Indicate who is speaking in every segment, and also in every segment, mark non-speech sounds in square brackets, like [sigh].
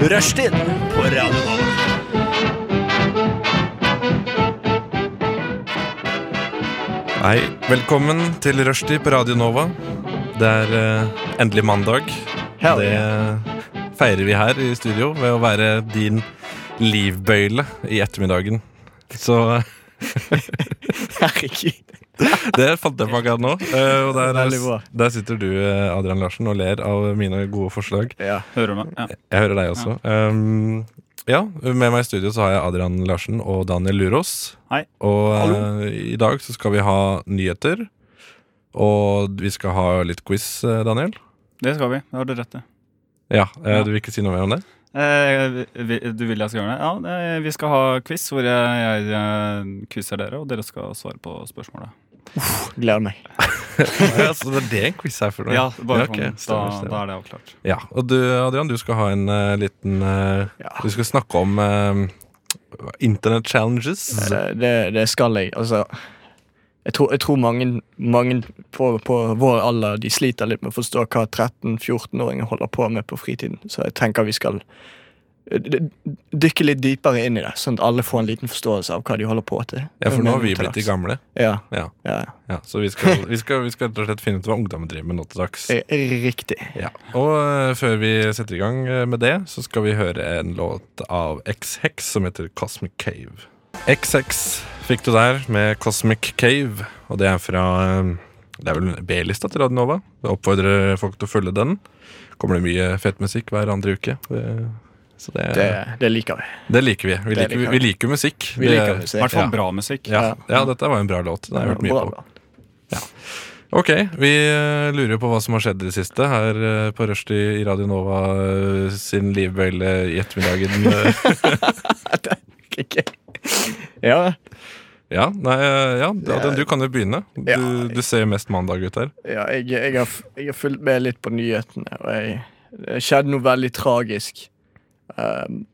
Speaker 1: Rushtid på Radio Nova.
Speaker 2: Hei, velkommen til Rushdie på Radio Nova. Det er eh, endelig mandag.
Speaker 1: Hell
Speaker 2: det feirer vi her i studio ved å være din livbøyle i ettermiddagen. Så eh,
Speaker 1: Herregud.
Speaker 2: det fant jeg på akkurat nå. Eh, Og der,
Speaker 1: Veldig bra.
Speaker 2: der sitter du, eh, Adrian Larsen, og ler av mine gode forslag.
Speaker 1: Ja.
Speaker 3: Hører du meg? Ja.
Speaker 2: Jeg hører deg også. Um, ja, med meg i studio så har jeg Adrian Larsen og Daniel Lurås.
Speaker 3: Hei.
Speaker 2: Og eh, i dag så skal vi ha nyheter. Og vi skal ha litt quiz, eh, Daniel.
Speaker 3: Det skal vi. Det har du rett i.
Speaker 2: Ja, eh,
Speaker 3: Ja.
Speaker 2: Du vil ikke si noe mer om det?
Speaker 3: [laughs] Eh, vi- du vil jeg skal gjøre det? Ja, eh, vi skal ha quiz hvor jeg, jeg eh, quizer dere, og dere skal svare på spørsmålet.
Speaker 1: Gleder meg.
Speaker 2: ja, så det er det en quiz her for noe?
Speaker 3: Ja, bare
Speaker 2: ok,
Speaker 3: sånn.
Speaker 2: stemmer,
Speaker 3: da,
Speaker 2: stemmer.
Speaker 3: da er det avklart.
Speaker 2: Ja, Og du Adrian, du skal ha en eh, liten eh,
Speaker 1: Ja.
Speaker 2: Du skal snakke om eh, Internet challenges.
Speaker 1: Det, det, det skal jeg. Altså Jeg tror, jeg tror mange, mange på, på vår alder De sliter litt med å forstå hva 13-14-åringer holder på med på fritiden. Så jeg tenker vi skal eh, d- dykke litt dypere inn i det, sånn at alle får en liten forståelse av hva de holder på til.
Speaker 2: Ja, for nå har vi blitt de
Speaker 1: gang.
Speaker 2: gamle.
Speaker 1: Ja,
Speaker 2: Ja,
Speaker 1: ja.
Speaker 2: ja Så vi skal, vi, skal, vi skal rett og slett finne ut hva ungdommen driver med nå til dags.
Speaker 1: Eh, Riktig.
Speaker 2: Ja. Og eh, før vi setter i gang eh, med det, så skal vi høre en låt av XX som heter Cosmic Cave. XX fikk du der med Cosmic Cave, og det er fra eh, Det er vel B-lista til Radionova. Jeg oppfordrer folk til å følge den. Kommer det mye fet musikk hver andre uke. Det- Så det,
Speaker 1: Det,
Speaker 2: det,
Speaker 1: det liker vi.
Speaker 2: liker vi. Vi
Speaker 1: det
Speaker 2: liker,
Speaker 1: liker
Speaker 2: vi liker musikk.
Speaker 1: Vi
Speaker 2: Det-
Speaker 1: liker
Speaker 3: I
Speaker 1: musikk.
Speaker 3: hvert fall
Speaker 2: Ja.
Speaker 3: bra musikk.
Speaker 2: Ja, ja, dette var en bra låt. Den har jeg hørt mye
Speaker 1: Bra,
Speaker 2: på.
Speaker 1: bra.
Speaker 2: Ok, vi eh, lurer jo på hva som har skjedd i det siste her eh, på Rushdie i Radio Nova eh, sin livbøyle i
Speaker 1: [laughs]
Speaker 2: ettermiddagen. Eh,
Speaker 1: Ikke- Ja,
Speaker 2: ja, nei, eh, ja, Adrian, du kan jo begynne.
Speaker 1: Ja.
Speaker 2: Du, du ser jo mest mandag ut her.
Speaker 1: ja jeg, jeg, har, f- jeg har fulgt med litt på nyhetene, og jeg, det skjedde noe veldig tragisk. Ehm,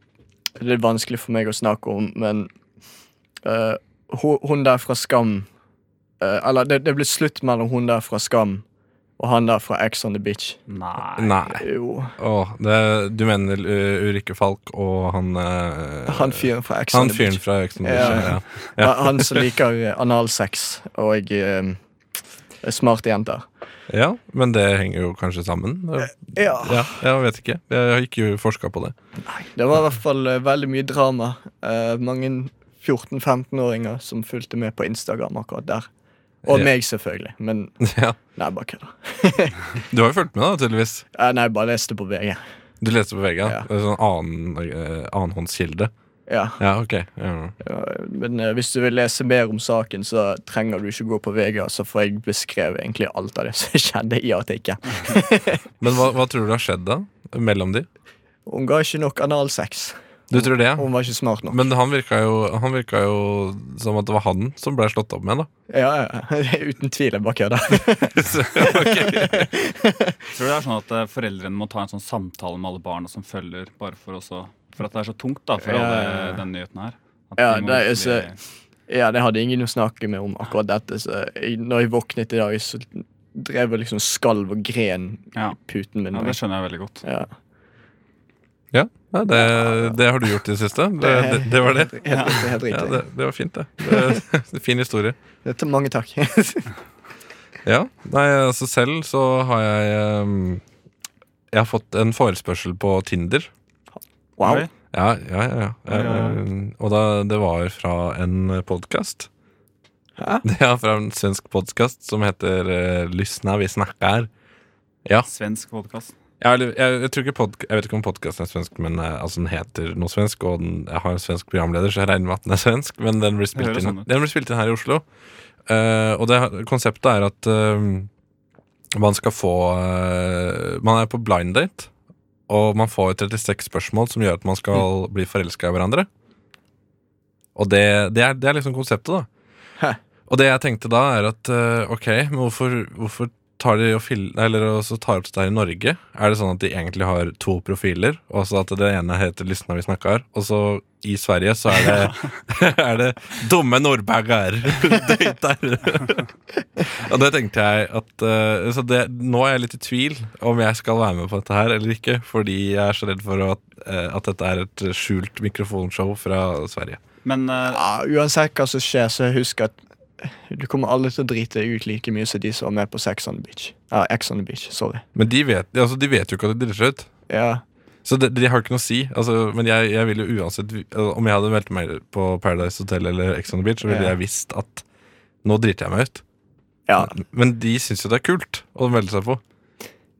Speaker 1: det er vanskelig for meg å snakke om, men eh, hun, hun der fra Skam eh, Eller det, det ble slutt mellom hun der fra Skam og han der fra Ex on the Beach.
Speaker 3: Nei.
Speaker 2: Nei.
Speaker 1: Jo,
Speaker 2: Åh, det, du mener eh, Ulrikke Falk og han eh,
Speaker 1: han fyren fra Ex on
Speaker 2: Han
Speaker 1: the Beach.
Speaker 2: fyren fra Exxon
Speaker 1: Ja.
Speaker 2: Beach. Ja.
Speaker 1: Ja, Han som liker eh, analsex og eh, smarte jenter.
Speaker 2: ja, men det henger jo kanskje sammen.
Speaker 1: Eh, Ja.
Speaker 2: Ja, jeg vet ikke. Jeg har ikke forska på det. [laughs]
Speaker 1: Det var i hvert fall eh, veldig mye drama. Eh, mange 14-15-åringer som fulgte med på Instagram akkurat der. Og
Speaker 2: Ja.
Speaker 1: meg, selvfølgelig. Men
Speaker 2: Ja.
Speaker 1: nei, bare kødda.
Speaker 2: Du har jo fulgt med, da, tydeligvis.
Speaker 1: Eh, Nei, bare leste på VG.
Speaker 2: Du leste på VG?
Speaker 1: Ja.
Speaker 2: Ja. Sånn annen, eh, annenhåndskilde?
Speaker 1: Ja.
Speaker 2: Ja, ok. Ja.
Speaker 1: eh, Men eh, hvis du vil lese mer om saken, så trenger du ikke gå på VG. Så får jeg beskrevet egentlig alt av det [laughs] som skjedde i artikkelen.
Speaker 2: Men hva, hva tror du har skjedd da? Mellom de?
Speaker 1: Hun ga ikke nok analsex.
Speaker 2: Du tror det? ja?
Speaker 1: Hun var ikke smart nok.
Speaker 2: Men han virka, jo, han virka jo som at det var han som ble slått opp [laughs] med, da.
Speaker 1: Ja, ja, [laughs] ja. Uten tvil. Jeg bare kødder.
Speaker 2: Så,
Speaker 3: Tror
Speaker 2: ok.
Speaker 3: du det er sånn at eh, foreldrene må ta en sånn samtale med alle barna som følger, bare for, også, for at det er så tungt da, for
Speaker 1: Ja, ja,
Speaker 3: alle
Speaker 1: ja.
Speaker 3: den nyheten her? At
Speaker 1: Ja,
Speaker 3: de må
Speaker 1: det er
Speaker 3: virkelig-
Speaker 1: Ja, det hadde ingen å snakke med om akkurat dette. Så jeg, når jeg våknet i dag, så drev jeg liksom skalv og gren
Speaker 3: Ja.
Speaker 1: i puten min.
Speaker 3: ja, det skjønner jeg veldig godt.
Speaker 1: Ja.
Speaker 2: Ja, nei, det, det har du gjort i det siste. Det, det, det var det.
Speaker 1: Helt, helt, helt
Speaker 2: Ja,
Speaker 1: riktig.
Speaker 2: det, det var [laughs] fint, det. det. det er Fin historie.
Speaker 1: Dette- Mange takk. [laughs]
Speaker 2: Ja. Nei, altså selv så har jeg ehm, Jeg har fått en forespørsel på Tinder.
Speaker 1: Wow.
Speaker 3: Oi.
Speaker 2: Ja, ja, ja. ja.
Speaker 3: Oi, oi,
Speaker 2: Ehm, og da, det var fra en podkast.
Speaker 1: Hæ?
Speaker 2: [laughs] Det er fra en svensk podkast som heter eh, Lysna vi snakker.
Speaker 3: Svensk podkast.
Speaker 2: Ja, eller, jeg, jeg, tror ikke podk- jeg vet ikke om podkasten er svensk, men eh, altså, den heter noe svensk. Og den jeg har en svensk programleder, så jeg regner med at den er svensk. Men den blir spilt,
Speaker 3: høres
Speaker 2: inn,
Speaker 3: sånn ut.
Speaker 2: den blir spilt inn her i Oslo. Eh, og det, konseptet er at eh, man skal få eh, Man er på blind date, og man får 36 spørsmål som gjør at man skal
Speaker 3: Mm.
Speaker 2: bli forelska i hverandre. Og det, det, er, det er liksom konseptet, da.
Speaker 1: Hæ.
Speaker 2: Og det jeg tenkte da, er at eh, ok, men hvorfor, hvorfor tar de og, fil eller, og så tar opp dette her i Norge, er det sånn at de egentlig har to profiler? Og så at det ene heter 'Lysna vi snakkar', og så i Sverige så er det, [laughs] er det 'Dumme [laughs] nordbagger'. og det tenkte jeg at eh, Så det, nå er jeg litt i tvil om jeg skal være med på dette her eller ikke, fordi jeg er så redd for at, eh, at dette er et skjult mikrofonshow fra Sverige.
Speaker 3: Men eh,
Speaker 1: Ja, uansett hva som skjer, så husk at du kommer alle til å drite deg ut like mye som de som var med på Sex on the Beach. Ja, X on the Beach, sorry.
Speaker 2: Men de vet, altså, de vet jo ikke at de driter seg ut.
Speaker 1: Ja,
Speaker 2: Så det, de har ikke noe å si. Altså, men jeg, jeg ville jo uansett altså, Om jeg hadde meldt meg på Paradise Hotel eller Ex on the Beach, så ville
Speaker 1: Ja.
Speaker 2: jeg visst at nå driter jeg meg ut.
Speaker 1: ja.
Speaker 2: Men de syns jo det er kult å melde seg på.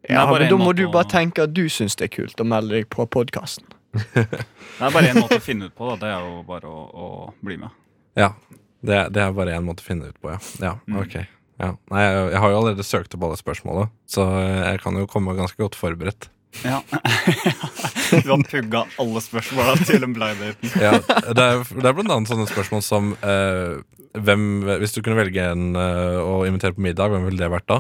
Speaker 3: er
Speaker 1: ja men
Speaker 3: bare en
Speaker 1: da må
Speaker 3: måte
Speaker 1: du
Speaker 3: å-
Speaker 1: bare tenke at du syns det er kult å melde deg på podkasten.
Speaker 3: det er bare én måte å finne ut på, da. Det er jo bare å, å bli med.
Speaker 2: Ja, det, er- det er bare én måte å finne det ut på, ja. ja
Speaker 3: Mm.
Speaker 2: ok ja. Nei, jeg, jeg har jo allerede søkt opp alle spørsmåla, så jeg kan jo komme ganske godt forberedt.
Speaker 3: Ja. [laughs] du har pugga alle spørsmåla til en blind date.
Speaker 2: Ja, det, er, det er blant annet sånne spørsmål som eh, hvem, Hvis du kunne velge en eh, å invitere på middag, hvem ville det vært da?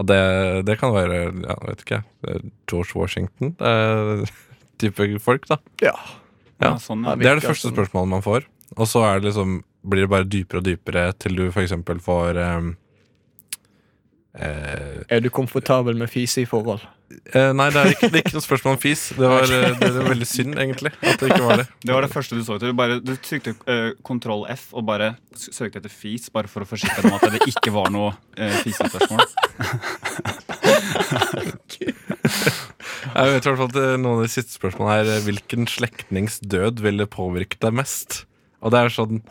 Speaker 2: Og det, det kan være ja, vet ikke, jeg, George Washington eh, [laughs] type folk, da.
Speaker 1: Ja.
Speaker 2: Ja.
Speaker 3: sånn,
Speaker 1: Ja,
Speaker 3: ja.
Speaker 1: vi-
Speaker 2: Det er det
Speaker 1: Virker
Speaker 2: første
Speaker 1: sånn.
Speaker 2: spørsmålet man får. Og så er det liksom, blir det bare dypere og dypere til du f.eks. får um, eh,
Speaker 1: Er du komfortabel med fise i forhold?
Speaker 2: eh, Nei, det er ikke, det er ikke noe spørsmål om fis. Det var, eh, det er veldig synd, egentlig, at det ikke var det.
Speaker 3: Det var det første du så etter. Du, bare, du trykte eh, kontroll F og bare s- søkte etter fis, bare for å forsikre deg om at det ikke var noe uh, fisespørsmål.
Speaker 2: Jeg vet i hvert fall at eh, noen av de siste spørsmålene er eh, Hvilken slektnings død ville påvirket deg mest? Og det er sånn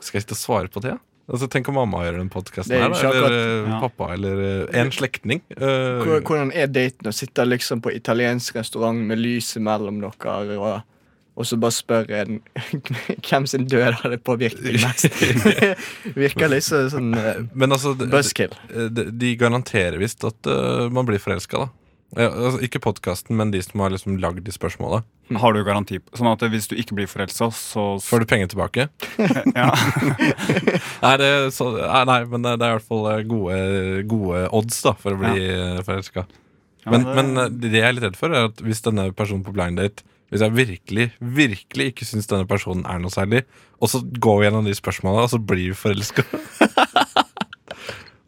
Speaker 2: Skal jeg sitte og svare på det? ja? Altså, tenk om mamma gjør den podkasten
Speaker 1: Det er
Speaker 2: her,
Speaker 1: jo
Speaker 2: da.
Speaker 1: ikke
Speaker 2: Eller eh,
Speaker 3: Ja.
Speaker 2: pappa, eller eh, en slektning. eh,
Speaker 1: Hvor- Hvordan er daten å sitte liksom på italiensk restaurant med lyset mellom dere, og, og så bare spør en [laughs] hvem sin død har det påvirket deg
Speaker 2: [laughs]
Speaker 1: mest? Virker litt så- sånn eh,
Speaker 2: men altså, d-
Speaker 1: buzzkill.
Speaker 2: d- de, garanterer visst at eh, man blir forelska, da. Ja, altså, ikke podkasten, men de som har liksom lagd de spørsmåla.
Speaker 3: Har du garanti på Sånn at hvis du ikke blir forelska, så
Speaker 2: Får du penger tilbake?
Speaker 3: ja.
Speaker 2: Nei, det, er så, nei, nei, men det er i hvert fall eh, gode, gode odds da for å bli ja. forelska.
Speaker 3: Ja,
Speaker 2: Men,
Speaker 3: det-
Speaker 2: men eh, det jeg er litt redd for, er at hvis denne personen på blind date Hvis jeg virkelig virkelig ikke syns denne personen er noe særlig, og så går vi gjennom de spørsmåla, og så blir vi forelska [laughs]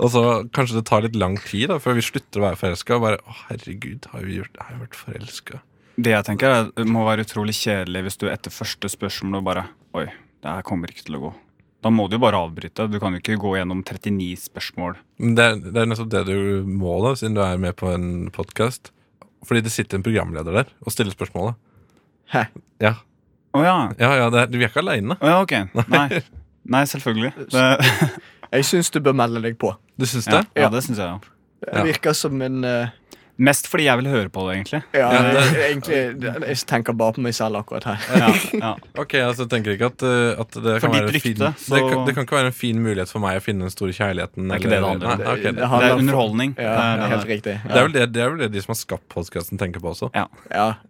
Speaker 2: Og så Kanskje det tar litt lang tid da før vi slutter å være forelska. Og bare, å herregud, har vi gjort, har jeg vært forelska?
Speaker 3: Det jeg tenker er, det må være utrolig kjedelig hvis du etter første spørsmål bare Oi, det her kommer ikke til å gå. Da må du jo bare avbryte. Du kan jo ikke gå gjennom 39 spørsmål.
Speaker 2: Men Det, er- det er nettopp det du må, da siden du er med på en podkast. Fordi det sitter en programleder der og stiller spørsmålet.
Speaker 1: Hæ?
Speaker 2: Ja,
Speaker 3: Å ja.
Speaker 2: ja, ja det er, vi er ikke aleine.
Speaker 3: Å ja, ok. Nei. Nei, selvfølgelig. Det,
Speaker 1: Jeg syns du bør melde deg på.
Speaker 2: Du syns
Speaker 3: ja,
Speaker 2: det?
Speaker 3: ja, det syns jeg jo.
Speaker 2: Ja.
Speaker 1: Det virker som en eh,
Speaker 3: Mest fordi jeg vil høre på det, egentlig.
Speaker 1: Ja,
Speaker 2: Ja, det-
Speaker 1: jeg, egentlig det- Jeg tenker bare på meg selv akkurat her.
Speaker 3: Ja, ja.
Speaker 2: Ok, altså jeg tenker ikke at, uh, at det,
Speaker 3: For
Speaker 2: kan
Speaker 3: ditt
Speaker 2: være en fin,
Speaker 3: rykte, så-
Speaker 2: det, kan, det kan ikke være en fin mulighet for meg å finne den store kjærligheten.
Speaker 3: Det er ikke det det handler om.
Speaker 2: Nei, ok, det,
Speaker 1: handler
Speaker 3: Det er
Speaker 1: om-
Speaker 3: underholdning.
Speaker 1: Ja,
Speaker 3: Det er-
Speaker 1: helt riktig.
Speaker 2: det, er
Speaker 1: Ja.
Speaker 2: vel det, det er vel det de som har skapt podkasten, tenker på også.
Speaker 1: Ja,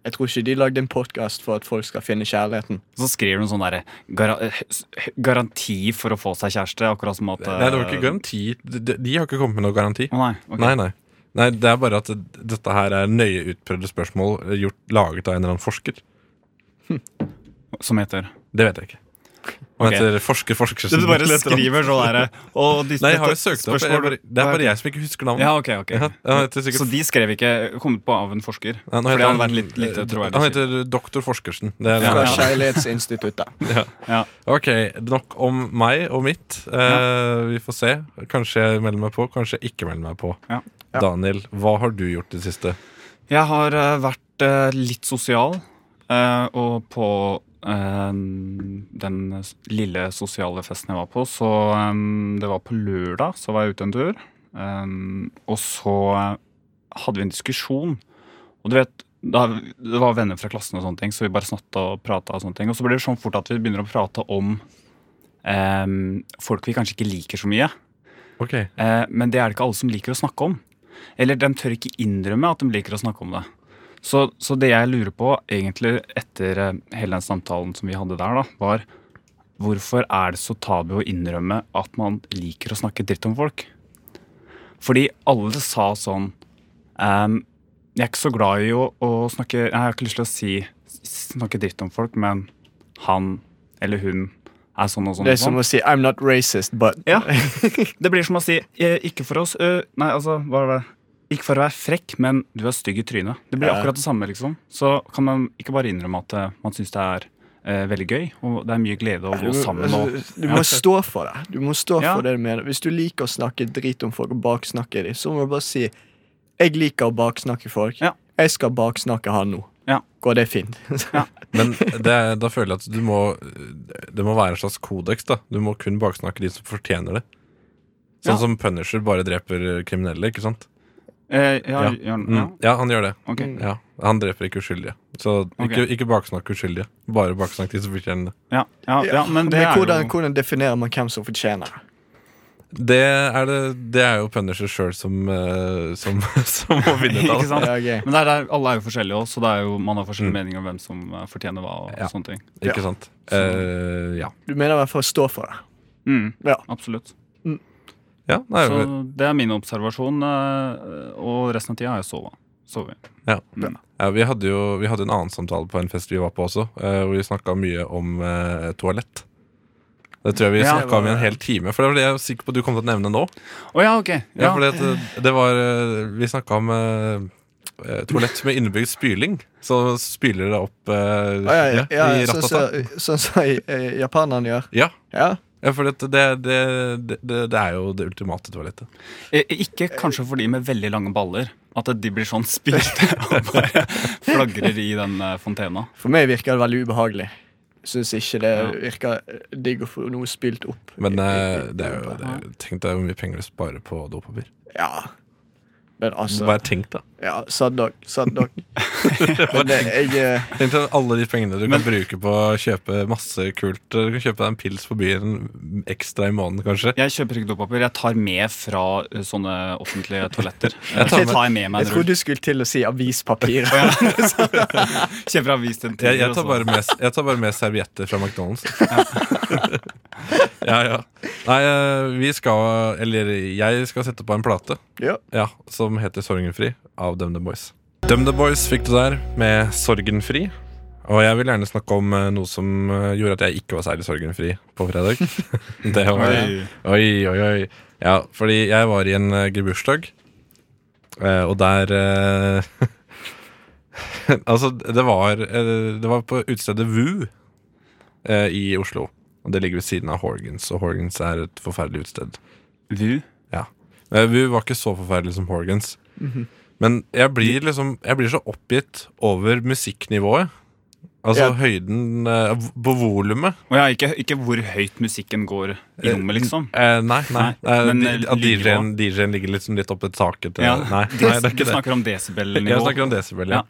Speaker 1: jeg tror ikke de lagde en podkast for at folk skal finne kjærligheten.
Speaker 3: Så skriver du en sånn derre gara s- garanti for å få seg kjæreste, akkurat som at eh,
Speaker 2: Nei, det var ikke garanti. De, de- de har ikke kommet med noe garanti.
Speaker 3: Å nei, ok.
Speaker 2: Nei, nei. Nei, Det er bare at det- dette her er nøye utprøvde spørsmål eh, gjort, laget av en eller annen forsker.
Speaker 3: Som heter
Speaker 2: Det vet jeg ikke. Han
Speaker 3: Ok.
Speaker 2: heter forsker Forskersen.
Speaker 3: Du [laughs] bare skriver sånn derre og de-
Speaker 2: Nei, jeg har jo
Speaker 3: dette
Speaker 2: søkt opp. Jeg,
Speaker 3: spørsmål-
Speaker 2: bare, det er bare jeg som ikke husker navnet.
Speaker 3: Ja, ok, ok.
Speaker 2: Ja, han heter sikkert
Speaker 3: Så de skrev ikke 'kommet på av en forsker'? for
Speaker 2: Ja, nå
Speaker 3: det
Speaker 2: heter eh,
Speaker 3: hadde vært litt, litt eh, troverdig.
Speaker 2: Han heter doktor Forskersen. Det er,
Speaker 3: Ja,
Speaker 1: Fra
Speaker 3: ja.
Speaker 1: Kjærlighetsinstituttet.
Speaker 3: ja.
Speaker 2: Ok, nok om meg og mitt. Eh, Vi får se. Kanskje jeg melder meg på, kanskje jeg ikke melder meg på.
Speaker 3: Ja.
Speaker 1: Ja.
Speaker 2: Daniel, hva har du gjort i det siste?
Speaker 3: Jeg har eh, vært eh, litt sosial, eh, og på eh, den lille sosiale festen jeg var på, så eh, det var på lørdag, så var jeg ute en tur. eh, og så hadde vi en diskusjon, og du vet, da, det var venner fra klassen og sånne ting, så vi bare snatta og prata og sånne ting. Og så blir det sånn fort at vi begynner å prate om eh, folk vi kanskje ikke liker så mye.
Speaker 2: Ok,
Speaker 3: Eh, men det er det ikke alle som liker å snakke om. Eller de tør ikke innrømme at de liker å snakke om det. Så, så det jeg lurer på egentlig etter eh, hele den samtalen som vi hadde der, da, var hvorfor er det så tabu å innrømme at man liker å snakke dritt om folk? Fordi alle sa sånn ehm, Jeg er ikke så glad i å, å snakke Jeg har ikke lyst til å si snakke dritt om folk, men han eller hun er sånn og sånn.
Speaker 1: Det
Speaker 3: og
Speaker 1: er som
Speaker 3: sånn.
Speaker 1: å si I'm not racist, but
Speaker 3: Ja. [laughs] Det blir som å si eh, Ikke for oss eh, Nei, altså, hva er det? Ikke for å være frekk, men du er stygg i trynet. Det blir
Speaker 1: Ja.
Speaker 3: akkurat det samme, liksom. Så kan man ikke bare innrømme at eh, man syns det er eh, veldig gøy, og det er mye glede å
Speaker 1: Du,
Speaker 3: gå sammen og
Speaker 1: du må stå for det. Du må stå
Speaker 3: Ja.
Speaker 1: for det du mener. Hvis du liker å snakke drit om folk og baksnakke dem, så må du bare si Jeg liker å baksnakke folk.
Speaker 3: Ja.
Speaker 1: Jeg skal baksnakke han nå.
Speaker 3: Ja.
Speaker 1: Går det fint? [laughs]
Speaker 2: Men det, er- da føler jeg at du må Det må være en slags kodeks. da Du må kun baksnakke de som fortjener det. Sånn
Speaker 3: Ja.
Speaker 2: som Punisher bare dreper kriminelle, ikke sant?
Speaker 3: eh, Ja,
Speaker 2: Ja.
Speaker 3: ja.
Speaker 2: Mm.
Speaker 3: ja.
Speaker 2: Ja, han gjør det.
Speaker 3: ok.
Speaker 1: Mm.
Speaker 2: Ja, Han dreper ikke uskyldige. Så ikke, ikke baksnakk uskyldige. Bare baksnakk de som fortjener det.
Speaker 3: Ja, ja, ja, men
Speaker 1: det er hvordan,
Speaker 3: [laughs] jo
Speaker 1: hvordan definerer man hvem som fortjener det?
Speaker 2: Det er, det, det er jo Punisher sjøl som, eh, som, [laughs] som må finne ut av
Speaker 3: Ikke
Speaker 2: det.
Speaker 3: sant?
Speaker 1: Ja, ok.
Speaker 3: Men det er, der- alle er jo forskjellige også, så det er jo, man har forskjellige
Speaker 2: Mm.
Speaker 3: meninger om hvem som eh, fortjener hva. og
Speaker 2: Ja.
Speaker 3: sånne ting
Speaker 1: Ja.
Speaker 2: Ikke sant? Eh, ja.
Speaker 1: Du mener i hvert fall å stå for det.
Speaker 3: mm,
Speaker 1: Ja.
Speaker 3: Absolutt.
Speaker 2: ja nei,
Speaker 3: Så det er min observasjon, eh, og resten av tida har jeg sova. Sovet.
Speaker 2: ja, vi, hadde jo, vi hadde en annen samtale på en fest vi var på også, eh, hvor vi snakka mye om eh, toalett. Det tror jeg vi
Speaker 3: Ja.
Speaker 2: snakket snakka om i en hel time, for det var det jeg var sikker på at du kom til å nevne nå.
Speaker 3: Å ja, ok.
Speaker 2: Ja,
Speaker 3: Ja,
Speaker 2: fordi at eh, det var eh, Vi snakka om eh, eh, toalett med innebygd spyling. Så spyler det opp eh,
Speaker 1: Ja, ja, ja,
Speaker 2: i
Speaker 1: ja, sånn
Speaker 2: rattata.
Speaker 1: som sånn som i- i japanerne gjør.
Speaker 2: Ja,
Speaker 1: Ja.
Speaker 2: ja for det, det, det, det, det er jo det ultimate toalettet.
Speaker 3: Eh, Ikke kanskje for de med veldig lange baller. At de blir sånn spilte [laughs] og bare flagrer i den eh, fontena.
Speaker 1: For meg virker det veldig ubehagelig. Syns ikke det virker digg å få noe spylt opp.
Speaker 2: Men
Speaker 1: i-
Speaker 2: eh,
Speaker 1: i- i-
Speaker 2: det er jo, det er, jo- tenk deg hvor mye penger du sparer på dopapir.
Speaker 1: Ja. Men altså
Speaker 2: Bare tenk, da.
Speaker 1: Ja, sad dog. Sad
Speaker 2: [laughs]
Speaker 1: dog. Men det, jeg eh,
Speaker 2: Tenk deg alle de pengene du kan bruke på å kjøpe masse kult. eh, Du kan kjøpe deg en pils på byen ekstra i måneden, kanskje.
Speaker 3: Jeg kjøper ikke dopapir. Jeg tar med fra eh, sånne offentlige toaletter.
Speaker 2: [laughs] Jeg tar
Speaker 3: Så
Speaker 2: med-
Speaker 3: tar jeg med meg
Speaker 1: Jeg
Speaker 3: en
Speaker 1: trodde
Speaker 3: rull.
Speaker 1: du skulle til å si
Speaker 2: [laughs]
Speaker 1: avispapir.
Speaker 3: Kjøper avis til en
Speaker 2: Jeg,
Speaker 3: tier,
Speaker 2: jeg,
Speaker 3: og
Speaker 2: tar
Speaker 3: så-
Speaker 2: bare med, jeg tar bare med servietter fra [laughs] McDonald's. [laughs] ja, ja. Nei, eh, vi skal Eller jeg skal sette på en plate
Speaker 1: Ja.
Speaker 2: Ja, som heter Sorgenfri av DumDum Boys. DumDum Boys fikk du der med Sorgenfri. Og jeg vil gjerne snakke om eh, noe som eh, gjorde at jeg ikke var særlig sorgenfri på fredag. Det var,
Speaker 3: Oi.
Speaker 2: oi, oi, oi. Ja, fordi jeg var i en eh, gebursdag, eh, og der eh, [laughs] Altså, det var, eh, det var på utestedet VU eh, i Oslo. Og det ligger ved siden av Horgans, og Horgans er et forferdelig utested.
Speaker 3: Vu?
Speaker 2: Ja. Eh, Vi var ikke så forferdelige som Horgans. Men jeg blir liksom Jeg blir så oppgitt over musikknivået. Altså
Speaker 1: Ja.
Speaker 2: høyden eh, v- på volumet.
Speaker 3: Og ja, ikke, ikke hvor høyt musikken går i rommet, liksom.
Speaker 2: Eh, nei, nei.
Speaker 3: Nei,
Speaker 2: Eh,
Speaker 3: men,
Speaker 2: di-
Speaker 3: eh,
Speaker 2: at DJ-en
Speaker 3: lydnivået.
Speaker 2: DJ ligger liksom litt oppe i taket. eh,
Speaker 3: Ja,
Speaker 2: Nei,
Speaker 3: du,
Speaker 2: nei, det er
Speaker 3: du
Speaker 2: ikke det.
Speaker 3: snakker om desibel-nivå.
Speaker 2: Jeg snakker om desibel, ja.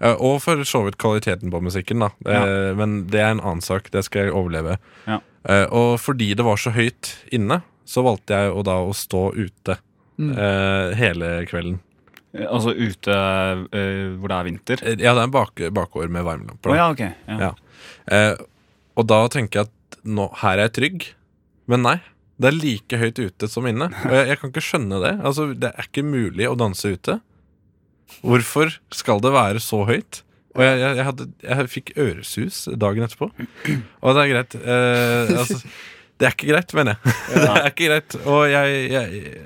Speaker 2: Eh, Og for så vidt kvaliteten på musikken, da. Eh, Men det er en annen sak. Det skal jeg overleve.
Speaker 3: Ja.
Speaker 2: Eh, Og fordi det var så høyt inne, så valgte jeg å da å stå ute eh, hele kvelden.
Speaker 3: Altså ute eh, hvor det er vinter.
Speaker 2: Eh, Ja, det er en bak bakgård med
Speaker 3: Å
Speaker 2: varmelamper. da.
Speaker 3: ja, ok. Ja.
Speaker 2: Ja. Eh, og da tenker jeg at nå, her er jeg trygg, men nei. Det er like høyt ute som inne. Og jeg, jeg kan ikke skjønne det. Altså, Det er ikke mulig å danse ute. Hvorfor skal det være så høyt? Og jeg, jeg, jeg, hadde, jeg fikk øresus dagen etterpå. Og det er greit. Eh, altså, det er ikke greit, mener jeg. [laughs] Det er ikke greit. Og jeg, jeg,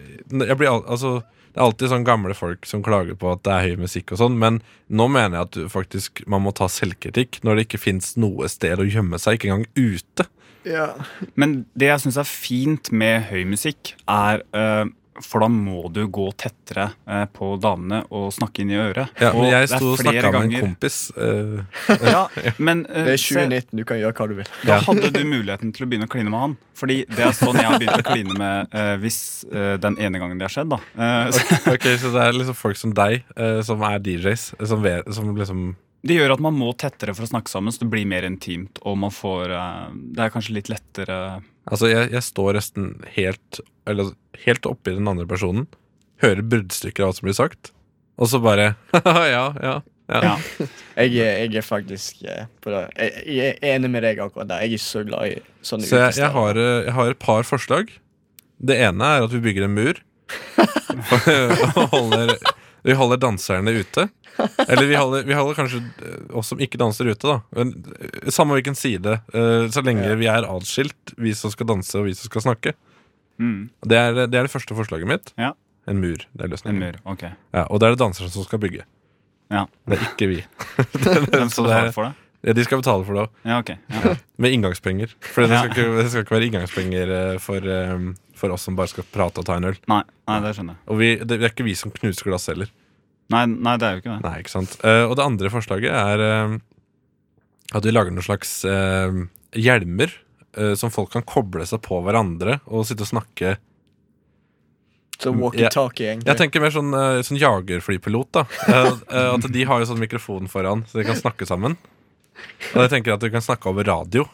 Speaker 2: jeg blir al altså, Det er alltid sånn gamle folk som klager på at det er høy musikk og sånn, men nå mener jeg at du faktisk man må ta selvkritikk når det ikke fins noe sted å gjemme seg, ikke engang ute.
Speaker 1: ja.
Speaker 3: Men det jeg syns er fint med høy musikk, er eh, For da må du gå tettere eh, på damene og snakke inn i øret.
Speaker 2: Ja,
Speaker 3: Og
Speaker 2: men jeg
Speaker 3: det er
Speaker 2: sto og
Speaker 3: flere
Speaker 2: snakka med
Speaker 3: ganger-
Speaker 2: en kompis. eh, [laughs]
Speaker 3: Ja, men eh,
Speaker 1: Det er
Speaker 3: se,
Speaker 1: 2019, du kan gjøre hva du vil.
Speaker 3: da
Speaker 2: Ja.
Speaker 3: hadde du muligheten til å begynne å kline med han. Fordi det er sånn jeg har begynt å kline med eh, hvis eh, den ene gangen det har skjedd, da. Eh, så [laughs]
Speaker 2: Ok, Så det er liksom folk som deg, eh, som er DJs, som, vet, som liksom
Speaker 3: Det gjør at man må tettere for å snakke sammen, så det blir mer intimt. Og man får eh, Det er kanskje litt lettere
Speaker 2: Altså, jeg, jeg står nesten helt Eller helt oppi den andre personen, hører bruddstykker av hva som blir sagt, og så bare [laughs] Ja, ja.
Speaker 3: Ja.
Speaker 1: Jeg, er- jeg er faktisk eh, på det. Jeg, jeg er enig med deg akkurat der. Jeg er ikke så glad i sånne
Speaker 2: Så jeg, jeg,
Speaker 1: utesteder.
Speaker 3: [laughs]
Speaker 2: har, eh, jeg har et par forslag. Det ene er at vi bygger en mur. Og holder, vi holder danserne ute. Eller vi holder, vi holder kanskje eh, oss som ikke danser ute, da. Men, eh, samme hvilken side. eh, Så lenge vi er atskilt, vi som skal danse og vi som skal snakke.
Speaker 3: Mm.
Speaker 2: Det er det, er det første forslaget mitt.
Speaker 3: Ja.
Speaker 2: En mur. det er
Speaker 3: En
Speaker 2: løsningen
Speaker 3: mur. Ok.
Speaker 2: ja, Og det er det danserne som skal bygge.
Speaker 3: Ja.
Speaker 2: Det er ikke vi.
Speaker 3: [laughs] Hvem skal
Speaker 2: det er-
Speaker 3: betale for det?
Speaker 2: Ja, De skal betale for det òg.
Speaker 3: Ja, ok.
Speaker 2: [laughs]
Speaker 3: Ja.
Speaker 2: Med inngangspenger. For det
Speaker 3: Ja.
Speaker 2: skal, ikke, det skal ikke være inngangspenger eh, for, eh, for oss som bare skal prate og ta en øl.
Speaker 3: Nei, nei, det skjønner jeg.
Speaker 2: Og vi, det er ikke vi som knuser glass heller.
Speaker 3: Nei, nei, det er jo ikke det.
Speaker 2: Nei, ikke sant Eh, Og det andre forslaget er eh, at vi lager noen slags eh, hjelmer eh, som folk kan koble seg på hverandre og sitte og snakke.
Speaker 1: Så walkietalkie, egentlig.
Speaker 2: Jeg tenker mer sånn, eh, sånn jagerflypilot. da Eh, eh, At de har jo sånn mikrofon foran, så de kan snakke sammen. Og jeg tenker at vi kan snakke over radio.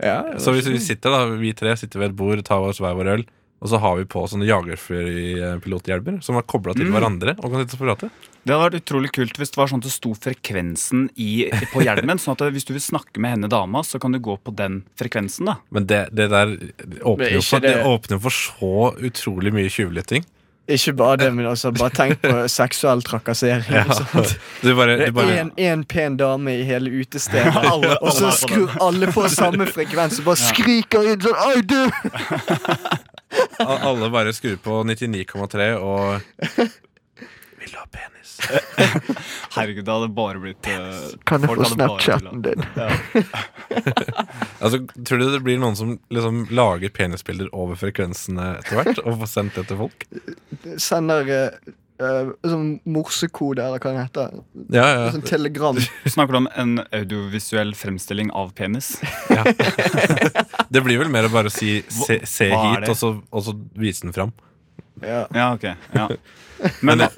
Speaker 1: ja,
Speaker 2: Så hvis
Speaker 1: sånn.
Speaker 2: vi sitter da, vi tre sitter ved et bord, tar oss hver vår øl, og så har vi på sånne jagerflypilothjelmer som er kobla til
Speaker 3: Mm.
Speaker 2: hverandre og kan sitte og prate.
Speaker 3: Det hadde vært utrolig kult hvis det var sånn at det sto frekvensen i, på hjelmen. sånn at hvis du vil snakke med henne dama, så kan du gå på den frekvensen, da.
Speaker 2: Men det, det der
Speaker 1: Men
Speaker 2: åpner jo
Speaker 1: ikke
Speaker 2: for, det
Speaker 1: det-
Speaker 2: åpner for så utrolig mye tjuvlytting.
Speaker 1: Ikke bare det, men altså, bare tenk
Speaker 2: [laughs]
Speaker 1: på seksuell trakassering. [laughs]
Speaker 2: Ja.
Speaker 1: ikke sant?
Speaker 2: Du bare,
Speaker 1: Det
Speaker 2: du [laughs] bare
Speaker 1: er én pen dame i hele
Speaker 2: [laughs]
Speaker 1: utestedet, og så skrur alle på samme frekvens og bare skriker inn sånn Oi, du!
Speaker 2: a- Alle bare skrur på 99,3 og
Speaker 1: [laughs]
Speaker 2: Vil du ha penis?
Speaker 3: Herregud, det hadde bare blitt eh,
Speaker 1: Kan jeg
Speaker 3: folk
Speaker 1: få
Speaker 3: hadde bare
Speaker 1: Snapchaten din?
Speaker 2: Altså, tror du det blir noen som liksom lager penisbilder over frekvensene etter hvert? Og får sendt det til folk?
Speaker 1: Sender eh, eh, sånn morsekode, eller hva det heter.
Speaker 2: Ja, ja.
Speaker 1: Sånn telegram.
Speaker 3: villet. Snakker du om en audiovisuell fremstilling av penis?
Speaker 2: [laughs] Det blir vel mer å bare si 'se, se
Speaker 3: Hva er
Speaker 2: hit',
Speaker 3: det?
Speaker 2: og så, og så vise den fram.
Speaker 1: [laughs] Ja.
Speaker 3: Ja, ok. Ja. Men ja,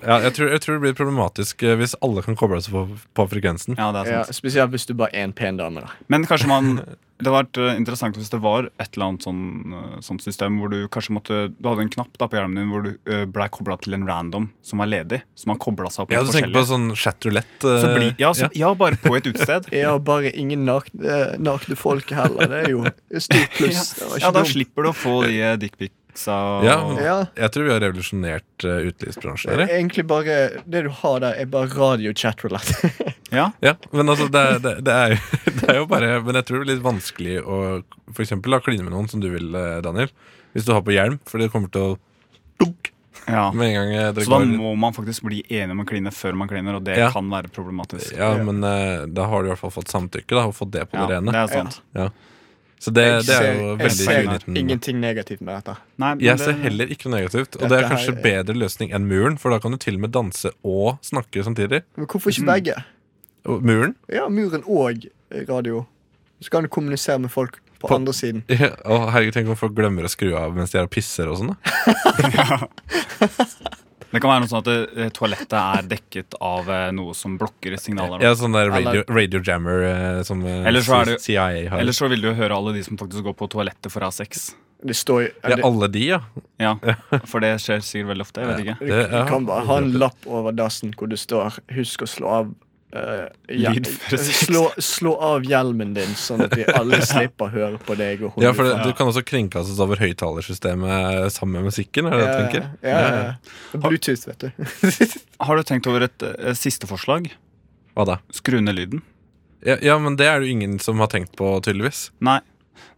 Speaker 2: Ja, jeg, tror, jeg tror det blir problematisk eh, hvis alle kan koble seg på, på frekvensen.
Speaker 3: ja, det er
Speaker 1: Ja,
Speaker 3: sant.
Speaker 1: spesielt hvis du bare er en pen dame, da.
Speaker 3: Men kanskje man Det hadde vært eh, interessant hvis det var et eller annet sånn, eh, sånt system hvor du kanskje måtte Du hadde en knapp da på hjelmen din hvor du eh, ble kobla til en random som var ledig. Som man kobla seg opp
Speaker 2: Ja,
Speaker 3: mot
Speaker 2: du tenker på sånn chat roulette. eh,
Speaker 3: Så bli, ja, så,
Speaker 2: ja.
Speaker 3: ja, bare på et utested.
Speaker 1: Ja, og bare ingen nakne, eh, nakne folk heller. Det er jo et [laughs] stort pluss. Det var
Speaker 3: ja,
Speaker 1: ikke
Speaker 3: da
Speaker 1: dumt.
Speaker 3: slipper du å få de eh, dickpicsa og
Speaker 2: Ja, men-
Speaker 1: Ja.
Speaker 2: Jeg tror vi har revolusjonert eh, utelivsbransjen.
Speaker 1: Det er
Speaker 2: Eller?
Speaker 1: egentlig bare Det du har der, er bare [laughs] radio-chatroulette.
Speaker 3: Ja,
Speaker 2: Ja, men altså, det, er- det, det, er jo, [laughs] det er jo bare Men jeg tror det blir litt vanskelig å for eksempel, da, kline med noen som du vil, eh, Daniel. Hvis du har på hjelm, for det kommer til å dunk
Speaker 3: ja.
Speaker 2: med en gang eh, det
Speaker 3: Så da
Speaker 2: går
Speaker 3: må man faktisk bli enig om å kline før man kliner, og det
Speaker 2: Ja.
Speaker 3: kan være problematisk.
Speaker 2: Ja, men eh, da har du i hvert fall fått samtykke, da, og fått det på
Speaker 3: Ja,
Speaker 2: det rene.
Speaker 3: det er sant.
Speaker 2: Så det,
Speaker 1: Jeg
Speaker 2: det er
Speaker 1: ser-
Speaker 2: jo
Speaker 1: jeg
Speaker 2: veldig
Speaker 1: ser
Speaker 2: 2019.
Speaker 1: Ingenting negativt med dette.
Speaker 3: Nei, men
Speaker 2: Jeg
Speaker 3: det-
Speaker 2: ser heller ikke noe negativt, og det er
Speaker 1: Dette her
Speaker 2: kanskje
Speaker 1: er-
Speaker 2: bedre løsning enn muren, for da kan du til og med danse og snakke samtidig.
Speaker 1: Men hvorfor ikke
Speaker 3: Mm.
Speaker 1: begge?
Speaker 2: Og Muren?
Speaker 1: Ja, muren og radio. Så kan du kommunisere med folk på,
Speaker 2: På-
Speaker 1: andre siden.
Speaker 2: Ja, [laughs] å, herregud, tenk om folk glemmer å skru av mens de er og pisser og sånn, da.
Speaker 3: Det kan være noe sånn at eh, toalettet er dekket av eh, noe som blokker signaler.
Speaker 2: Ja, sånn der radio,
Speaker 1: Eller-
Speaker 2: radio jammer eh, som eh,
Speaker 3: Eller så er det-
Speaker 2: CIA har.
Speaker 3: Eller så vil du jo høre alle de som faktisk går på toalettet for å ha sex.
Speaker 1: Det står jo
Speaker 2: ja,
Speaker 1: det,
Speaker 2: alle de, ja.
Speaker 3: Ja, [laughs] For det skjer sikkert veldig ofte. jeg vet ikke
Speaker 1: Du
Speaker 2: Det- ja.
Speaker 1: kan bare ha en lapp over dassen hvor det står 'husk å slå av eh, hjel-
Speaker 3: Lyd for sex.
Speaker 1: slå, slå av hjelmen din, sånn at vi
Speaker 2: [laughs]
Speaker 1: alle slipper å høre på deg. Og
Speaker 2: ja for det,
Speaker 1: hodet.
Speaker 2: du kan også kringkastes over høyttalersystemet sammen med musikken, er det det du
Speaker 1: Ja,
Speaker 2: tenker?
Speaker 1: ja, ja, ja. Bluetooth, vet du. [laughs]
Speaker 3: Har du tenkt over et eh, siste forslag?
Speaker 2: Hva da?
Speaker 3: Skru ned lyden?
Speaker 2: Ja, ja, men det er det jo ingen som har tenkt på, tydeligvis.
Speaker 3: Nei.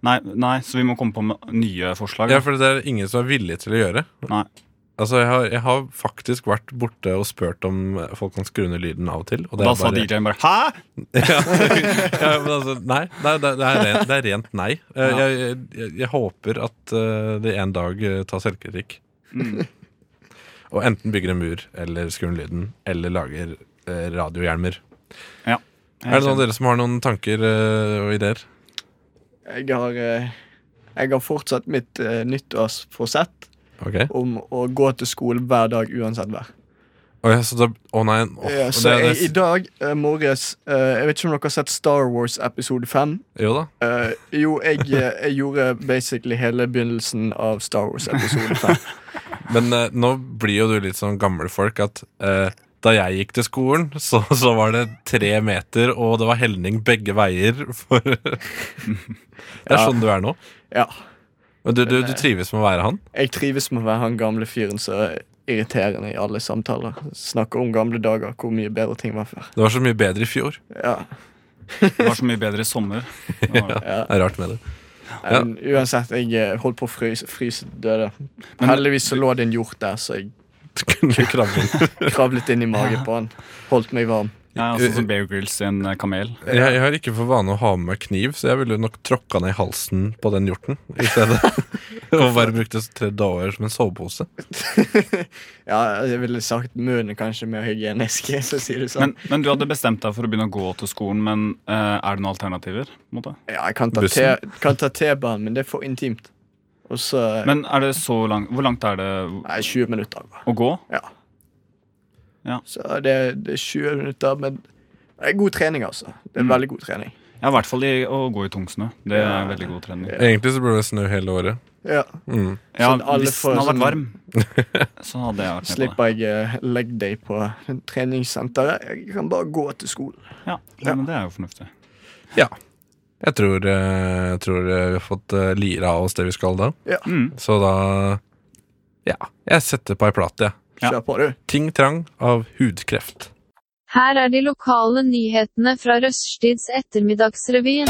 Speaker 3: Nei, nei, så vi må komme på med nye forslag.
Speaker 2: Ja, for det er ingen som er villig til å gjøre.
Speaker 3: Nei.
Speaker 2: Altså, jeg har, jeg har faktisk vært borte og spurt om folk kan skru ned lyden av og til. Og det
Speaker 3: da
Speaker 2: er
Speaker 3: sa
Speaker 2: bare-
Speaker 3: DJ-en bare 'hæ?!
Speaker 2: ja, [laughs] ja, men altså, nei, nei det, det, er rent, det er rent nei. Eh,
Speaker 3: Ja.
Speaker 2: Jeg, jeg, jeg håper at eh, det en dag eh, tar selvkritikk.
Speaker 3: Mm.
Speaker 2: Og enten bygger en mur, eller skrur ned lyden, eller lager eh, radiohjelmer. Er
Speaker 1: sånn
Speaker 2: det noen av dere som har noen tanker eh, og ideer?
Speaker 1: Jeg har, eh, jeg har fortsatt mitt eh, nyttårsforsett
Speaker 2: Ok
Speaker 1: om å gå til skolen hver dag uansett vær.
Speaker 2: Å ja, så da, å nei å,
Speaker 1: Ja,
Speaker 2: det,
Speaker 1: så jeg, i
Speaker 2: det,
Speaker 1: dag eh, morges eh, Jeg vet ikke om dere har sett Star Wars episode 5.
Speaker 2: Jo da.
Speaker 1: Eh, jo, jeg, eh, jeg gjorde basically hele begynnelsen av Star Wars episode
Speaker 3: [laughs]
Speaker 1: 5.
Speaker 2: Men eh, nå blir jo du litt sånn gamle folk at eh, da jeg gikk til skolen, [laughs] så, så var det tre meter, og det var helning begge veier. For [laughs] det er
Speaker 1: Ja. Eh.
Speaker 2: sånn du er nå.
Speaker 1: Ja.
Speaker 2: Men Du, du, du trives med å være han?
Speaker 1: Jeg trives med å være han gamle fyren som er irriterende i alle samtaler. Snakker om gamle dager, hvor mye bedre ting var før.
Speaker 2: Det var så mye bedre i fjor.
Speaker 1: Ja,
Speaker 3: Det var så mye bedre i
Speaker 1: [laughs]
Speaker 3: sommer. Det var det.
Speaker 1: ja.
Speaker 2: Det er rart med det. [laughs]
Speaker 1: Men uansett, jeg eh, holdt på å fryse, fryse til døde.
Speaker 3: Men-
Speaker 1: Heldigvis så lå det en hjort der, så jeg
Speaker 2: Du kunne
Speaker 1: [laughs]
Speaker 2: kravle.
Speaker 1: kravlet
Speaker 3: [laughs]
Speaker 1: inn i magen på han. Holdt meg varm. [laughs]
Speaker 3: Nei, altså som Bear Grylls sin eh, kamel.
Speaker 2: Jeg, jeg har ikke for vane å ha med meg kniv, så jeg ville nok tråkka ned halsen på den hjorten i
Speaker 1: [laughs]
Speaker 2: stedet. [laughs] og bare brukt det tre dager som en sovepose.
Speaker 1: Ja, jeg ville sagt munnen kanskje mer hygienisk, [laughs] så sier du sånn.
Speaker 3: Men, men du hadde bestemt deg for å begynne å gå til skolen, men eh, er det noen alternativer? på en Måte?
Speaker 1: ja, jeg kan ta
Speaker 2: Bussen?
Speaker 1: T- kan ta T-banen, men det er for intimt. Og så eh,
Speaker 3: Men er det så lang, hvor langt er det
Speaker 1: Nei, 20 minutter. bare.
Speaker 3: å gå?
Speaker 1: Ja.
Speaker 3: Ja.
Speaker 1: Så det, det er 20 minutter, men det er god trening, altså. Det er
Speaker 3: Mm.
Speaker 1: veldig god trening.
Speaker 3: Ja, i hvert fall i å gå i tung snø. Det
Speaker 1: Ja.
Speaker 3: er veldig god trening.
Speaker 2: Egentlig så burde det snø hele året.
Speaker 1: Ja,
Speaker 2: Mm.
Speaker 3: Ja,
Speaker 1: Sånn alle
Speaker 3: hvis
Speaker 1: får
Speaker 3: den hadde vært varm,
Speaker 1: sånn-
Speaker 3: så hadde jeg vært med på det.
Speaker 1: Slipper jeg eh, leg day på treningssenteret. Jeg kan bare gå til skolen.
Speaker 3: Ja,
Speaker 1: Ja.
Speaker 3: men det er jo fornuftig.
Speaker 2: Ja. Jeg tror, eh, jeg tror eh, vi har fått eh, lira av oss det vi skal da.
Speaker 3: Mm.
Speaker 2: Så da Ja. Jeg setter på ei plate, jeg.
Speaker 3: Ja.
Speaker 1: Kjør på, du. [laughs]
Speaker 2: Ting Trang av hudkreft.
Speaker 4: Her er de lokale nyhetene fra Røststids ettermiddagsrevyen.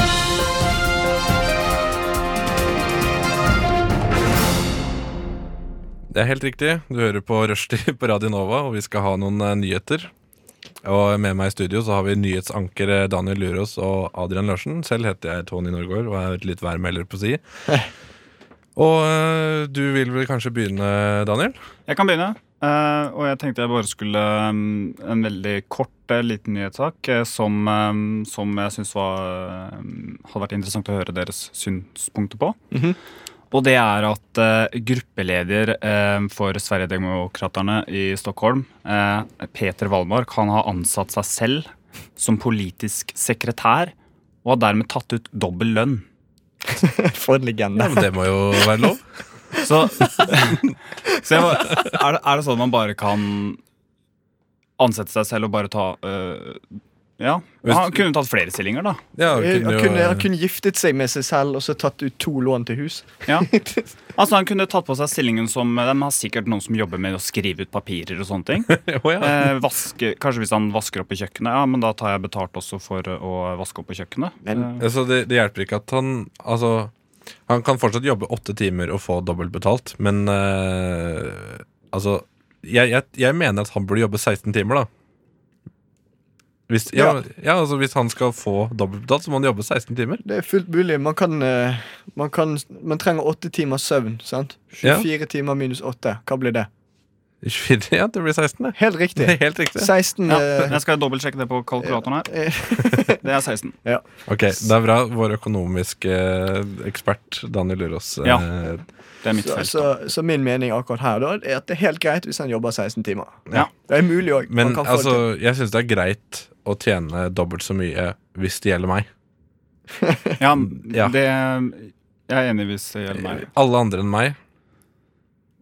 Speaker 2: Det er helt riktig. Du hører på Rushdie [laughs] på Radio Nova, og vi skal ha noen eh, nyheter. Og med meg i studio så har vi nyhetsanker eh, Daniel Lurås og Adrian Larsen. Selv heter jeg Tony Norgård og er litt værmelder på si. [laughs] Og eh, du vil vel kanskje begynne, Daniel?
Speaker 3: Jeg kan begynne. eh, og jeg tenkte jeg bare skulle um, en veldig kort, eh, liten nyhetssak eh, som, um, som jeg syns var um, Hadde vært interessant å høre deres synspunkter på.
Speaker 1: Mhm.
Speaker 3: Og det er at eh, gruppeleder eh, for Sverigedemokraterna i Stockholm, eh, Peter Wallmark, han har ansatt seg selv som politisk sekretær og har dermed tatt ut dobbel lønn.
Speaker 1: For en legende.
Speaker 2: Ja, men det må jo være [laughs] lov.
Speaker 3: Så, [laughs] så jeg, bare- er, det, er det sånn man bare kan ansette seg selv og bare ta øh, Ja.
Speaker 2: Hvis-
Speaker 3: Han kunne tatt flere stillinger, da.
Speaker 2: Ja, vi
Speaker 1: Han
Speaker 2: jo-
Speaker 1: kunne,
Speaker 2: [laughs]
Speaker 1: han kunne giftet seg med seg selv og så tatt ut to lån til hus.
Speaker 3: Ja. Altså Han kunne tatt på seg stillingen som De har sikkert noen som jobber med å skrive ut papirer og sånne ting.
Speaker 2: Å, ja.
Speaker 3: Eh, vaske, kanskje hvis han vasker opp på kjøkkenet. Ja, men da tar jeg betalt også for å vaske opp på kjøkkenet.
Speaker 1: Men-
Speaker 3: eh,
Speaker 2: Altså, det, det hjelper ikke at han Altså, han kan fortsatt jobbe åtte timer og få dobbelt betalt, men eh, Altså, jeg, jeg, jeg mener at han burde jobbe 16 timer, da. Hvis, ja, ja. altså Hvis han skal få dobbelt betalt, så må han jobbe 16 timer.
Speaker 1: Det er fullt mulig. Man kan, eh, man kan Man trenger åtte timers søvn, sant?
Speaker 2: Ja.
Speaker 1: 24 timer minus åtte. Hva blir det?
Speaker 2: 24, ja, det blir 16, det.
Speaker 1: Helt riktig.
Speaker 2: Det er [laughs] helt riktig.
Speaker 1: 16
Speaker 3: ja,
Speaker 1: eh,
Speaker 3: [laughs] jeg skal dobbeltsjekke det på kalkulatoren her.
Speaker 1: eh,
Speaker 3: Det er 16.
Speaker 2: Ok, Det er bra vår økonomiske ekspert Daniel Lurås eh,
Speaker 3: Ja. Det er mitt
Speaker 1: så,
Speaker 3: felt. da.
Speaker 1: så, så min mening akkurat her da er at det er helt greit hvis han jobber 16 timer.
Speaker 3: Ja.
Speaker 1: Det er mulig òg.
Speaker 2: Men altså, jeg syns det er greit å tjene dobbelt så mye hvis det gjelder meg.
Speaker 3: Ja,
Speaker 2: Ja.
Speaker 3: det Jeg er enig hvis det gjelder meg.
Speaker 2: Alle andre enn meg.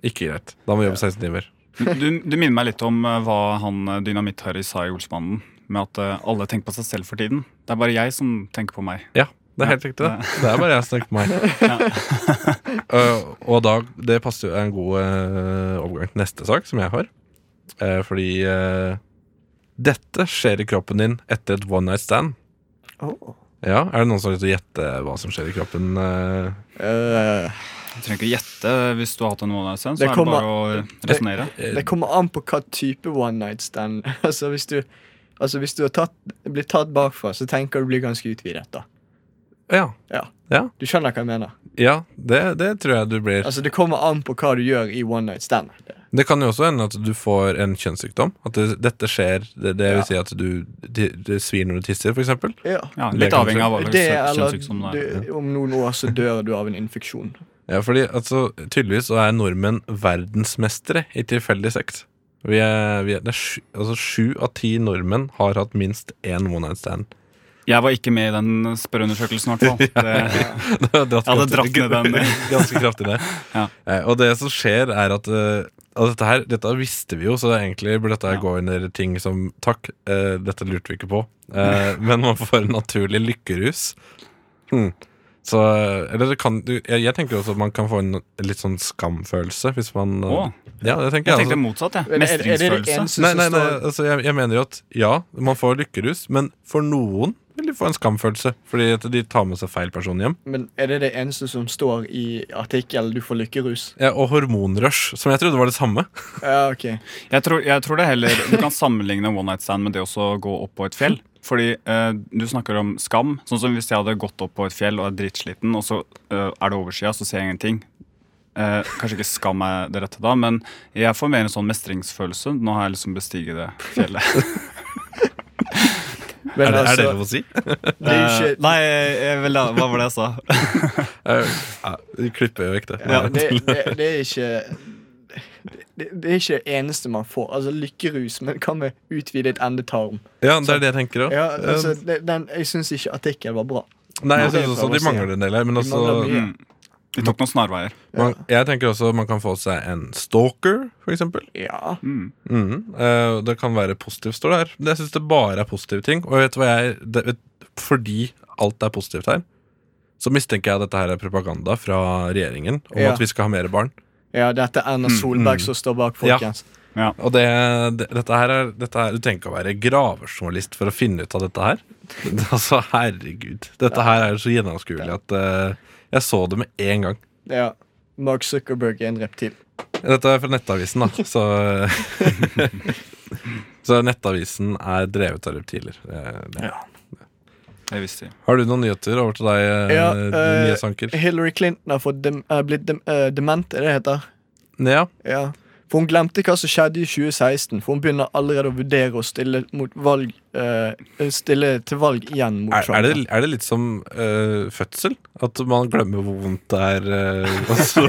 Speaker 2: Ikke greit. Da må vi jobbe 16 timer.
Speaker 3: Du, du minner meg litt om eh, hva han eh, Dynamitt-Harry sa i Olsmannen. Med at eh, alle tenker på seg selv for tiden. Det er bare jeg som tenker på meg.
Speaker 2: Ja, det er helt riktig. Det, det er bare jeg som tenker på meg. [laughs] Uh, og da, det passer jo en god uh, overgang til neste sak, som jeg har. Uh, fordi uh, dette skjer i kroppen din etter et one night stand. Ja, Er det noen som har lyst til å gjette hva som skjer i kroppen? Uh,
Speaker 1: Eh,
Speaker 3: Du trenger ikke gjette eh, hvis du har hatt en månedssend, så
Speaker 1: Det
Speaker 3: er det
Speaker 1: kommer-
Speaker 3: bare å resonnere.
Speaker 1: det kommer an på hva type one night stand. [laughs] altså Hvis du, altså, hvis du har tatt, blir tatt bakfra, så tenker du blir ganske utvidet. da
Speaker 2: ja.
Speaker 1: Ja.
Speaker 2: Ja.
Speaker 1: Du skjønner hva jeg mener?
Speaker 2: ja, det, det tror jeg du blir.
Speaker 1: Altså Det kommer an på hva du gjør i one night stand.
Speaker 2: Det kan jo også hende at du får en kjønnssykdom. At det, dette skjer. Det, det vil si at du det, det svir når du tisser, for eksempel.
Speaker 1: Ja.
Speaker 3: Ja,
Speaker 2: Det
Speaker 3: litt
Speaker 2: kan
Speaker 3: avhengig av hva
Speaker 1: Det
Speaker 3: slags
Speaker 1: eller
Speaker 3: kjønnssykdom det er.
Speaker 1: du, om noen år så dør du av en infeksjon.
Speaker 2: Ja, fordi altså, tydeligvis så er nordmenn verdensmestere i tilfeldig sex. Vi er, vi er, det er sju, altså, sju av ti nordmenn har hatt minst én one night stand.
Speaker 3: Jeg var ikke med i den spørreundersøkelsen, i
Speaker 1: [laughs]
Speaker 3: hvert fall. Det-
Speaker 2: [laughs] Det har dratt
Speaker 3: Ja, det
Speaker 2: kraftig-
Speaker 3: dratt ned den.
Speaker 2: [laughs] Ganske kraftig ned.
Speaker 3: [laughs] Ja.
Speaker 2: Eh, Og det som skjer, er at eh, og dette, her, dette visste vi jo, så egentlig burde dette her
Speaker 3: Ja.
Speaker 2: gå under ting som Takk, [laughs] eh, dette lurte vi ikke på. Eh, men man får en naturlig lykkerus. Mm. Så, eller det kan, du- jeg, jeg tenker også at man kan få en litt sånn skamfølelse hvis man eh,
Speaker 3: Å.
Speaker 2: Ja, det tenker
Speaker 3: Jeg
Speaker 2: jeg.
Speaker 3: tenkte
Speaker 2: Altså.
Speaker 3: motsatt, jeg.
Speaker 1: Er det- er det det
Speaker 3: Mestringsfølelse.
Speaker 1: eneste
Speaker 2: Nei,
Speaker 1: som
Speaker 2: nei, nei,
Speaker 1: står-
Speaker 2: altså jeg, jeg mener jo at ja, man får lykkerus, men for noen vil de få en skamfølelse. Fordi at de tar med seg feil person hjem.
Speaker 1: Men er det det eneste som står i artikkelen 'du får lykkerus'?
Speaker 2: Ja, og hormonrush, som jeg trodde var det samme.
Speaker 1: Ja, ok.
Speaker 3: Jeg tror, jeg tror det heller Du kan sammenligne one night stand med det også å gå opp på et fjell. Fordi eh, du snakker om skam. Sånn som hvis jeg hadde gått opp på et fjell og er drittsliten, og så eh, er det overskya, så ser jeg ingenting. Eh, kanskje ikke skam er det rette da, men jeg får mer en sånn mestringsfølelse. Nå har jeg liksom bestiget det fjellet.
Speaker 1: Men
Speaker 2: Er det, er
Speaker 1: altså,
Speaker 2: det lov å si?
Speaker 1: [laughs] det er jo
Speaker 3: Eh,
Speaker 1: ikke
Speaker 3: nei, jeg, vil- hva var det jeg sa?
Speaker 2: [laughs] Ja, Vi klipper jo vekk det.
Speaker 3: Ja,
Speaker 1: [laughs] det, det, det er ikke det, det er ikke det eneste man får. Altså Lykkerus, men hva med utvidet endetarm?
Speaker 2: Ja, det er det jeg tenker òg.
Speaker 1: Ja, altså, det, den, jeg syns ikke artikkelen var bra.
Speaker 2: Nei, jeg
Speaker 1: det er
Speaker 2: synes også
Speaker 1: lov å
Speaker 2: de
Speaker 1: si.
Speaker 2: mangler en del her. Men altså-
Speaker 1: De
Speaker 2: også,
Speaker 1: mangler mye.
Speaker 3: Mm. Vi tok noen snarveier.
Speaker 2: man, jeg tenker også man kan få seg en stalker, for eksempel.
Speaker 1: Ja.
Speaker 3: Mm.
Speaker 2: Mhm, eh, det kan være positivt, står det her. Men jeg syns det bare er positive ting. Og vet du hva jeg det, vet, Fordi alt er positivt her, så mistenker jeg at dette her er propaganda fra regjeringen om
Speaker 1: Ja.
Speaker 2: at vi skal ha mer barn.
Speaker 1: ja, dette er Erna Solberg som står bak,
Speaker 2: Mm, Ja.
Speaker 1: folkens.
Speaker 2: Og det, det, dette her er, dette her, Du trenger ikke å være gravejournalist for å finne ut av dette her. [laughs] Altså, herregud. Dette her er jo så gjennomskuelig at eh, jeg så det med en gang.
Speaker 1: Ja. Mark Zuckerberg er en reptil.
Speaker 2: Dette er fra Nettavisen, da. Så, [laughs] så Nettavisen er drevet av reptiler. Eh, Det
Speaker 3: Jeg visste det.
Speaker 2: Har du noen nyheter over til deg, ja,
Speaker 1: Ja, eh,
Speaker 2: nyhetsanker?
Speaker 1: Hillary Clinton har fått dem, er blitt dem, eh, dement, er det det heter?
Speaker 2: Ja.
Speaker 1: Ja. For hun glemte hva som skjedde i 2016, for hun begynner allerede å vurdere å stille, mot valg, eh, stille til valg igjen mot
Speaker 2: Er,
Speaker 1: Trump.
Speaker 2: er, det, er det litt som eh, fødsel? At man glemmer hvor vondt det er, eh, [laughs] og så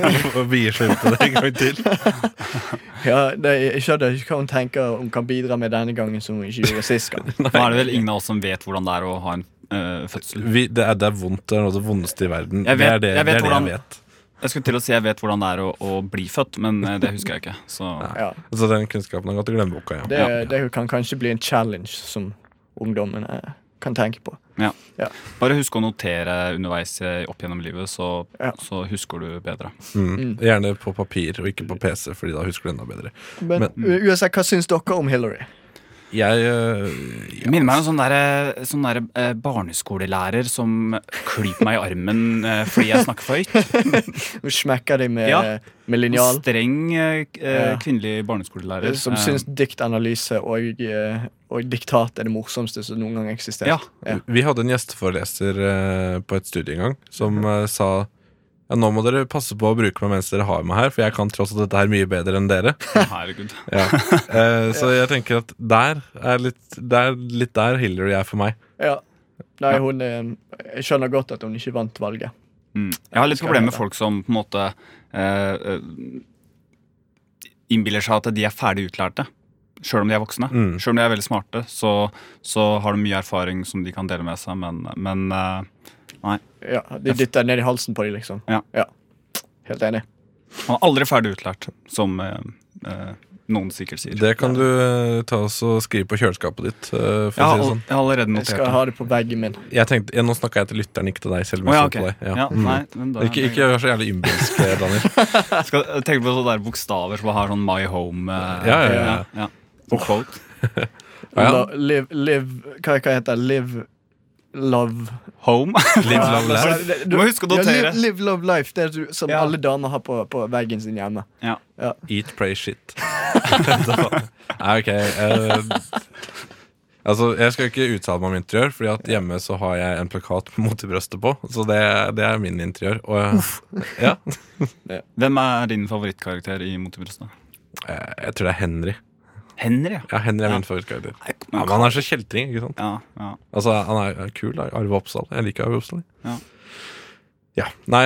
Speaker 2: bier seg ut på det en gang til?
Speaker 1: Ja, det, jeg skjønner ikke hva hun tenker hun kan bidra med denne gangen som hun ikke gjorde sist gang.
Speaker 3: Nå er det vel ingen av oss som vet hvordan det er å ha en eh, fødsel.
Speaker 2: Vi, det, er, det er vondt. Det er noe av det vondeste i verden.
Speaker 3: Jeg
Speaker 2: det
Speaker 3: vet-
Speaker 2: er det
Speaker 3: jeg vet
Speaker 2: det, er det
Speaker 3: hvordan-
Speaker 2: jeg vet.
Speaker 3: Jeg skulle til å si jeg vet hvordan det er å, å bli født, men eh, det husker jeg ikke. Så
Speaker 1: Ja,
Speaker 2: Altså, den kunnskapen har gått i glemmeboka. Ja.
Speaker 1: det, det kan kanskje bli en challenge som ungdommene kan tenke på.
Speaker 3: bare husk å notere underveis eh, opp gjennom livet, så,
Speaker 1: Ja.
Speaker 3: så husker du bedre.
Speaker 2: Mm. Gjerne på papir og ikke på PC, Fordi da husker du enda bedre.
Speaker 1: Men, eh, USA, hva syns dere om Hillary?
Speaker 2: Jeg eh,
Speaker 3: Det minner meg om sånn derre sånn der, eh, barneskolelærer som klyper meg i armen eh, fordi jeg snakker for høyt.
Speaker 1: Hun smekker dem med, eh,
Speaker 3: Ja.
Speaker 1: med
Speaker 3: En
Speaker 1: linjal.
Speaker 3: streng eh, k- eh,
Speaker 1: Ja.
Speaker 3: kvinnelig barneskolelærer.
Speaker 1: Som
Speaker 3: Eh,
Speaker 1: syns diktanalyse og, eh, og diktat er det morsomste som noen gang eksisterte.
Speaker 3: Ja.
Speaker 1: Ja.
Speaker 2: Vi hadde en gjesteforeleser eh, på et studie en gang som eh, sa ja, nå må dere passe på å bruke meg mens dere har meg her, for jeg kan tross alt dette her mye bedre enn dere.
Speaker 3: Herregud. [laughs]
Speaker 2: Eh, så jeg tenker at der er litt, det er litt der Hillary er for meg.
Speaker 1: Ja. Nei, hun eh, Jeg skjønner godt at hun ikke vant valget.
Speaker 3: Mm. Jeg har litt
Speaker 1: Skal jeg
Speaker 3: problemer med
Speaker 1: da?
Speaker 3: folk som på en måte eh, eh, innbiller seg at de er ferdig utlærte. Sjøl om de er voksne.
Speaker 2: Mm.
Speaker 3: Sjøl om de er veldig smarte, så, så har de mye erfaring som de kan dele med seg, men, men eh,
Speaker 1: Ja, De dytter ned i halsen på dem, liksom.
Speaker 3: Ja.
Speaker 1: Helt enig.
Speaker 3: man er aldri ferdig utlært, som eh, eh, noen sikkert sier.
Speaker 2: Det kan du eh, ta oss og skrive på kjøleskapet ditt. eh, for
Speaker 3: jeg, har
Speaker 2: å si det
Speaker 3: al-
Speaker 2: sånn.
Speaker 3: jeg har allerede
Speaker 1: Jeg
Speaker 3: notert
Speaker 1: skal
Speaker 3: det.
Speaker 1: ha det på veggen min.
Speaker 2: Jeg tenkte, ja, nå snakka jeg til lytteren, ikke til deg. selv om
Speaker 3: Å, ja,
Speaker 2: jeg så
Speaker 3: ok.
Speaker 2: på deg. Ja.
Speaker 3: Ja,
Speaker 2: Mm.
Speaker 3: nei, men da,
Speaker 2: Ikke, ikke vær så jævlig innbilsk, eh,
Speaker 3: [laughs]
Speaker 2: Daniel.
Speaker 3: Skal, tenk på sånne der bokstaver som har sånn My Home eh,
Speaker 2: Ja, ja, ja.
Speaker 3: ja. Og quote.
Speaker 2: Ja, ja.
Speaker 1: La- Live, live hva, hva heter det? Live Love
Speaker 3: Home.
Speaker 2: [laughs] Live,
Speaker 3: [laughs]
Speaker 2: love, laugh.
Speaker 1: Altså, det-
Speaker 3: Du må huske å
Speaker 1: Ja,
Speaker 3: notere.
Speaker 1: live, live Love Life. Det er du- som
Speaker 3: Ja.
Speaker 1: alle damer har på, på veggen sin hjemme.
Speaker 3: Ja.
Speaker 2: Eat, pray, shit. [laughs] Nei, ok. eh, altså, jeg skal ikke uttale meg om interiør, Fordi at hjemme så har jeg en plakat med mot i brøstet på. Så det, det er min interiør. Og jeg, ja,
Speaker 3: Hvem er din favorittkarakter i Mot i brystet?
Speaker 2: eh, jeg tror det er Henry.
Speaker 3: Henry,
Speaker 2: Ja, Henry er min favorittkarakter. Ja, men han er så kjeltring. ikke sant?
Speaker 3: Ja, ja.
Speaker 2: Altså, Han er er kul. da. Arve Oppsal. Jeg liker Arve Oppsal. jeg.
Speaker 3: Ja.
Speaker 2: Ja. Nei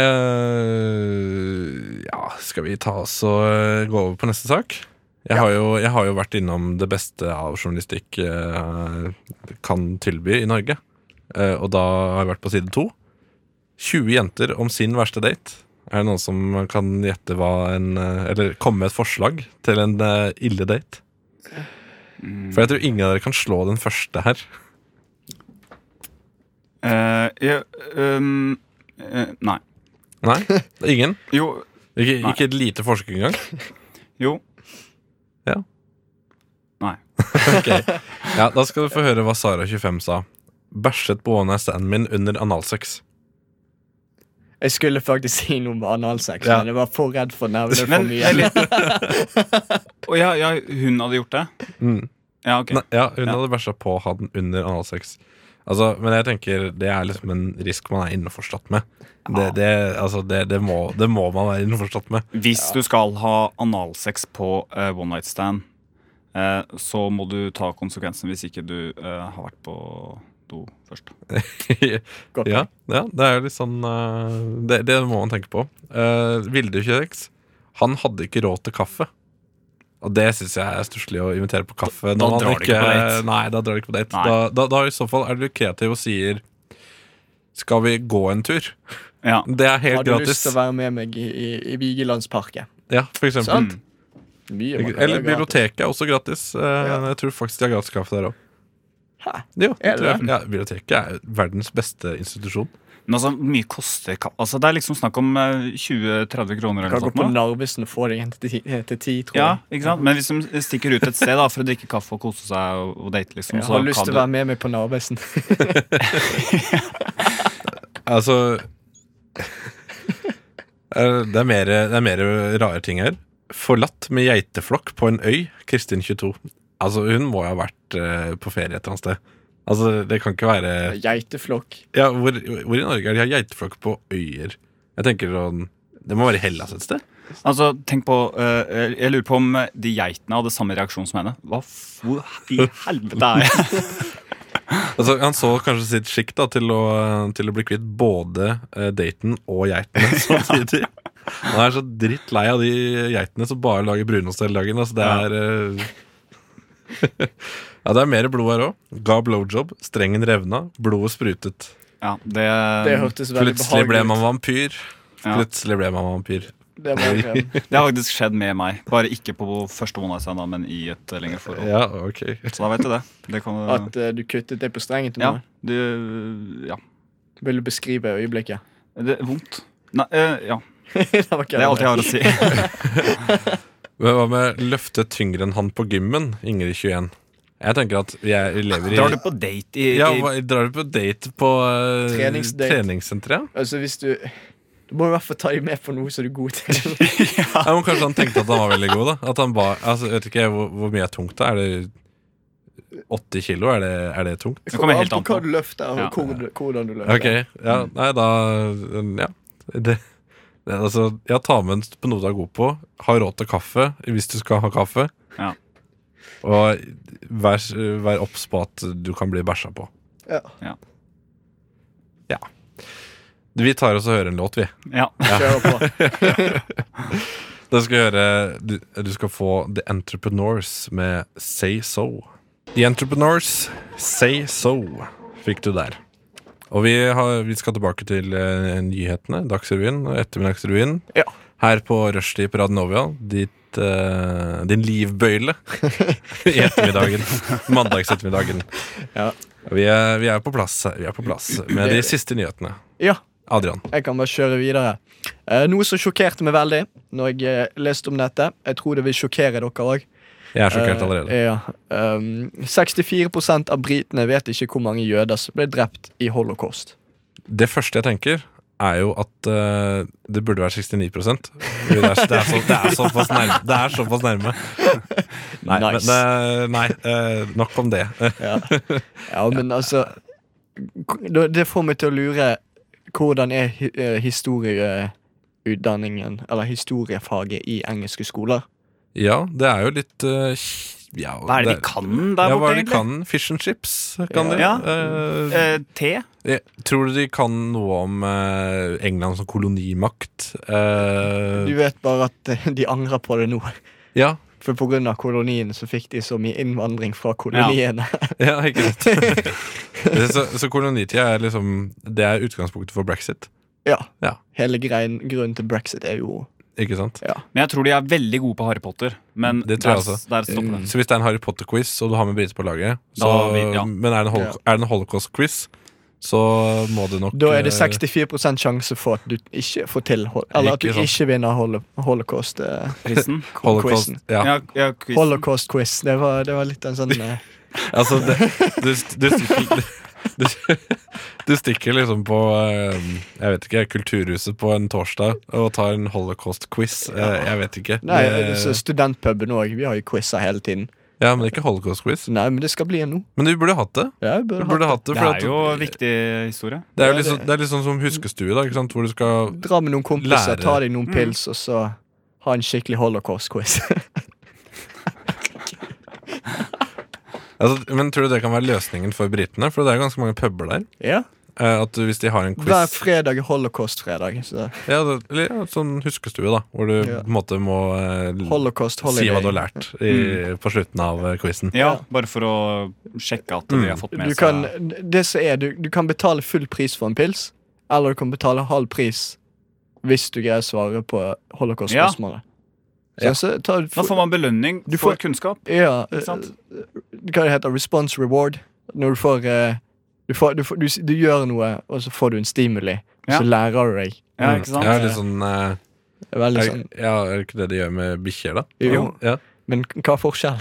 Speaker 2: eh, Ja, skal vi ta oss og eh, gå over på neste sak? Jeg, har jo, jeg har jo vært innom det beste av journalistikk eh, kan tilby i Norge. Eh, og da har jeg vært på side to. 20 jenter om sin verste date. Er det noen som kan gjette hva en eh, Eller komme med et forslag til en eh, ille date? For jeg tror ingen av dere kan slå den første her.
Speaker 3: Eh, jeg, ehm, Eh, nei.
Speaker 2: Nei? Ingen?
Speaker 3: Jo.
Speaker 2: Ikke,
Speaker 3: Nei.
Speaker 2: ikke et lite forsøk engang?
Speaker 3: Jo.
Speaker 2: Ja.
Speaker 3: Nei.
Speaker 2: Ok. Ja, da skal du få høre hva Sara25 sa. Bæsjet på one night standen min under analsex.
Speaker 1: Jeg skulle faktisk si noe om analsex,
Speaker 2: Ja.
Speaker 1: men jeg var for redd for å nevne det for
Speaker 3: Men
Speaker 1: mye. [laughs]
Speaker 3: jeg litt Å ja, ja, hun hadde gjort det?
Speaker 2: Mm.
Speaker 3: Ja, ok.
Speaker 2: Nei, ja, hun
Speaker 3: Ja.
Speaker 2: hadde bæsja på han under analsex. Altså, men jeg tenker det er liksom en risk man er innforstått med. Det,
Speaker 3: Ah.
Speaker 2: det, altså, det, det, må, det må man være innforstått med.
Speaker 3: Hvis du skal ha analsex på eh, one night stand, eh, så må du ta konsekvensen hvis ikke du eh, har vært på do først. [laughs]
Speaker 1: Godt.
Speaker 2: ja, ja, det er jo litt sånn eh, det, det må man tenke på. Uh, Vilde 26, han hadde ikke råd til kaffe. Og det syns jeg er stusslig å invitere på kaffe.
Speaker 3: Da
Speaker 2: når man
Speaker 3: drar du ikke på date.
Speaker 2: Nei, da drar du ikke på date.
Speaker 3: Nei.
Speaker 2: Da, da, da i så fall er du kreativ og sier Skal vi gå en tur?
Speaker 3: Ja.
Speaker 2: Det er helt
Speaker 1: Har du lyst
Speaker 2: gratis.
Speaker 1: til å være med meg i, i, i Vigelandsparken?
Speaker 2: Ja, for eksempel.
Speaker 1: Sant? Mye man kan gjøre
Speaker 2: Eller
Speaker 1: gratis.
Speaker 2: biblioteket er også gratis. Eh,
Speaker 1: Ja.
Speaker 2: Jeg tror faktisk de har gratis kaffe der òg.
Speaker 1: Hæ?
Speaker 2: Jo,
Speaker 1: Er
Speaker 2: det
Speaker 1: det
Speaker 2: tror jeg. Ja, biblioteket er verdens beste institusjon.
Speaker 3: Men altså, hvor mye koster ka- altså, Det er liksom snakk om eh, 20-30 kroner
Speaker 1: Kan gå
Speaker 3: eller noe
Speaker 1: på
Speaker 3: sånt. nå.
Speaker 1: Narvesen og få deg en til ti, eh, til ti tror
Speaker 3: Ja,
Speaker 1: jeg.
Speaker 3: ikke sant? Men hvis de stikker ut et sted da, for å drikke kaffe og kose seg og, og date, liksom,
Speaker 1: Jeg
Speaker 3: så
Speaker 2: sånn
Speaker 1: har lyst til å
Speaker 3: kan
Speaker 1: være med meg på Narvesen. [laughs]
Speaker 2: Altså [laughs] eh, Det er mer, det er mer rare ting her. Forlatt med geiteflokk på en øy, Kristin 22. Altså, hun må jo ha vært eh, på ferie et eller annet sted. Altså, det kan ikke være
Speaker 1: Geiteflokk.
Speaker 2: Ja, hvor, hvor i Norge er de har geiteflokk på øyer? Jeg tenker sånn Det må være Hellas et sted?
Speaker 3: du, altså, tenk på, eh, Jeg lurer på om de geitene hadde samme reaksjon som henne. Hva f- hvor i
Speaker 1: [laughs]
Speaker 3: helvete er jeg?
Speaker 2: Altså, han så kanskje sitt skikk da, til, å, til å bli kvitt både eh, daten og geitene [laughs] samtidig. Han er så drittlei av de geitene som bare lager brunost hele dagen. Altså, det
Speaker 3: Ja.
Speaker 2: er eh, [laughs] Ja, det er mer blod her òg. Ga blowjob, strengen revna, blodet sprutet.
Speaker 3: Ja, det,
Speaker 1: Det hørtes veldig
Speaker 2: Um, Plutselig ble man
Speaker 1: behagelig ut.
Speaker 2: vampyr.
Speaker 3: Ja.
Speaker 2: Plutselig ble man vampyr.
Speaker 1: Det var, eh,
Speaker 3: det har faktisk skjedd med meg. Bare ikke på første one night stand, da, men i et eh, lengre forhold.
Speaker 2: Ja, ok.
Speaker 3: Så da vet du det. det kan,
Speaker 2: [laughs]
Speaker 3: du-
Speaker 1: [laughs] At eh, du kuttet det på strengen til
Speaker 3: ja,
Speaker 1: noen.
Speaker 3: du, ja.
Speaker 1: Vil du beskrive øyeblikket?
Speaker 3: Det er vondt. Nei, eh, ja.
Speaker 1: det var ikke
Speaker 3: Det er alt jeg har å si. [laughs]
Speaker 2: Men hva med løfte tyngre enn han på gymmen, Ingrid 21? Jeg tenker at jeg lever i
Speaker 3: Drar du på date i,
Speaker 2: ja,
Speaker 3: i
Speaker 2: hva, Drar du på date på eh,
Speaker 1: Treningsdate.
Speaker 2: treningssenteret?
Speaker 1: Altså, hvis du Du må i hvert fall ta dem med på noe som du er god til.
Speaker 2: Ja, men Kanskje han tenkte at han var veldig god. da At han ba, altså, jeg vet ikke hvor, hvor mye er tungt det er. Er det 80 kilo? Er det, er det tungt?
Speaker 1: Det
Speaker 3: kommer
Speaker 1: kommer an
Speaker 3: helt
Speaker 1: på
Speaker 3: an
Speaker 1: hva
Speaker 3: på.
Speaker 1: du løfter, og
Speaker 3: Ja.
Speaker 1: hvor du- hvordan du løfter.
Speaker 2: Ok, ja, nei da Ja, det, det, altså Ja, ta med en- på noe du er god på. Ha råd til kaffe hvis du skal ha kaffe.
Speaker 3: Ja.
Speaker 2: Og vær, vær obs på at du kan bli bæsja på.
Speaker 1: Ja.
Speaker 2: Ja. Vi tar oss og hører en låt, vi.
Speaker 3: Ja.
Speaker 1: Kjør på.
Speaker 2: Da skal jeg høre du, du skal få The Entrepreneurs med Say So. The Entrepreneurs, Say So fikk du der. Og vi, har, vi skal tilbake til eh, nyhetene, Dagsrevyen og Ettermiddagsrevyen.
Speaker 1: Ja.
Speaker 2: Her på rushtid på Radnovia. Ditt, eh, din
Speaker 1: [laughs]
Speaker 2: livbøyle i ettermiddagen. Mandagsettermiddagen.
Speaker 1: Ja.
Speaker 2: Vi, er, vi er på plass her, vi er på plass med de siste nyhetene.
Speaker 1: Ja,
Speaker 2: Adrian.
Speaker 1: jeg kan bare kjøre videre. Eh, noe som sjokkerte meg veldig når jeg eh, leste om dette. Jeg tror det vil sjokkere dere òg.
Speaker 2: Jeg er
Speaker 1: Eh,
Speaker 2: sjokkert allerede.
Speaker 1: ja. um, 64 av britene vet ikke hvor mange jøder som ble drept i holocaust.
Speaker 2: Det første jeg tenker er jo at eh, det burde være 69 Fordi Det er, det er, så, det er såpass nærme. Det er såpass
Speaker 3: [laughs]
Speaker 2: nærme. Nei,
Speaker 1: Nice.
Speaker 2: men, eh, nei eh, nok om det. [laughs]
Speaker 1: Ja, ja men altså k- da- Det får meg til å lure Hvordan er hi- eh, historieutdanningen Eller historiefaget i engelske skoler?
Speaker 2: Ja, det er jo litt eh, ja,
Speaker 3: Hva er det de kan der
Speaker 2: ja, hva
Speaker 3: borte,
Speaker 2: er det de
Speaker 3: egentlig?
Speaker 2: kan? Fish and chips kan de.
Speaker 3: Ja.
Speaker 2: Eh,
Speaker 3: Eh, te?
Speaker 2: jeg tror du de kan noe om eh, England som kolonimakt? Eh,
Speaker 1: Du vet bare at eh, de angrer på det nå. [laughs]
Speaker 2: ja, [laughs]
Speaker 1: For pga. kolonien så fikk de så mye innvandring fra koloniene. [laughs]
Speaker 2: ja, ikke sant? [laughs] så, så kolonitida er liksom Det er utgangspunktet for brexit,
Speaker 1: Ja.
Speaker 2: Ja.
Speaker 1: Hele greien, grunnen til brexit er jo
Speaker 2: ikke sant?
Speaker 3: Men jeg tror de er veldig gode på Harry Potter. Men
Speaker 2: Det tror jeg
Speaker 3: der,
Speaker 2: også.
Speaker 3: der stopper [laughs] det.
Speaker 2: Så hvis det er en Harry Potter-quiz, og du har med briter på laget
Speaker 3: Mm. Da
Speaker 2: så,
Speaker 3: har vi- ja.
Speaker 2: Men er det en, holo
Speaker 1: Ja.
Speaker 2: er det en holocaust-quiz, så må du nok
Speaker 1: Da er det
Speaker 2: eh,
Speaker 1: 64 sjanse for at du ikke får til hol- Eller at du
Speaker 2: Ikke sant.
Speaker 1: ikke vinner eh, holo holocaust-quizen.
Speaker 3: Prisen?
Speaker 2: Holocaust, ja.
Speaker 3: Ja, ja, quizen.
Speaker 1: Holocaust-quiz. Det, var- det var litt en sånn eh,
Speaker 2: [laughs] Altså, det, du, du, stikker, du, [laughs] du stikker liksom på eh, Jeg vet ikke, Kulturhuset på en torsdag og tar en holocaust-quiz. Eh, Jeg vet ikke.
Speaker 1: Nei,
Speaker 2: Det-
Speaker 1: så studentpuben òg. Vi har jo quizer hele tiden.
Speaker 2: ja, Men ikke holocaust-quiz.
Speaker 1: Nei, men det skal bli en nå.
Speaker 2: Men du burde hatt det.
Speaker 1: Ja, jeg
Speaker 2: Du
Speaker 1: burde
Speaker 2: burde
Speaker 1: hatt
Speaker 2: hatt det,
Speaker 3: Det
Speaker 2: for
Speaker 3: er
Speaker 2: at-
Speaker 3: jo viktig historie.
Speaker 2: det er jo
Speaker 1: Ja,
Speaker 2: litt sånn-
Speaker 1: det-
Speaker 2: det er litt sånn som huskestue, da, ikke sant? hvor du skal
Speaker 1: Dra med noen kompiser,
Speaker 2: Lære.
Speaker 1: ta deg noen pils, og så ha en skikkelig holocaust-quiz. [laughs]
Speaker 2: altså, Men tror du det kan være løsningen for britene? For det er jo ganske mange puber der.
Speaker 1: ja.
Speaker 2: Eh, At du- Hvis de har en
Speaker 1: Hver
Speaker 2: quiz
Speaker 1: fredag er holocaust-fredag. så
Speaker 2: [laughs] ja, det, Eller ja, sånn huskestue, da, hvor du
Speaker 1: Ja.
Speaker 2: på en måte må eh,
Speaker 1: Holocaust
Speaker 2: si hva du har
Speaker 1: holiday.
Speaker 2: lært
Speaker 3: Mm.
Speaker 2: i, på slutten av eh, quizen.
Speaker 3: Ja, bare for å sjekke at de har fått med
Speaker 1: Du kan, det som er, du, du kan betale full pris for en pils, eller du kan betale halv pris hvis du greier å svare på holocaust-spørsmålet.
Speaker 2: Ja.
Speaker 1: Så, så tar du
Speaker 3: Da får man belønning
Speaker 1: Du
Speaker 3: for
Speaker 1: får-
Speaker 3: kunnskap.
Speaker 1: Ja,
Speaker 3: Ikke sant?
Speaker 1: eh, hva det heter response reward. Når du får, eh, du, får, du, får du, s- du gjør noe, og så får du en stimuli.
Speaker 3: Ja.
Speaker 1: Så lærer du deg.
Speaker 3: Ja, ikke sant?
Speaker 2: Ja, litt sånn eh,
Speaker 1: Det er Veldig
Speaker 2: Er,
Speaker 1: sånn
Speaker 2: ja, er det ikke det de gjør med bikkjer, da?
Speaker 1: Jo, Altså-
Speaker 2: Ja. [laughs]
Speaker 1: men hva er forskjellen?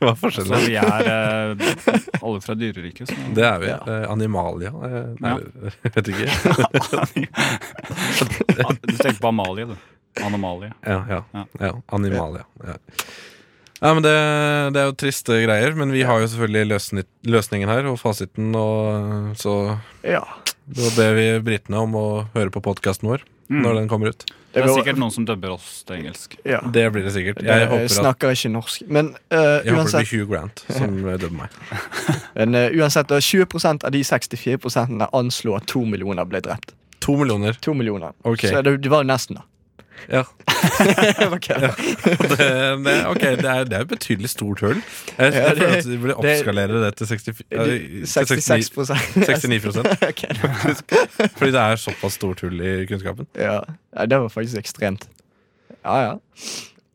Speaker 2: Hva er
Speaker 3: Så
Speaker 2: forskjellen?
Speaker 3: vi [laughs] er eh, alle fra dyreriket. så-
Speaker 2: Det er vi.
Speaker 1: Ja.
Speaker 2: Eh, Animalia? eh, Nei, [laughs] vet ikke.
Speaker 3: [laughs] Du tenker på Amalie, du. Anomalie.
Speaker 2: Ja, ja,
Speaker 3: Ja.
Speaker 2: ja. Animalia. Ja. Ja, men det, det er jo triste greier, men vi har jo selvfølgelig løsni- løsningen her og fasiten. Og så
Speaker 1: [laughs] Ja.
Speaker 2: da ber vi britene om å høre på podkasten vår
Speaker 1: Mm.
Speaker 2: når den kommer ut.
Speaker 3: Det er
Speaker 1: går-
Speaker 3: sikkert noen som dubber oss til engelsk.
Speaker 1: ja.
Speaker 2: Det blir det sikkert.
Speaker 1: Jeg,
Speaker 2: Jeg håper, at,
Speaker 1: snakker ikke norsk. Men eh,
Speaker 2: jeg håper det
Speaker 1: uansett,
Speaker 2: blir Hugh Grant som eh, dømmer meg.
Speaker 1: men, eh, uansett da, 20 av de 64 anslo at to millioner ble drept.
Speaker 2: To millioner.
Speaker 1: To millioner.
Speaker 2: Ok.
Speaker 1: Så det, det var jo
Speaker 2: [laughs]
Speaker 1: nesten, da. [laughs]
Speaker 2: Ja.
Speaker 1: Det var kødd.
Speaker 2: Det, det, ok, det er, det er et betydelig stort hull. Jeg,
Speaker 1: Ja, det-
Speaker 2: jeg føler at vi burde
Speaker 1: det-
Speaker 2: oppskalere det til 64 eh,
Speaker 1: Du-
Speaker 2: til
Speaker 1: 66
Speaker 2: 69 prosent,
Speaker 1: [laughs] Ok.
Speaker 2: Fordi det er såpass stort hull i kunnskapen.
Speaker 1: Ja. Nei, det var faktisk ekstremt. Ja, ja.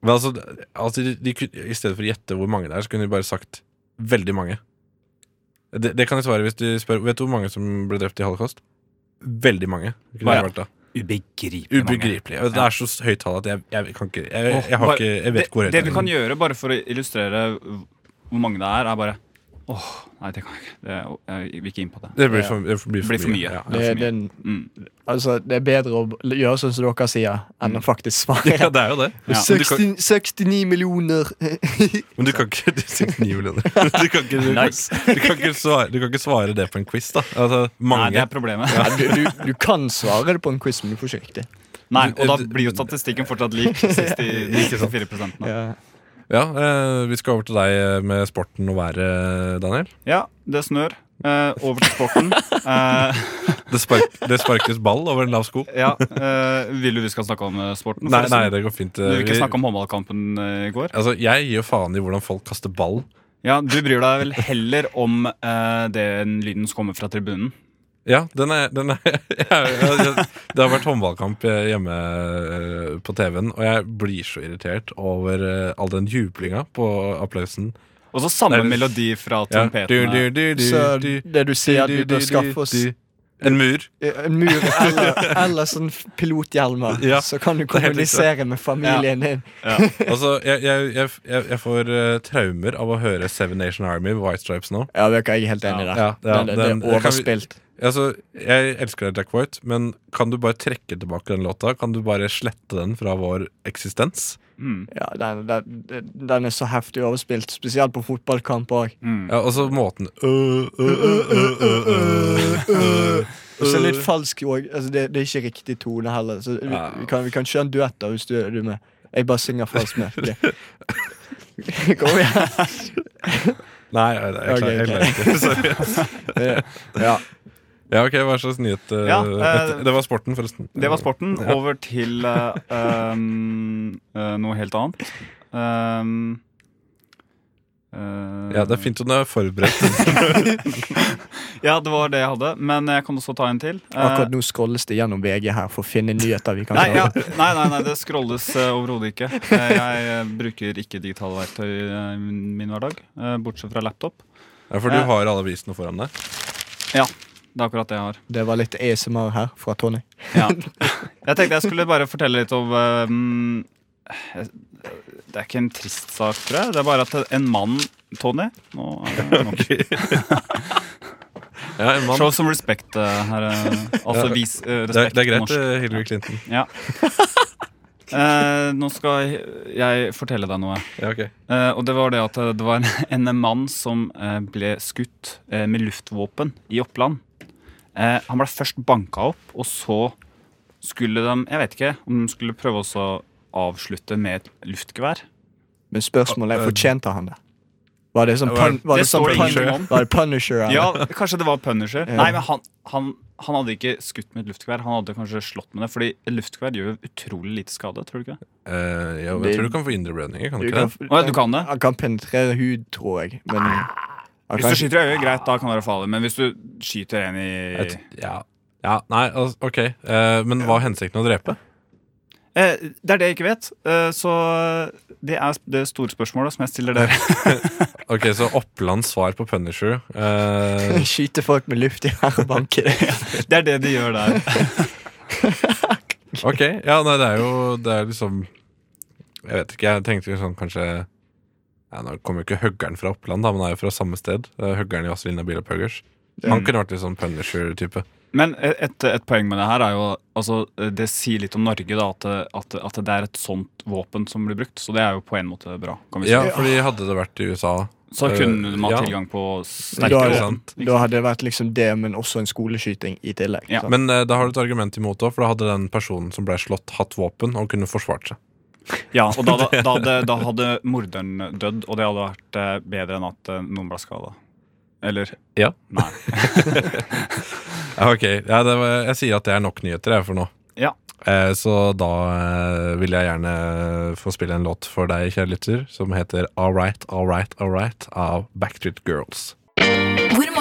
Speaker 2: Men altså, det- altså de, de, kunne- I stedet for å gjette hvor mange det er, så kunne de bare sagt veldig mange. Det, det kan jeg svare hvis du spør Vet du hvor mange som ble drept i holocaust? Veldig mange. Kunne
Speaker 3: Bare-
Speaker 2: jeg valgt da.
Speaker 3: Ubegripelig.
Speaker 2: Ubegripelig. Det er så høyt tall at jeg, jeg kan ikke Jeg,
Speaker 3: Åh,
Speaker 2: jeg, har
Speaker 3: bare-
Speaker 2: ikke, jeg vet ikke hvor
Speaker 3: det,
Speaker 2: høyt
Speaker 3: det du
Speaker 2: er.
Speaker 3: kan gjøre bare for å illustrere hvor mange det er, er bare Åh, nei, det kan jeg ikke. Det, jeg vil ikke inn på det. Mm.
Speaker 2: Det blir for, det blir for,
Speaker 3: Blir for mye.
Speaker 2: Ja.
Speaker 1: Det, det, er en- altså, det er bedre å b- gjøre sånn som dere sier, enn å faktisk
Speaker 2: Mm. ja,
Speaker 1: svare.
Speaker 2: det er jo det.
Speaker 3: Ja.
Speaker 2: Men du kan-
Speaker 1: 60, 69 millioner [laughs]
Speaker 2: Men du kan ikke du sier 9
Speaker 3: [laughs]
Speaker 2: millioner. [laughs] Du kan ikke, du, du kan ikke, svare, du kan ikke svare det på en quiz, da. Altså, mange.
Speaker 3: Nei, det er problemet.
Speaker 1: ja, du, du, du kan svare det på en quiz, men du får ikke riktig.
Speaker 3: [laughs] Nei, Og da blir jo statistikken fortsatt
Speaker 2: [laughs]
Speaker 3: lik 64 ja.
Speaker 1: Ja.
Speaker 2: Ja, eh, Vi skal over til deg med sporten og været, Daniel.
Speaker 3: ja, det snør. Eh, over til sporten.
Speaker 2: [laughs]
Speaker 3: Eh,
Speaker 2: Det, spark, det sparkes ball over en lav sko.
Speaker 3: ja, eh, vil du vi skal snakke om eh, sporten?
Speaker 2: Nei, nei,
Speaker 3: forresten?
Speaker 2: det går fint.
Speaker 3: Du
Speaker 2: eh,
Speaker 3: vil ikke
Speaker 2: vi-
Speaker 3: snakke om håndballkampen eh, i går?
Speaker 2: Altså, Jeg gir jo faen i hvordan folk kaster ball.
Speaker 3: Ja, Du bryr deg vel heller om eh, den lyden som kommer fra tribunen?
Speaker 2: Ja, den er, den er [laughs] jeg, jeg, jeg, Det har vært håndballkamp eh, hjemme eh, på TV-en, og jeg blir så irritert over eh, all den jublinga på applausen.
Speaker 3: Og så samme
Speaker 2: Nei, det-
Speaker 3: melodi fra
Speaker 2: Ja.
Speaker 3: trompetene.
Speaker 2: Du, du, du, du,
Speaker 1: Så
Speaker 2: du.
Speaker 1: det du sier, at vi bør skaffe oss
Speaker 2: En mur.
Speaker 1: en mur eller, eller sånn pilothjelmer,
Speaker 2: Ja,
Speaker 1: så kan du
Speaker 2: er helt riktig.
Speaker 1: kommunisere med familien din.
Speaker 2: Altså, jeg, jeg, jeg, jeg jeg får eh, traumer av å høre Seven Nation Army White Stripes nå.
Speaker 1: Ja, vet du hva, jeg er helt enig i det.
Speaker 2: Ja, ja,
Speaker 1: det, det,
Speaker 2: den-
Speaker 1: det er
Speaker 2: kan vi-
Speaker 1: overspilt.
Speaker 2: Altså, Jeg elsker deg, Jack White, men kan du bare trekke tilbake den låta? Kan du bare slette den fra vår eksistens?
Speaker 3: Mm.
Speaker 1: Ja, den, den, den er så heftig overspilt, spesielt på fotballkamp òg.
Speaker 3: Mm.
Speaker 2: Ja, Og så
Speaker 1: [laughs]
Speaker 2: måten øh, øh, øh, øh, øh, øh, øh.
Speaker 1: Og så litt falsk òg. Altså, det, det er ikke riktig tone heller. Så vi,
Speaker 2: Ja.
Speaker 1: vi, kan, vi kan kjøre en duett da, hvis du er du er med. Jeg bare synger falsk
Speaker 2: [laughs]
Speaker 1: med. Ok. Kom igjen.
Speaker 2: Nei, nei, nei, jeg
Speaker 1: Ok,
Speaker 2: klarer jeg klarer ikke. [laughs] Sorry.
Speaker 1: Ja.
Speaker 2: Ja, ok, Hva slags nyhet? eh,
Speaker 3: Ja, eh,
Speaker 2: dette- det var sporten, forresten.
Speaker 3: [laughs] Det var sporten. Over til eh, um, eh, noe helt annet. Um, eh,
Speaker 2: Ja, Det er fint om du er forberedt.
Speaker 3: Ja, det var det jeg hadde. Men jeg kan også ta en til. Eh,
Speaker 1: Akkurat nå scrolles det gjennom VG her for å finne nyheter vi kan
Speaker 3: Nei,
Speaker 2: [laughs]
Speaker 3: ja,
Speaker 1: ta.
Speaker 3: nei, nei, nei, det scrolles eh, overhodet ikke. Eh, jeg eh, bruker ikke digitale verktøy eh, i min hverdag, eh, bortsett fra laptop.
Speaker 2: Ja, For du
Speaker 3: Ja. [laughs]
Speaker 2: har alle avisene foran deg.
Speaker 3: Ja, det er akkurat det jeg har.
Speaker 1: Det var litt ASMR her fra Tony.
Speaker 3: Ja. [laughs] Jeg tenkte jeg skulle bare fortelle litt om ehm, Det er ikke en trist sak, tror jeg. Det er bare at en mann, Tony Nå er det
Speaker 2: [laughs]
Speaker 3: nok.
Speaker 2: Ja, en mann.
Speaker 3: Show some respect eh, her. eh, Altså
Speaker 2: Ja,
Speaker 3: vis eh,
Speaker 2: Det, er-
Speaker 3: respekt
Speaker 2: det er
Speaker 3: på
Speaker 2: greit,
Speaker 3: norsk.
Speaker 2: eh, Hillary Clinton. [laughs]
Speaker 3: Ja. Eh, nå skal jeg fortelle deg noe.
Speaker 2: Ja, ok.
Speaker 3: Eh, og det var det at det var en, [laughs] en mann som eh, ble skutt eh, med luftvåpen i Oppland. Eh, han ble først banka opp, og så skulle de Jeg vet ikke om de skulle prøve også å avslutte med et luftgevær.
Speaker 1: Men spørsmålet er, fortjente han det? Var det som,
Speaker 2: Ja,
Speaker 1: pun var det
Speaker 3: det
Speaker 1: som
Speaker 3: står
Speaker 1: pun
Speaker 3: ingenting om.
Speaker 1: var det Punisher? eller?
Speaker 3: Ja, [laughs] kanskje det var Punisher.
Speaker 1: Ja.
Speaker 3: Nei, men han, han, han hadde ikke skutt med et luftgevær. Han hadde kanskje slått med det, fordi et luftgevær gjør jo utrolig lite skade. tror du ikke?
Speaker 2: Eh, ja, jeg
Speaker 1: Det-
Speaker 2: tror du kan få indreblødninger, kan du
Speaker 1: Du
Speaker 2: ikke
Speaker 1: kan,
Speaker 2: det?
Speaker 3: Å, ja, du kan det?
Speaker 1: Han kan penetrere hud, tror jeg. Men han
Speaker 3: Hvis
Speaker 1: kan,
Speaker 3: du skyter i øyet, greit, da kan det være farlig. Men hvis du skyter en i
Speaker 2: Jeg t- Ja. ja. Nei, altså, ok. Eh, men hva er hensikten å drepe?
Speaker 3: eh, Det er det jeg ikke vet. Eh, så det er sp- det store spørsmålet som jeg stiller dere.
Speaker 2: [laughs] Ok, så Opplands svar på Punisher eh,
Speaker 1: [laughs] skyte folk med luft i her og banke det. [laughs]
Speaker 3: Det er det de gjør der.
Speaker 2: Ok, ja, nei, det er jo Det er liksom Jeg vet ikke, jeg tenkte jo sånn kanskje ja, Nå kommer jo ikke Høggeren fra Oppland, da, men han er jo fra samme sted. Eh, Høggeren i Vazelina Bilop Huggers.
Speaker 3: Mm.
Speaker 2: Han kunne vært litt sånn Punisher-type.
Speaker 3: Men et, et poeng med det her er jo altså, Det sier litt om Norge, da, at, det- at, at det er et sånt våpen som blir brukt. Så det er jo på en måte bra. Kan vi si.
Speaker 2: Ja, fordi hadde det vært i USA
Speaker 3: Så kunne man
Speaker 2: Ja.
Speaker 3: ha tilgang på
Speaker 1: Da
Speaker 3: sterkere
Speaker 1: er det
Speaker 3: våpen.
Speaker 2: sant.
Speaker 1: Da hadde det vært liksom det, men også en skoleskyting i tillegg.
Speaker 3: Ja,
Speaker 1: sant?
Speaker 2: Men eh, da har du et argument imot òg, for da hadde den personen som ble slått, hatt våpen og kunne forsvart seg.
Speaker 3: Ja, og da,
Speaker 2: [laughs]
Speaker 3: da, da, hadde, da hadde morderen dødd, og det hadde vært eh, bedre enn at eh, noen ble skada. Eller?
Speaker 2: Ja.
Speaker 3: Nei.
Speaker 2: Ja, ok, ja, det var, Jeg sier at det er nok nyheter jeg, for nå.
Speaker 3: Ja.
Speaker 2: Eh, så da eh, vil jeg gjerne eh, få spille en låt for deg, kjære lytter, som heter All Right, All Right, All Right av Backstreet Girls.
Speaker 5: Hvor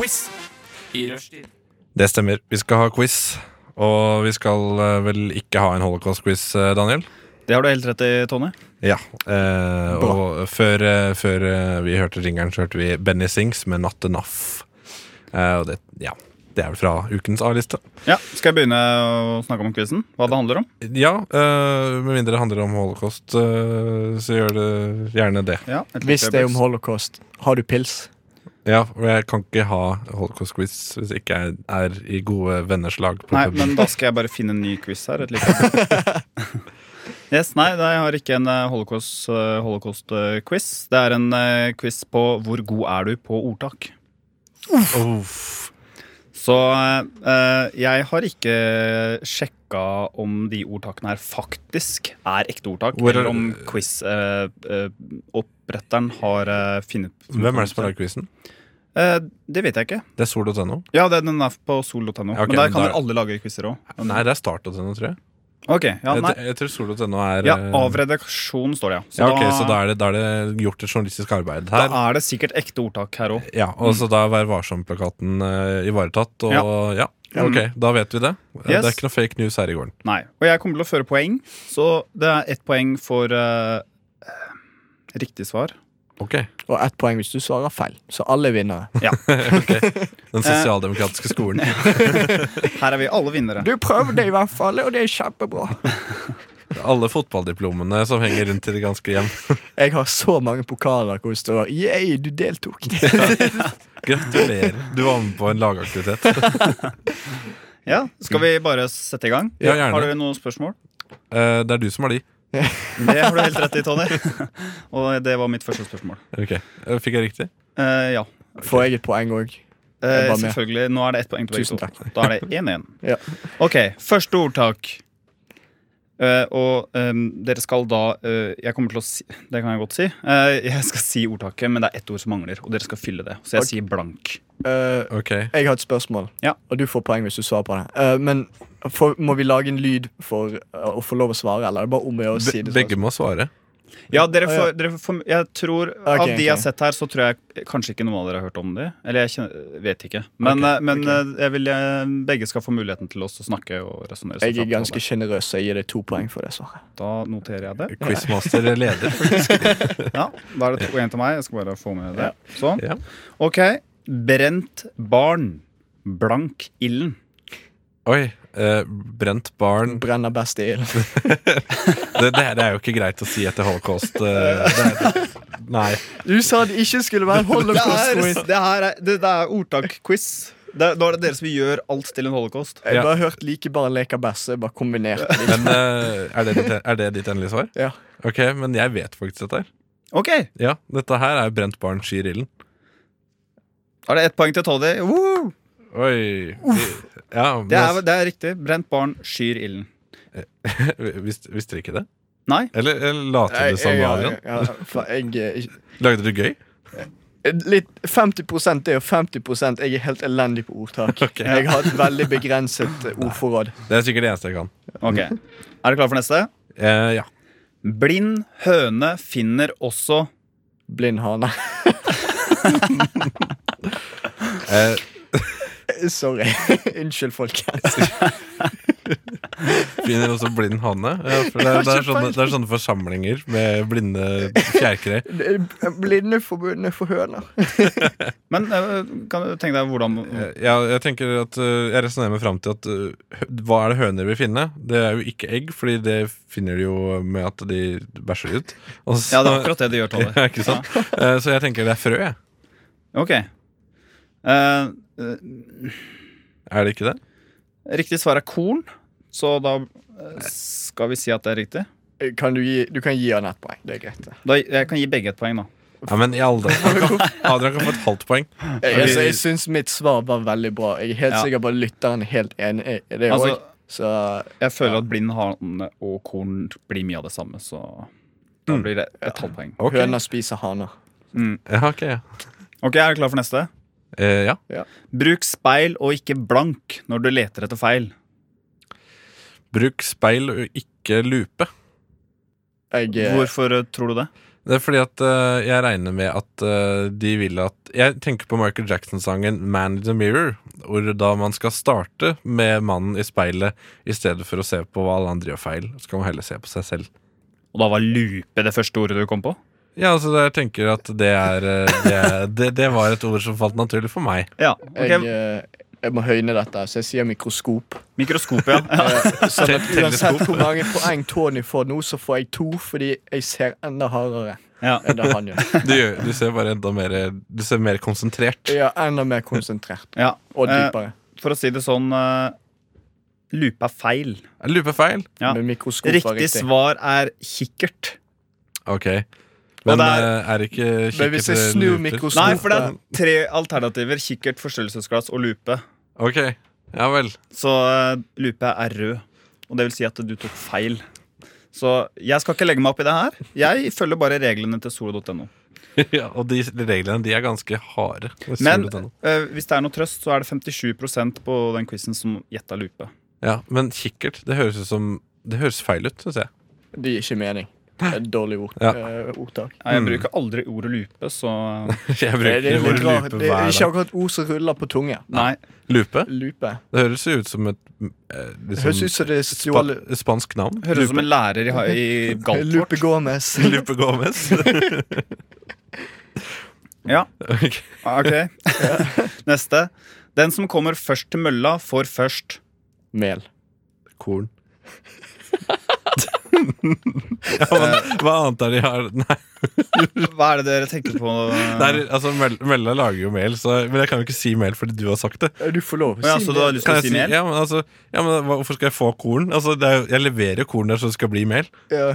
Speaker 6: Quiz i rushtid.
Speaker 2: Det stemmer. Vi skal ha quiz. Og vi skal eh, vel ikke ha en holocaust-quiz, eh, Daniel?
Speaker 3: Det har du helt rett i, Tony.
Speaker 2: Ja. Eh,
Speaker 1: Bra.
Speaker 2: og før, eh, før eh, vi hørte ringeren, så hørte vi Benny Sings med Not Enough. Eh, og det, ja, det er vel fra ukens A-liste.
Speaker 3: Ja, Skal jeg begynne å snakke om quizen? Hva det handler om?
Speaker 2: Ja, eh, med mindre det handler om holocaust, eh, så gjør det gjerne det.
Speaker 3: Ja, et
Speaker 1: Hvis
Speaker 3: lite
Speaker 1: det er om
Speaker 3: øyeblikk.
Speaker 1: holocaust, har du pils?
Speaker 2: Ja, og jeg kan ikke ha holocaust-quiz hvis ikke jeg er i gode venners lag. på
Speaker 3: Nei,
Speaker 2: puben.
Speaker 3: men da skal jeg bare finne en ny quiz her. Et lite [laughs] øyeblikk. yes, nei, nei, jeg har ikke en eh, holocaust- eh, holocaust-quiz. det er en eh, quiz på hvor god er du på ordtak.
Speaker 2: [laughs] Uff.
Speaker 3: Så eh, jeg har ikke sjekka om de ordtakene her faktisk er ekte ordtak,
Speaker 2: Hvor er-
Speaker 3: eller om quiz-oppretteren har eh, funnet
Speaker 2: Hvem er det som har lagd quizen?
Speaker 3: Eh, det vet jeg ikke.
Speaker 2: Det er sol.no?
Speaker 3: Ja, det- den er på sol.no.
Speaker 2: ok,
Speaker 3: men der
Speaker 2: men
Speaker 3: kan
Speaker 2: da-
Speaker 3: vel alle lage quizer òg.
Speaker 2: Nei, det er start.no, tror jeg.
Speaker 3: Ok, ja,
Speaker 2: jeg.
Speaker 3: nei.
Speaker 2: t- Jeg tror sol.no er
Speaker 3: Ja,
Speaker 2: eh,
Speaker 3: av redaksjonen står det, ja.
Speaker 2: ja, ok, Så da er, det, da er det gjort et journalistisk arbeid her.
Speaker 3: da er Mm. det sikkert ekte ordtak her òg.
Speaker 2: Ja, og så da er Vær varsom-plakaten eh, ivaretatt. Og ja. ok, da vet vi det. Eh,
Speaker 3: Yes.
Speaker 2: Det er ikke noe fake news her i gården.
Speaker 3: Nei. Og jeg kommer til å føre poeng, så det er ett poeng for eh, eh, riktig svar.
Speaker 2: Ok,
Speaker 1: Og ett poeng hvis du svarer feil. Så alle er vinnere.
Speaker 3: Eh,
Speaker 2: Den sosialdemokratiske skolen.
Speaker 3: Her er vi alle vinnere.
Speaker 1: Du prøvde i hvert fall, og det er kjempebra.
Speaker 2: Alle fotballdiplomene som henger rundt i det ganske hjem.
Speaker 1: Jeg har så mange pokaler hvor det står 'yeah, du
Speaker 3: [laughs]
Speaker 1: deltok'.
Speaker 2: Gratulerer. Du var med på en lagaktivitet. [laughs]
Speaker 3: Ja, Skal vi bare sette i gang?
Speaker 2: Ja, gjerne.
Speaker 3: Har du noen spørsmål?
Speaker 2: Eh, det er du som har de.
Speaker 3: Det har du helt rett i, Tony. [laughs] Og det var mitt første spørsmål.
Speaker 2: Ok, eh, Fikk jeg riktig?
Speaker 3: Eh, ja.
Speaker 1: Får jeg et poeng òg?
Speaker 3: Eh,
Speaker 1: Jeg var med.
Speaker 3: selvfølgelig. Nå er det ett poeng på begge
Speaker 1: [laughs] Tusen
Speaker 3: to.
Speaker 1: takk.
Speaker 3: Da er det 1-1.
Speaker 1: Ja.
Speaker 3: Ok, første ordtak. Eh, og ehm, dere skal da eh, Jeg kommer til å si Det kan jeg godt si. Eh, jeg skal si ordtaket, men det er ett ord som mangler, og dere skal fylle det. Så jeg
Speaker 1: Ok.
Speaker 3: sier blank.
Speaker 1: Eh,
Speaker 2: Ok.
Speaker 1: jeg har et spørsmål,
Speaker 3: Ja.
Speaker 1: og du får poeng hvis du svarer på det. Eh, men får- må vi lage en lyd for eh, å få lov å svare, eller er det bare om å gjøre å si
Speaker 2: Be
Speaker 1: det?
Speaker 2: begge må svare.
Speaker 3: Ja, dere
Speaker 1: Å, ja.
Speaker 3: får, dere får Jeg tror Av de
Speaker 1: ok.
Speaker 3: jeg har sett her, så tror jeg kanskje ikke noen av dere har hørt om de. Eller jeg kjenner, vet ikke. Men,
Speaker 2: Ok,
Speaker 3: eh, men eh, jeg vil eh, begge skal få muligheten til oss å snakke og resonnere. seg
Speaker 1: Jeg er
Speaker 3: fram til
Speaker 1: ganske sjenerøs, så jeg gir deg to poeng for det svaret.
Speaker 3: det. Da noterer jeg det.
Speaker 2: Quizmaster leder, faktisk.
Speaker 3: Ja, Da er det to- en til meg. Jeg skal bare få med det. Sånn.
Speaker 2: Ja.
Speaker 3: Ok. Brent barn. Blank ilden.
Speaker 2: Oi. eh, brent barn
Speaker 1: Brenner best i ild.
Speaker 3: [laughs]
Speaker 2: det, det her er jo ikke greit å si etter holocaust. eh, det er, nei.
Speaker 1: Du sa det ikke skulle være
Speaker 3: Det er,
Speaker 1: holocaust.
Speaker 3: det her er, det, det er ordtak-quiz. Det er- Nå er det dere som gjør alt til en holocaust.
Speaker 1: Jeg bare hørt like barn leker best, så jeg bare kombinerte det.
Speaker 2: Men eh, er, det ditt, er det ditt endelige svar?
Speaker 1: Ja.
Speaker 2: Ok, men jeg vet faktisk dette her.
Speaker 3: Ok,
Speaker 2: Ja, Dette her er brent barn skyr ilden.
Speaker 3: Da er det ett poeng til Toddy. Woo!
Speaker 2: Oi. Vi- Ja, men
Speaker 3: Det er, det er riktig. Brent barn skyr ilden.
Speaker 2: altså, [laughs] vis- Visste dere ikke det?
Speaker 3: Nei.
Speaker 2: Eller, eller later du som, Adrian?
Speaker 1: ja, for jeg er-
Speaker 2: Lagde du gøy?
Speaker 1: Litt 50 det og 50 Jeg er helt elendig på
Speaker 3: [laughs]
Speaker 1: ordtak.
Speaker 2: Ok.
Speaker 1: Jeg har et veldig begrenset eh, ordforråd.
Speaker 2: Det er sikkert det eneste jeg kan.
Speaker 3: Ok, Er dere klare for neste?
Speaker 2: Eh, ja.
Speaker 3: Blind høne finner også
Speaker 1: Blind hane. [laughs]
Speaker 2: Eh,
Speaker 1: Sorry. [laughs] Unnskyld, folkens. [laughs]
Speaker 2: finner også blind hane. Ja, for det, er- det, er sånne, det er sånne forsamlinger med blinde fjærkre.
Speaker 1: Blinde forbundne for høner.
Speaker 3: Men eh, kan du tenke deg hvordan
Speaker 2: Eh, Ja, jeg tenker at eh, Jeg resonnerer meg fram til at eh, hø- hva er det høner vil finne? Det er jo ikke egg, Fordi det finner de jo med at de bæsjer ut. Og så-
Speaker 3: Ja, det er
Speaker 2: [laughs]
Speaker 3: akkurat sånn. det de gjør, Toddy.
Speaker 2: Ja, ikke sant? Eh, Så jeg tenker det er frø, jeg.
Speaker 3: Ok. Eh, eh,
Speaker 2: Er det ikke det?
Speaker 3: riktig svar er korn, så da eh, skal vi si at det er riktig.
Speaker 1: Kan du, gi, du kan gi han ett poeng. Det er greit. det.
Speaker 3: Da, jeg kan gi begge et poeng, da.
Speaker 2: Ja, men i alle
Speaker 3: [laughs]
Speaker 2: dager. Adrian kan få et halvt poeng.
Speaker 1: Jeg, altså, jeg syns mitt svar var veldig bra. Jeg er helt
Speaker 3: Ja.
Speaker 1: sikker på at lytteren er helt enig i det
Speaker 3: Altså-
Speaker 1: òg. Så
Speaker 3: Jeg føler at blind hane og korn blir mye av det samme, så da blir det et halvt poeng.
Speaker 2: Ok.
Speaker 1: høner spiser haner.
Speaker 2: Ja, ok, ja.
Speaker 3: Ok, Er du klar for neste?
Speaker 2: Eh, ja.
Speaker 3: Bruk speil og ikke blank når du leter etter feil.
Speaker 2: Bruk speil og ikke lupe.
Speaker 1: Jeg, eh,
Speaker 3: Hvorfor eh, tror du det?
Speaker 2: Det er fordi at eh, jeg regner med at eh, de vil at Jeg tenker på Michael Jackson-sangen 'Man in the Mirror', hvor da man skal starte med mannen i speilet i stedet for å se på hva alle andre gjør feil. Så kan man heller se på seg selv.
Speaker 3: Og da var lupe det første ordet du kom på?
Speaker 2: Ja, altså jeg tenker at det er eh, det, er- det, det var et ord som falt naturlig for meg.
Speaker 3: Ja,
Speaker 1: jeg,
Speaker 3: ok.
Speaker 1: eh, jeg må høyne dette, så jeg sier mikroskop.
Speaker 3: Mikroskop, [laughs] ja.
Speaker 1: Eh, Sånn at
Speaker 2: Teleskop.
Speaker 1: Uansett hvor mange poeng Tony får nå, så får jeg to, fordi jeg ser enda hardere
Speaker 3: ja.
Speaker 1: enn det han gjør.
Speaker 2: Du, gjør- du ser bare enda mer Du ser mer konsentrert.
Speaker 1: Jeg er enda mer konsentrert
Speaker 3: ja.
Speaker 1: og
Speaker 3: Eh,
Speaker 1: dypere.
Speaker 3: For å si det sånn eh, Lupe er feil.
Speaker 2: Lupe feil.
Speaker 3: ja.
Speaker 1: Men mikroskop var
Speaker 3: Riktig
Speaker 1: riktig.
Speaker 3: svar er kikkert.
Speaker 2: Ok. Men
Speaker 3: det er-
Speaker 2: eh, er ikke
Speaker 1: Men hvis jeg
Speaker 2: kikkert,
Speaker 1: snur
Speaker 2: luper?
Speaker 1: mikros-
Speaker 3: Nei, for det er tre alternativer. Kikkert, forstørrelsesglass og lupe.
Speaker 2: Ok, ja vel.
Speaker 3: Så eh, lupe er rød. Og det vil si at du tok feil. Så jeg skal ikke legge meg opp i det her. Jeg følger bare reglene til solo.no.
Speaker 2: [laughs] ja, og de reglene de er ganske harde.
Speaker 3: Men
Speaker 2: Ser du den?
Speaker 3: eh, hvis det er noe trøst, så er det 57 på den quizen som gjetta lupe.
Speaker 2: Ja, men kikkert, det høres ut som Det høres feil ut, syns jeg. [laughs]
Speaker 1: Det gir ikke mening. Det er Et dårlig ord,
Speaker 2: Ja.
Speaker 1: eh, ordtak.
Speaker 3: Nei, Jeg bruker aldri ordet lupe, så eh,
Speaker 2: [laughs]
Speaker 1: Det,
Speaker 2: Jeg bruker
Speaker 1: det, er
Speaker 2: ordet
Speaker 1: litt rart.
Speaker 2: lupe
Speaker 1: det er
Speaker 2: hver
Speaker 1: ikke
Speaker 2: dag.
Speaker 1: akkurat ord som ruller på tunge.
Speaker 3: Nei.
Speaker 2: Lupe?
Speaker 1: Lupe.
Speaker 2: Det høres jo ut som et eh,
Speaker 1: Det
Speaker 2: liksom,
Speaker 1: høres ut som det er
Speaker 2: spa
Speaker 1: stjålet
Speaker 2: spansk navn.
Speaker 3: Høres ut som en lærer i, ha- i
Speaker 1: Lupe
Speaker 3: Galtvort.
Speaker 1: Gomez.
Speaker 2: [laughs] Lupe Gomez.
Speaker 3: Ja,
Speaker 2: Ok.
Speaker 3: ok. [laughs] Neste. Den som kommer først til mølla, får først.
Speaker 1: Mel.
Speaker 2: Korn. [laughs] ja, men hva annet er det de har Nei,
Speaker 3: Hva er det dere tenker på?
Speaker 2: [laughs] det er, altså, Møl- Mølla lager jo mel, så, men jeg kan jo ikke si mel fordi du har sagt det.
Speaker 1: Eh, Du får lov.
Speaker 3: Å ja, så du har
Speaker 1: mel.
Speaker 3: lyst til å
Speaker 2: jeg
Speaker 3: si mel?
Speaker 2: Ja, men altså, ja, men hva- hvorfor skal jeg få korn? Altså, det er, jo- jeg leverer jo korn der så det skal bli mel.
Speaker 1: Ja.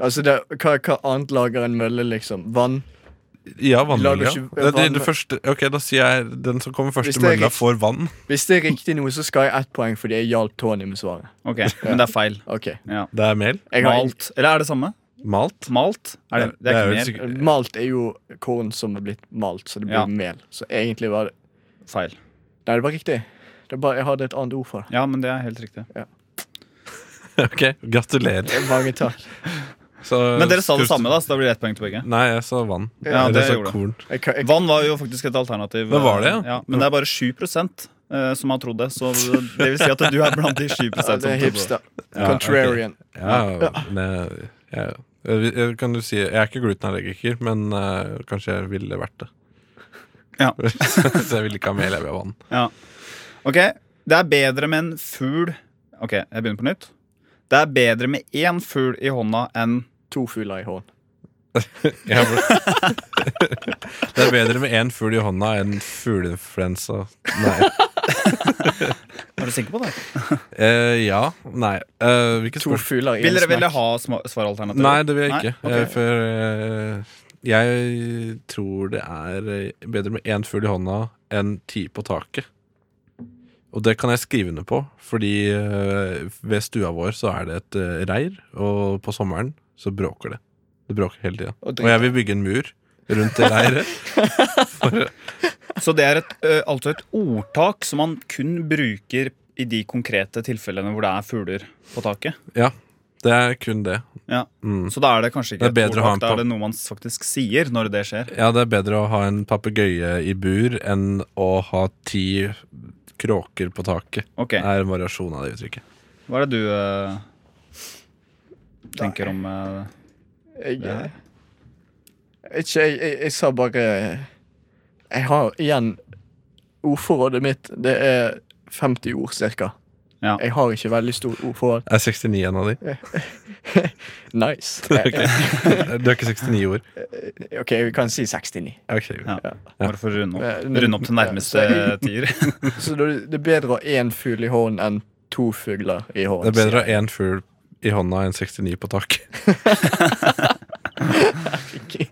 Speaker 1: Altså, det, hva, hva annet lager en mølle, liksom? Vann?
Speaker 2: Ja, vannmelga.
Speaker 1: Lager ikke
Speaker 2: Det, det,
Speaker 1: vann-
Speaker 2: det første, ok, da sier jeg den som kommer først
Speaker 1: Hvis
Speaker 2: i
Speaker 1: det er
Speaker 2: mølla,
Speaker 1: rikt-
Speaker 2: får vann.
Speaker 1: Hvis det er riktig noe, så skal jeg ett poeng fordi jeg hjalp Tony med svaret.
Speaker 3: Ok, Men det er feil.
Speaker 1: Ok,
Speaker 2: Det er mel.
Speaker 1: jeg har
Speaker 3: Malt. Eller er det samme?
Speaker 2: Malt.
Speaker 3: Malt? Er det, det er
Speaker 2: vel
Speaker 3: ikke mer
Speaker 2: sikkert-
Speaker 1: Malt er jo korn som er blitt malt, så det blir
Speaker 3: Ja.
Speaker 1: mel. Så egentlig var det
Speaker 3: feil.
Speaker 1: Nei, det var riktig. Det er bare, jeg hadde et annet ord for det.
Speaker 3: Ja, men det er helt riktig.
Speaker 2: [laughs] Ok, gratulerer.
Speaker 1: Mange takk.
Speaker 2: Så-
Speaker 3: Men dere sa det samme, da, så da blir det ett poeng til begge.
Speaker 2: Nei, jeg sa vann.
Speaker 3: Ja,
Speaker 2: Eller
Speaker 3: det
Speaker 2: jeg sa
Speaker 3: gjorde du.
Speaker 2: korn.
Speaker 1: Jeg, kan- jeg,
Speaker 3: Vann var jo faktisk et alternativ.
Speaker 2: Det var det, ja.
Speaker 3: men det er bare 7 eh, som har trodd det. Så det vil si at du er blant de
Speaker 2: [laughs]
Speaker 3: 7
Speaker 1: ja, det er
Speaker 3: som trodde det.
Speaker 1: hipster. Contrarian.
Speaker 2: Ja, men jeg, jeg, jeg, kan du si, jeg er ikke glutenallergiker, men eh, kanskje jeg ville vært det.
Speaker 3: Ja.
Speaker 2: [laughs] så jeg ville ikke ha mel, jeg vil ha vann.
Speaker 3: Ok, Det er bedre med en fugl Ok, jeg begynner på nytt. Det er bedre med én fugl i hånda enn
Speaker 1: To fugler i hånd.
Speaker 2: Jeg ble- [laughs] det er bedre med én fugl i hånda enn fugleinfluensa. Nei.
Speaker 3: Er du sikker på det?
Speaker 2: Eh, ja. Nei. Eh, hvilket
Speaker 1: To
Speaker 2: spørsmål?
Speaker 1: fugler i en
Speaker 3: Vil dere ville
Speaker 1: smekk.
Speaker 3: ha sma- svaralternativer?
Speaker 2: Nei, det vil jeg ikke.
Speaker 3: Nei?
Speaker 2: Eh,
Speaker 3: Ok.
Speaker 2: for eh, jeg tror det er eh, bedre med én fugl i hånda enn ti på taket. Og det kan jeg skrive under på, fordi eh, ved stua vår så er det et eh, reir, og på sommeren så bråker det. Det bråker hele tida.
Speaker 1: Og
Speaker 2: Og jeg vil bygge en mur rundt det reiret. For,
Speaker 3: Så det er et, eh, altså et ordtak som man kun bruker i de konkrete tilfellene hvor det er fugler på taket.
Speaker 2: ja, det er kun det.
Speaker 3: Ja.
Speaker 2: Mm.
Speaker 3: Så da er det kanskje ikke
Speaker 2: Det er
Speaker 3: et
Speaker 2: bedre å ha en
Speaker 3: ordtak, da
Speaker 2: pa-
Speaker 3: er det noe man faktisk sier når det skjer.
Speaker 2: Ja, det er bedre å ha en papegøye i bur enn å ha ti kråker på taket.
Speaker 3: Ok,
Speaker 2: Det er en variasjon av det uttrykket.
Speaker 3: Hva er det du eh, tenker om eh,
Speaker 1: Jeg,
Speaker 3: Ja.
Speaker 1: jeg, ikke, jeg, jeg, jeg sa bare Jeg har igjen Ordforrådet mitt det er 50 ord cirka.
Speaker 3: Ja.
Speaker 1: Jeg har ikke veldig stort ordforråd.
Speaker 2: Er 69 en av de?
Speaker 3: [laughs]
Speaker 1: Nice. Jeg, jeg,
Speaker 2: Du er ikke 69 ord.
Speaker 1: ok, vi kan si 69.
Speaker 2: Ok,
Speaker 3: Ja.
Speaker 2: Ja.
Speaker 3: Bare for å runde opp,
Speaker 1: Eh, men-
Speaker 3: runde opp til nærmeste
Speaker 1: Ja,
Speaker 3: [laughs] tier.
Speaker 1: Så det det er bedre å ha én fugl i hånden enn to fugler i hånden.
Speaker 2: Det er bedre å ha én fugl i hånda enn 69 på taket.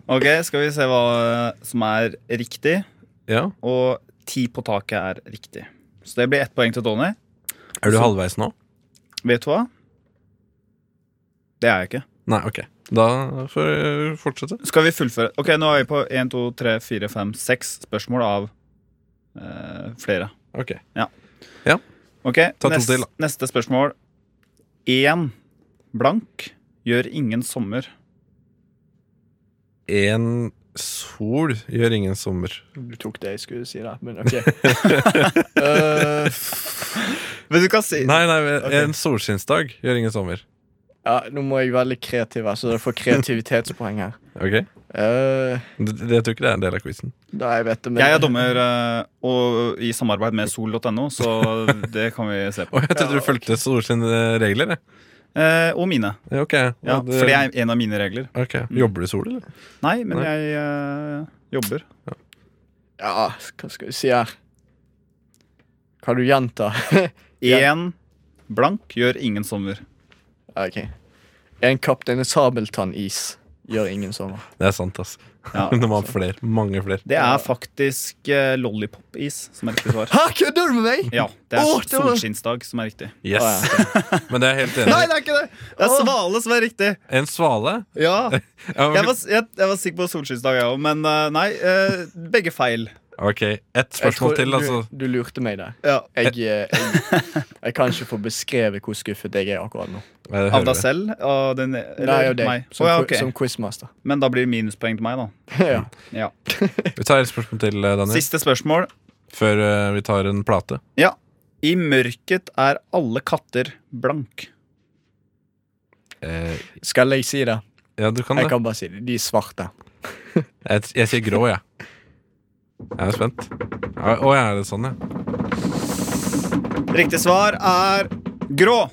Speaker 3: Ok, skal vi se hva eh, som er riktig.
Speaker 2: [laughs] Ja.
Speaker 3: Og ti på taket er riktig. Så det blir ett poeng til Tony.
Speaker 2: Er du halvveis nå?
Speaker 3: Vet du hva? Det er jeg ikke.
Speaker 2: Nei, ok. Da får jeg fortsette.
Speaker 3: Skal vi fullføre? Ok, nå er vi på 1, 2, 3, 4, 5, 6 spørsmål av eh, flere.
Speaker 2: Ok.
Speaker 3: Ok,
Speaker 2: to
Speaker 3: nest,
Speaker 2: til, da.
Speaker 3: neste spørsmål. Én blank gjør ingen sommer.
Speaker 2: En sol gjør ingen sommer.
Speaker 1: Du tok det jeg skulle si der, men ok.
Speaker 2: [laughs]
Speaker 1: Eh,
Speaker 3: Men du kan si
Speaker 2: Nei, nei, en solskinnsdag gjør ingen sommer.
Speaker 1: ja, nå må jeg være litt kreativ her, så dere får kreativitetspoeng her.
Speaker 2: Ok?
Speaker 1: Eh,
Speaker 2: Det, det, jeg tror ikke det er en del av quizen.
Speaker 1: da jeg vet det, men
Speaker 3: Jeg er dommer eh, og i samarbeid med sol.no,
Speaker 2: [laughs]
Speaker 3: så det kan vi se på.
Speaker 2: Å, jeg trodde du fulgte solskinnsregler, jeg.
Speaker 3: Eh, og mine.
Speaker 2: Ja, Ok.
Speaker 3: Ja, Mm.
Speaker 2: Og det-
Speaker 3: for det er en av mine regler.
Speaker 2: Ok, Jobber du sol, eller?
Speaker 3: Nei, men
Speaker 2: Nei.
Speaker 3: jeg eh, jobber.
Speaker 1: Ja, hva skal vi si her? Kan du gjenta? [laughs] Ja.
Speaker 3: Én blank gjør ingen sommer.
Speaker 1: Ja, ok. En kaptein sabeltannis gjør ingen sommer.
Speaker 2: Det er sant, ass. [laughs]
Speaker 3: Ja,
Speaker 2: Når man har flere. Mange flere.
Speaker 3: Det er faktisk eh, lollipop-is som er riktig
Speaker 2: [laughs]
Speaker 3: svar.
Speaker 1: Hæ, kødder du med meg?!
Speaker 3: Ja, det er
Speaker 1: Åh, det var-
Speaker 3: solskinnsdag som er riktig.
Speaker 2: Yes. Men det er jeg helt
Speaker 3: Nei, det
Speaker 2: enig.
Speaker 3: er ikke det! Det er
Speaker 1: Åh.
Speaker 3: svale som er riktig.
Speaker 2: i. En svale
Speaker 3: Ja,
Speaker 2: Ja,
Speaker 3: Jeg var, jeg, jeg var sikker på solskinnsdag, jeg òg, men eh, nei. eh, begge feil.
Speaker 2: Ok, ett spørsmål til, altså.
Speaker 1: Du, du lurte meg der.
Speaker 3: Ja.
Speaker 1: Jeg, eh, jeg, jeg kan ikke få beskrevet hvor skuffet jeg er akkurat nå.
Speaker 2: Nei, det
Speaker 3: Av
Speaker 2: hører
Speaker 3: deg
Speaker 2: vi.
Speaker 3: selv? Av den, eller
Speaker 1: Nei, og
Speaker 3: meg?
Speaker 1: deg, som,
Speaker 3: Å, ja,
Speaker 1: qui-
Speaker 3: ok.
Speaker 1: som quizmaster. [laughs]
Speaker 3: Men da blir det minuspoeng til meg, da.
Speaker 1: ja.
Speaker 3: Ja.
Speaker 2: Vi tar et spørsmål til, eh, Daniel,
Speaker 3: Siste spørsmål.
Speaker 2: før eh, vi tar en plate.
Speaker 3: Ja. I mørket er alle katter blank.
Speaker 2: Eh,
Speaker 1: Skal jeg si det?
Speaker 2: ja, du kan det.
Speaker 1: Jeg kan bare si det. De er svarte.
Speaker 2: Jeg, jeg sier grå, jeg. Jeg er spent. Ja, Å ja, er det sånn, ja?
Speaker 3: Riktig svar er grå.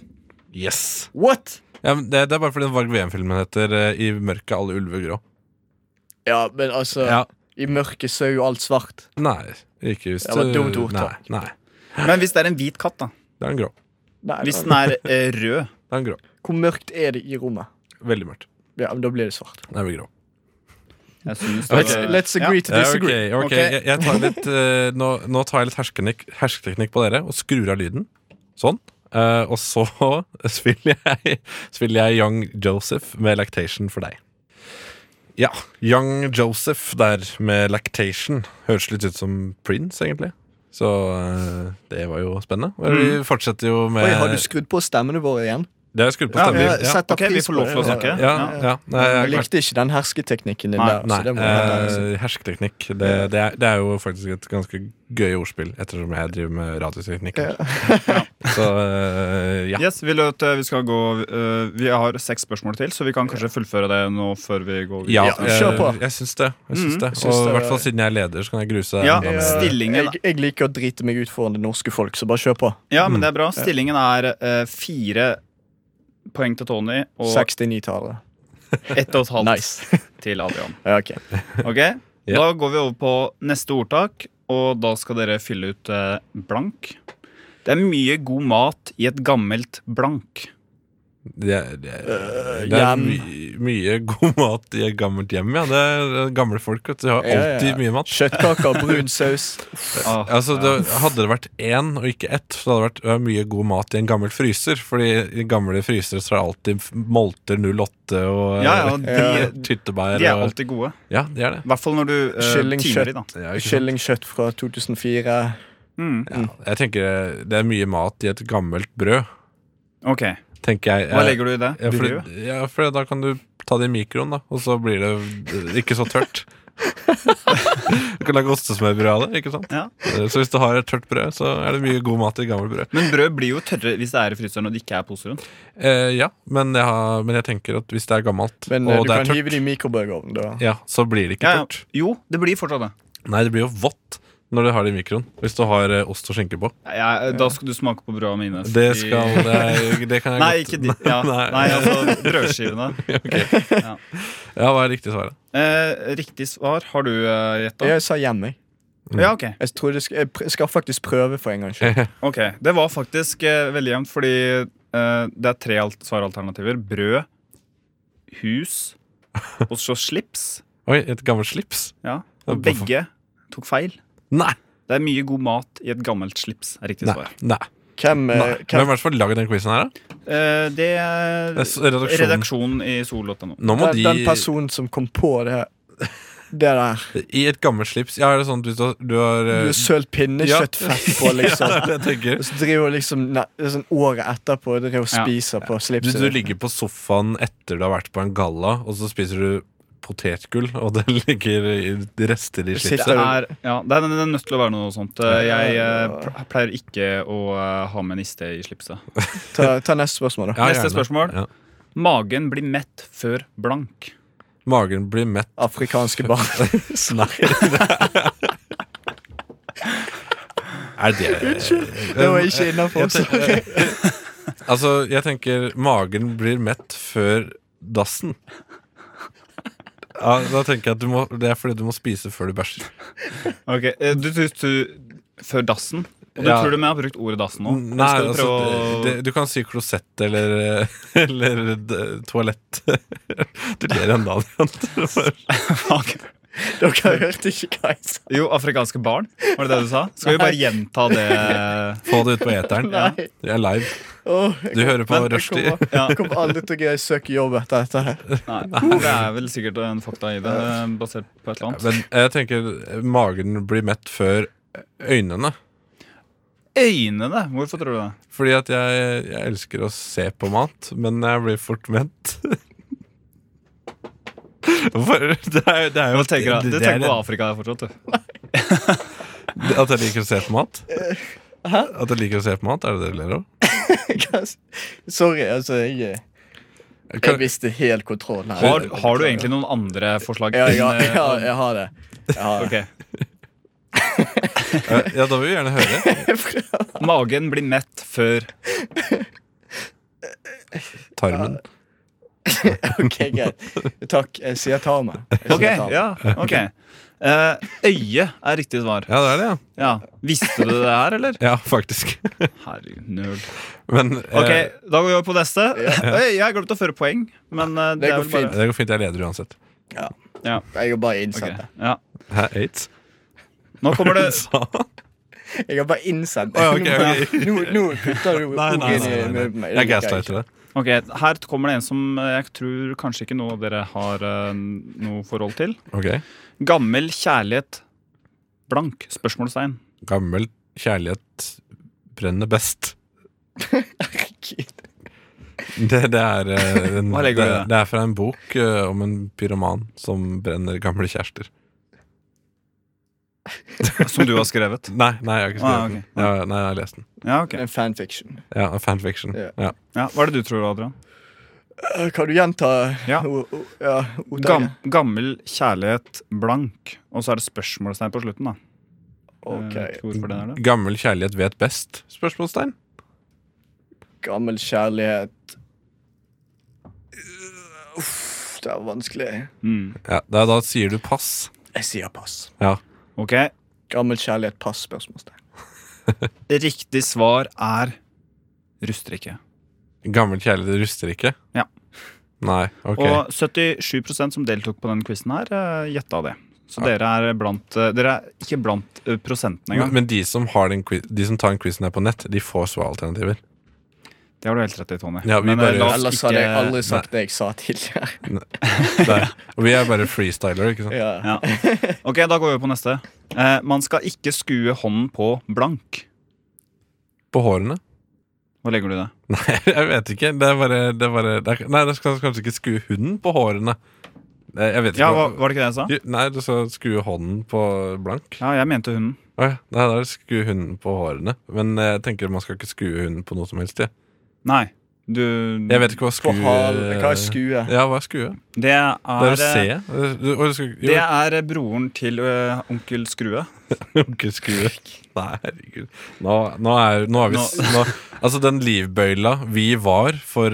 Speaker 2: Yes!
Speaker 1: What?!
Speaker 2: Ja, men det, det er bare fordi den Varg VM-filmen heter eh, I mørket er alle ulver grå.
Speaker 1: Ja, men altså
Speaker 2: Ja.
Speaker 1: I mørket så er jo alt svart.
Speaker 2: Nei, ikke hvis
Speaker 1: Det var et
Speaker 2: du-
Speaker 1: dumt ord,
Speaker 2: Nei,
Speaker 1: takk.
Speaker 2: nei.
Speaker 3: Men hvis det er en hvit katt, da?
Speaker 2: Det er en grå.
Speaker 1: Nei,
Speaker 3: Hvis
Speaker 1: det
Speaker 3: den er eh, rød?
Speaker 2: Det er en grå.
Speaker 1: var- Hvor mørkt er det i rommet?
Speaker 2: Veldig mørkt.
Speaker 1: Ja, men Da blir det svart.
Speaker 2: Det er vel grå.
Speaker 7: Jeg synes det
Speaker 1: Let's,
Speaker 7: var-
Speaker 1: let's agree to
Speaker 2: Ja, ok,
Speaker 1: disagree.
Speaker 2: ok.
Speaker 7: Ok.
Speaker 2: Jeg, jeg tar litt, eh, nå, nå tar jeg litt hersketeknikk, hersketeknikk på dere og skrur av lyden. Sånn. Eh, og så [laughs] spiller jeg, spiller jeg Young Joseph med Lactation for deg. Ja, Young Joseph der med Lactation. Høres litt ut som Prince, egentlig. Så eh, det var jo spennende. Og Vi fortsetter jo med
Speaker 1: Oi, har du skrudd på stemmene våre igjen?
Speaker 2: Det er skrudd på
Speaker 7: Ja,
Speaker 2: stemmer.
Speaker 1: Jeg
Speaker 2: Ja,
Speaker 1: Eh, setter
Speaker 7: Ok, vi
Speaker 1: pris
Speaker 7: får
Speaker 1: på
Speaker 7: lov til å
Speaker 1: det.
Speaker 7: snakke.
Speaker 2: ja, ja. Nei, jeg
Speaker 1: Jeg
Speaker 2: er klar.
Speaker 1: likte ikke den hersketeknikken din
Speaker 7: Nei,
Speaker 1: der. så
Speaker 2: Nei,
Speaker 1: det må jeg ta med.
Speaker 2: eh, hersketeknikk. Det, det, er, det er jo faktisk et ganske gøy ordspill, ettersom jeg driver med radioteknikk. [laughs] Så eh, ja.
Speaker 7: Yes,
Speaker 3: Vil du at eh, vi skal gå eh, Vi har seks spørsmål til, så vi kan kanskje fullføre det nå før vi går
Speaker 2: ja,
Speaker 1: Ja, kjør på.
Speaker 2: eh, Jeg syns det. Jeg syns
Speaker 3: Mm,
Speaker 2: det.
Speaker 1: jeg
Speaker 2: Og
Speaker 1: syns
Speaker 2: i
Speaker 1: det
Speaker 2: hvert
Speaker 1: var-
Speaker 2: fall siden jeg er leder, så kan jeg gruse
Speaker 3: Ja.
Speaker 2: enda mer.
Speaker 1: Eh,
Speaker 3: stillingen-
Speaker 1: Jeg, jeg liker å drite meg ut foran det norske folk, så bare kjør på.
Speaker 3: Ja, men det er bra.
Speaker 2: Mm.
Speaker 3: Stillingen er eh, fire poeng til Tony og
Speaker 1: 69-tallet.
Speaker 3: ett og et halvt
Speaker 1: Nice.
Speaker 3: [laughs] til Adrian.
Speaker 1: Ja, ok.
Speaker 3: Ok,
Speaker 2: Ja.
Speaker 3: Da går vi over på neste ordtak, og da skal dere fylle ut eh, blank. Det er mye god mat i et gammelt blank.
Speaker 2: Det, er- det,
Speaker 1: Eh,
Speaker 2: er- det er
Speaker 1: hjem.
Speaker 2: my, mye god mat i et gammelt hjem, ja. Det er eh, gamle folk, vet du. De har
Speaker 1: Ja, ja,
Speaker 2: alltid
Speaker 1: ja.
Speaker 2: mye mat.
Speaker 1: Kjøttkaker, brun saus.
Speaker 3: Ah,
Speaker 2: Altså, det, hadde det vært én og ikke ett, så hadde det vært øh, mye god mat i en gammel fryser. Fordi i gamle frysere så er det alltid f- molter 08 og
Speaker 3: Ja, ja,
Speaker 2: øh,
Speaker 3: de-
Speaker 2: [laughs] tyttebær.
Speaker 3: De er
Speaker 2: og-
Speaker 3: alltid gode.
Speaker 2: Ja, de er det.
Speaker 3: I hvert fall når du uh,
Speaker 1: Kylling,
Speaker 3: timer de, da.
Speaker 2: Ja, ikke sant?
Speaker 1: Kyllingkjøtt fra 2004.
Speaker 3: Mm.
Speaker 2: Jeg tenker øh, det er mye mat i et gammelt brød,
Speaker 3: Ok,
Speaker 2: tenker jeg.
Speaker 3: Hva legger du i det?
Speaker 2: ja, for,
Speaker 3: Brød?
Speaker 2: ja, for da kan du ta det i mikroen, da, og så blir det øh, ikke så tørt. du kan lage ostesmørbrød av det. ikke sant? Eh,
Speaker 3: Ja.
Speaker 2: Så hvis du har et tørt brød, så er det mye god mat i gammelt brød.
Speaker 3: Men brød blir jo tørre hvis det er i fryseren og det ikke er pose rundt.
Speaker 2: Eh, ja, men jeg, har, men jeg tenker at hvis det er gammelt
Speaker 1: Men eh,
Speaker 2: og
Speaker 1: du
Speaker 2: det er
Speaker 1: kan
Speaker 2: tørt,
Speaker 1: hive det i mikrobølgeovnen. da.
Speaker 2: ja, så blir det ikke
Speaker 3: Ja, ja.
Speaker 2: tørt.
Speaker 3: Jo, det blir fortsatt det.
Speaker 2: Nei, det blir jo vått når du har det i mikroen. Hvis du har eh, ost og skinke på.
Speaker 3: Jeg, da skal du smake på brøda mine.
Speaker 2: Det
Speaker 3: fordi-
Speaker 2: skal jeg, det kan jeg
Speaker 3: [laughs] Nei,
Speaker 2: godt
Speaker 3: ikke de. Ja.
Speaker 2: Nei.
Speaker 3: Nei, altså brødskivene.
Speaker 2: [laughs] Ja, hva er riktig svar? da?
Speaker 3: Eh, riktig svar har du eh, gjetta?
Speaker 1: Jeg sa hjemme. jeg.
Speaker 3: Ja, ok.
Speaker 1: Jeg, trodde jeg, sk- jeg pr- skal faktisk prøve for en gangs skyld.
Speaker 3: ok. Det var faktisk eh, veldig jevnt, fordi eh, det er tre alt svaralternativer. Brød, hus og så slips.
Speaker 2: [laughs] Oi, et gammelt slips?
Speaker 3: Ja. Og begge tok feil.
Speaker 2: Nei!
Speaker 3: Det er mye god mat i et gammelt slips, er riktig
Speaker 2: Nei.
Speaker 3: svar.
Speaker 2: Nei.
Speaker 1: Hvem, eh,
Speaker 2: Nei. Hvem
Speaker 1: hvem,
Speaker 2: er det som har lagd den quizen her, da?
Speaker 3: Eh, det
Speaker 2: Det
Speaker 3: er
Speaker 2: er s- Redaksjonen.
Speaker 3: redaksjonen i sol.no.
Speaker 2: Nå må
Speaker 1: Eh, den,
Speaker 2: de
Speaker 1: den personen som kom på det, det der
Speaker 2: I et gammelt slips Ja, er det sånn at hvis du har, du har eh,
Speaker 1: Du har sølt
Speaker 2: ja.
Speaker 1: pinnekjøttfett
Speaker 2: [laughs]
Speaker 1: på, liksom.
Speaker 2: Ja, det er det jeg tenker.
Speaker 1: Og så driver liksom ne, sånn året etterpå driver og
Speaker 3: Ja.
Speaker 1: spiser på
Speaker 2: Du,
Speaker 1: slipset.
Speaker 2: du ligger på sofaen etter du har vært på en galla, og så spiser du potetgull, og det [laughs] ligger i- rester i
Speaker 1: Sitter-
Speaker 2: slipset.
Speaker 3: Det er, ja, det, er, det er nødt til å være noe sånt. Eh, Jeg eh,
Speaker 1: Ja.
Speaker 3: pl- pleier ikke å eh, ha med niste i slipset.
Speaker 1: Ta, ta neste spørsmål, da.
Speaker 2: Ja,
Speaker 3: Neste
Speaker 2: gjerne.
Speaker 3: spørsmål.
Speaker 2: Ja.
Speaker 3: Magen blir mett før blank.
Speaker 2: Magen blir mett.
Speaker 1: Afrikanske
Speaker 2: [laughs]
Speaker 1: barn.
Speaker 2: Er det
Speaker 1: Det var ikke innafor.
Speaker 2: Altså, jeg tenker magen blir mett før dassen. Ja, da tenker jeg at du må, Det er fordi du må spise før du bæsjer.
Speaker 3: Ok, eh, du, du, du, Før dassen. Og du
Speaker 2: Ja.
Speaker 3: tror du vi har brukt ordet dassen nå? Eller
Speaker 2: Nei,
Speaker 3: skal du
Speaker 2: altså,
Speaker 3: prøve å-
Speaker 2: det, du kan si klosett eller, eh, [laughs] eller d- toalett. [laughs] Du ler ennå,
Speaker 3: [laughs]
Speaker 2: Adrian.
Speaker 3: Ok.
Speaker 1: Dere hørte ikke hva jeg sa.
Speaker 3: Jo, afrikanske barn, var det det du sa? Skal vi bare gjenta det?
Speaker 2: Få det ut på eteren.
Speaker 1: Nei.
Speaker 2: Du er live.
Speaker 1: Åh,
Speaker 2: Du hører på
Speaker 1: jeg
Speaker 2: Rushdie.
Speaker 1: kommer, jeg kommer aldri til å greie å søke jobb etter dette. her
Speaker 3: Nei, det er vel sikkert en fakta i det, basert på et eller annet.
Speaker 2: Men jeg tenker magen blir mett før øynene.
Speaker 3: Øynene! Hvorfor tror du det?
Speaker 2: Fordi at jeg, jeg elsker å se på mat, men jeg blir fort mett. [laughs] Hvorfor? Det er, det er jo
Speaker 3: Du tenker, du
Speaker 2: det er-
Speaker 3: tenker på Afrika der fortsatt, du.
Speaker 2: At jeg liker å se på mat? At jeg liker å se på mat, er det det du ler av?
Speaker 1: Sorry, altså. Jeg, jeg
Speaker 2: Kan-
Speaker 1: visste helt kontroll her.
Speaker 3: Har, har du egentlig noen andre forslag?
Speaker 1: ja, ja,
Speaker 3: enn, eh,
Speaker 1: ja, jeg har det. Jeg har det.
Speaker 3: Ok.
Speaker 2: Ja, da vil vi gjerne høre.
Speaker 3: Magen blir mett før
Speaker 2: Tarmen.
Speaker 1: [laughs] Ok, greit. Takk. Jeg sier ta meg. Jeg sier
Speaker 3: Ok,
Speaker 1: ta meg.
Speaker 3: ja, ok Eh, Øye er riktig svar
Speaker 2: Ja, det er det, ja.
Speaker 3: ja. Visste du det her, eller?
Speaker 2: Ja, faktisk.
Speaker 3: Herregud, nerd
Speaker 2: Men
Speaker 3: Ok,
Speaker 2: eh,
Speaker 3: da går vi [laughs] over på neste Øy, Jeg har glemt å føre poeng Men eh, det,
Speaker 1: Det
Speaker 3: er
Speaker 1: går
Speaker 3: vel bare
Speaker 2: det går fint. Jeg leder uansett.
Speaker 1: Ja.
Speaker 3: Ja.
Speaker 1: Jeg har bare innsendt
Speaker 3: ok. Ja.
Speaker 2: Hæ, aids?
Speaker 3: Nå kommer det
Speaker 2: [laughs] Sa han?
Speaker 1: det. Jeg har bare innsendt det.
Speaker 2: Å, ok, ok.
Speaker 1: Nå, nå putter du
Speaker 2: Nei,
Speaker 1: ordet
Speaker 2: nei,
Speaker 1: inn
Speaker 2: nei,
Speaker 1: i
Speaker 2: nei,
Speaker 1: munnen
Speaker 2: nei.
Speaker 1: min. Det
Speaker 2: Jeg
Speaker 1: liker [laughs]
Speaker 2: gaslighter det.
Speaker 3: Ok, Her kommer det en som eh, jeg tror kanskje ikke noen av dere har eh, noe forhold til.
Speaker 2: Ok.
Speaker 3: Gammel kjærlighet blank? Spørsmålstegn.
Speaker 2: Gammel kjærlighet brenner best.
Speaker 1: ikke.
Speaker 2: [laughs] Det, det, er, eh, en,
Speaker 3: Hva
Speaker 2: det,
Speaker 3: legger du i det?
Speaker 2: det er fra en bok eh, om en pyroman som brenner gamle kjærester.
Speaker 3: Som du har skrevet.
Speaker 2: Nei, nei, jeg har ikke
Speaker 3: Ah,
Speaker 2: skrevet
Speaker 3: ok.
Speaker 2: den. Ja, nei, jeg har lest den.
Speaker 3: Ja, ok.
Speaker 1: Det er en fanfiction.
Speaker 2: Ja, fanfiction.
Speaker 1: Ja.
Speaker 2: Ja.
Speaker 3: Ja, hva er det du tror, Adrian?
Speaker 1: Eh, Kan du gjenta
Speaker 3: Ja.
Speaker 1: o- o- ja, ordtaket?
Speaker 3: Gam, gammel kjærlighet blank. Og så er det spørsmålstegn på slutten, da. Jeg
Speaker 1: Ok.
Speaker 3: vet ikke hvorfor det er det.
Speaker 2: Gammel kjærlighet vet best? Spørsmålstegn.
Speaker 1: Gammel kjærlighet Uff, det er vanskelig.
Speaker 3: Mm.
Speaker 2: Ja, da, da sier du pass.
Speaker 1: Jeg sier pass.
Speaker 2: Ja.
Speaker 3: Ok,
Speaker 1: Gammel kjærlighet, pass? Spørsmålstegn.
Speaker 3: Riktig svar er rustrikke.
Speaker 2: Gammel kjærlighet ruster ikke?
Speaker 3: Ja.
Speaker 2: Nei, ok.
Speaker 3: Og 77 som deltok på den quizen her, eh, gjetta det. Så dere er blant eh, Dere er ikke blant eh, prosenten
Speaker 2: Men,
Speaker 3: engang.
Speaker 2: men de, som har den, quiz- de som tar den quizen her på nett, de får svaralternativer.
Speaker 3: Det har du helt rett i, Tony.
Speaker 2: Ja, vi
Speaker 3: Men, eh,
Speaker 2: bare-
Speaker 3: la oss
Speaker 1: Ellers hadde jeg
Speaker 3: ikke-
Speaker 1: aldri sagt det jeg sa tidligere.
Speaker 3: [laughs]
Speaker 2: Der. Og vi er bare freestyler, ikke sant?
Speaker 1: [laughs] Ja.
Speaker 3: Ja. Ok, da går vi på neste. Eh, man skal ikke skue hånden på blank.
Speaker 2: På hårene? [laughs]
Speaker 3: Hvor legger du det?
Speaker 2: Nei, jeg vet ikke. Det er bare, det er bare det er, Nei, du skal kanskje ikke skue hunden på hårene. Eh, Jeg vet ikke.
Speaker 3: Ja, hva,
Speaker 2: hva-
Speaker 3: Var det ikke det jeg sa?
Speaker 2: Jo, Nei, du skal skue hånden på blank.
Speaker 3: Ja, jeg mente hunden.
Speaker 2: Å ja, Nei, da er det skue hunden på hårene. Men jeg tenker man skal ikke skue hunden på noe som helst. Jeg,
Speaker 3: Nei, du
Speaker 2: jeg vet ikke hva
Speaker 1: På
Speaker 2: skue
Speaker 1: hal, hva er skue?
Speaker 2: Ja, hva er skue?
Speaker 3: Det er,
Speaker 2: Det er å se. Du- og du skal- jo,
Speaker 3: det er broren til ø, onkel Skrue.
Speaker 2: [laughs] Onkel Skrue. Nei, herregud. Nå, nå, er, nå er vi s- nå, Altså, den livbøyla vi var for